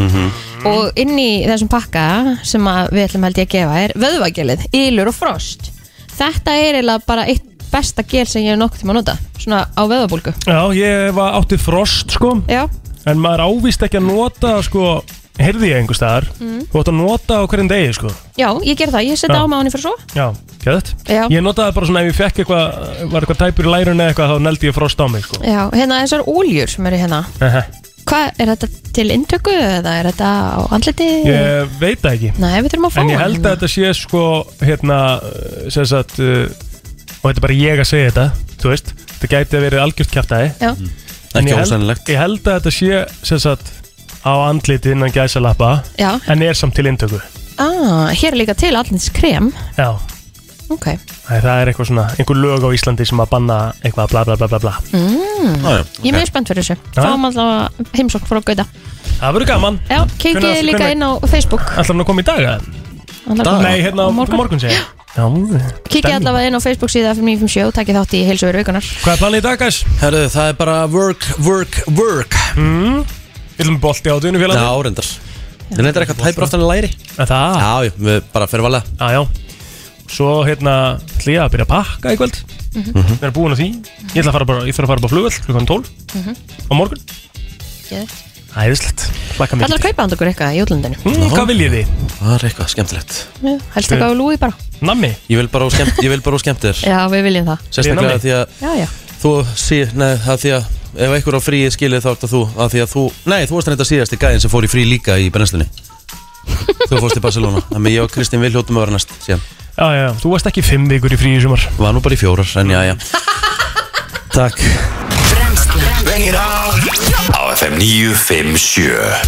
S3: og inn í þessum pakka sem að við ætlum held ég að gefa er vöðvagelið, ylur og frost þetta er eiginlega bara eitt besta gel sem ég er nokkuð tíma að nota svona á vöðvabólgu
S2: Já, ég var áttið frost sko
S3: Já.
S2: En maður ávist ekki að nota sko Heyrði ég einhver staðar
S3: Mm.
S2: Þú átt að nota á hverjum degi sko
S3: já, ég ger það, ég setja
S2: Já.
S3: á mig á henni fyrir svo
S2: Já, gæðt
S3: Já.
S2: Ég notaði bara svona ef ég fekk eitthvað Var eitthvað tæpur í lærun eða eitthvað Þá neldi ég frost á mig sko
S3: já, hérna þessar óljur sem eru hérna
S2: Aha.
S3: hvað, er þetta til inntöku eða er þetta á andliti
S2: Ég veit það ekki
S3: Nei, við þurfum að fá
S2: En ég held að þetta sé sko hérna, uh, sem sagt uh, og þetta er bara ég að segja þetta þú veist, þetta gæti að verið algjört kjæftæði
S3: Já.
S1: Ekki
S2: ég held,
S1: ósennilegt.
S2: ég held að þetta sé sem sagt á andliti innan gæsalappa
S3: Já.
S2: en er samt til inntöku
S3: Ah, hér er líka til allins krem
S2: Já,
S3: Ok
S2: Æ, það er eitthvað svona, einhver lög á Íslandi sem að banna eitthvað bla bla bla bla bla
S3: mm.
S2: Já, já.
S3: Ég er mjög spennt fyrir þessu
S2: Já.
S3: Fáum alltaf heimsókn frá Gauta
S2: Það verður gaman
S3: Já, kikið
S2: Hvenær-
S3: líka
S2: hvenær-
S3: inn á Facebook
S2: Ætlar hann að koma í dag? eða?
S3: Hann ætlar að koma
S2: Nei, hérna á
S3: á morgun.
S2: morgun, morgun segja Já,
S3: Kikið
S2: stemning.
S3: allavega inn á Facebook síða 5957 og takkið þátt í heilsuveru vikunar
S2: Hvað er planið í dag, guys?
S1: Herðu, það er bara work, work, work
S2: mm. Við viljum bolti á dvinu félagi
S1: Já, reyndar Við reyndar eitthvað tæpur aftan í læri
S2: Það?
S1: Ah. Já, já, við bara fyrir valega
S2: Já, já Svo hérna ætla ég að byrja að pakka í kvöld
S3: Mhm.
S2: Við erum búin að því Ég ætla að fara bara, ég þarf að fara bara flugvöld klukkan 12
S3: Mhm.
S2: á morgun
S3: Geðveikt.
S2: Æðislegt, plakka
S3: Það er
S2: mikið
S3: að kaupa hann okkur eitthvað í útlöndinu
S2: mm, Hvað viljið þið?
S1: Það er eitthvað skemmtilegt
S3: Já, Helst eitthvað á lúi bara
S2: Nammi?
S1: Ég vil bara á skemmt, ég vil bara á skemmt þér
S3: Já, við viljum það
S1: Sérstaklega því að
S3: Já, já
S1: þú sé, nei, það því að ef einhver á fríi skilið þá ertu þú að því að þú, nei, þú varst reynda síðasti gæðin sem fór í frí líka í brennslunni þú fórst í Barcelona þannig að ég og Kristín vil hljóta með að vera næst síðan
S2: Já, já, já, þú varst ekki fimm vikur í fríi í sumar
S1: var nú bara í fjórar, en já, já takk
S5: Á FM 957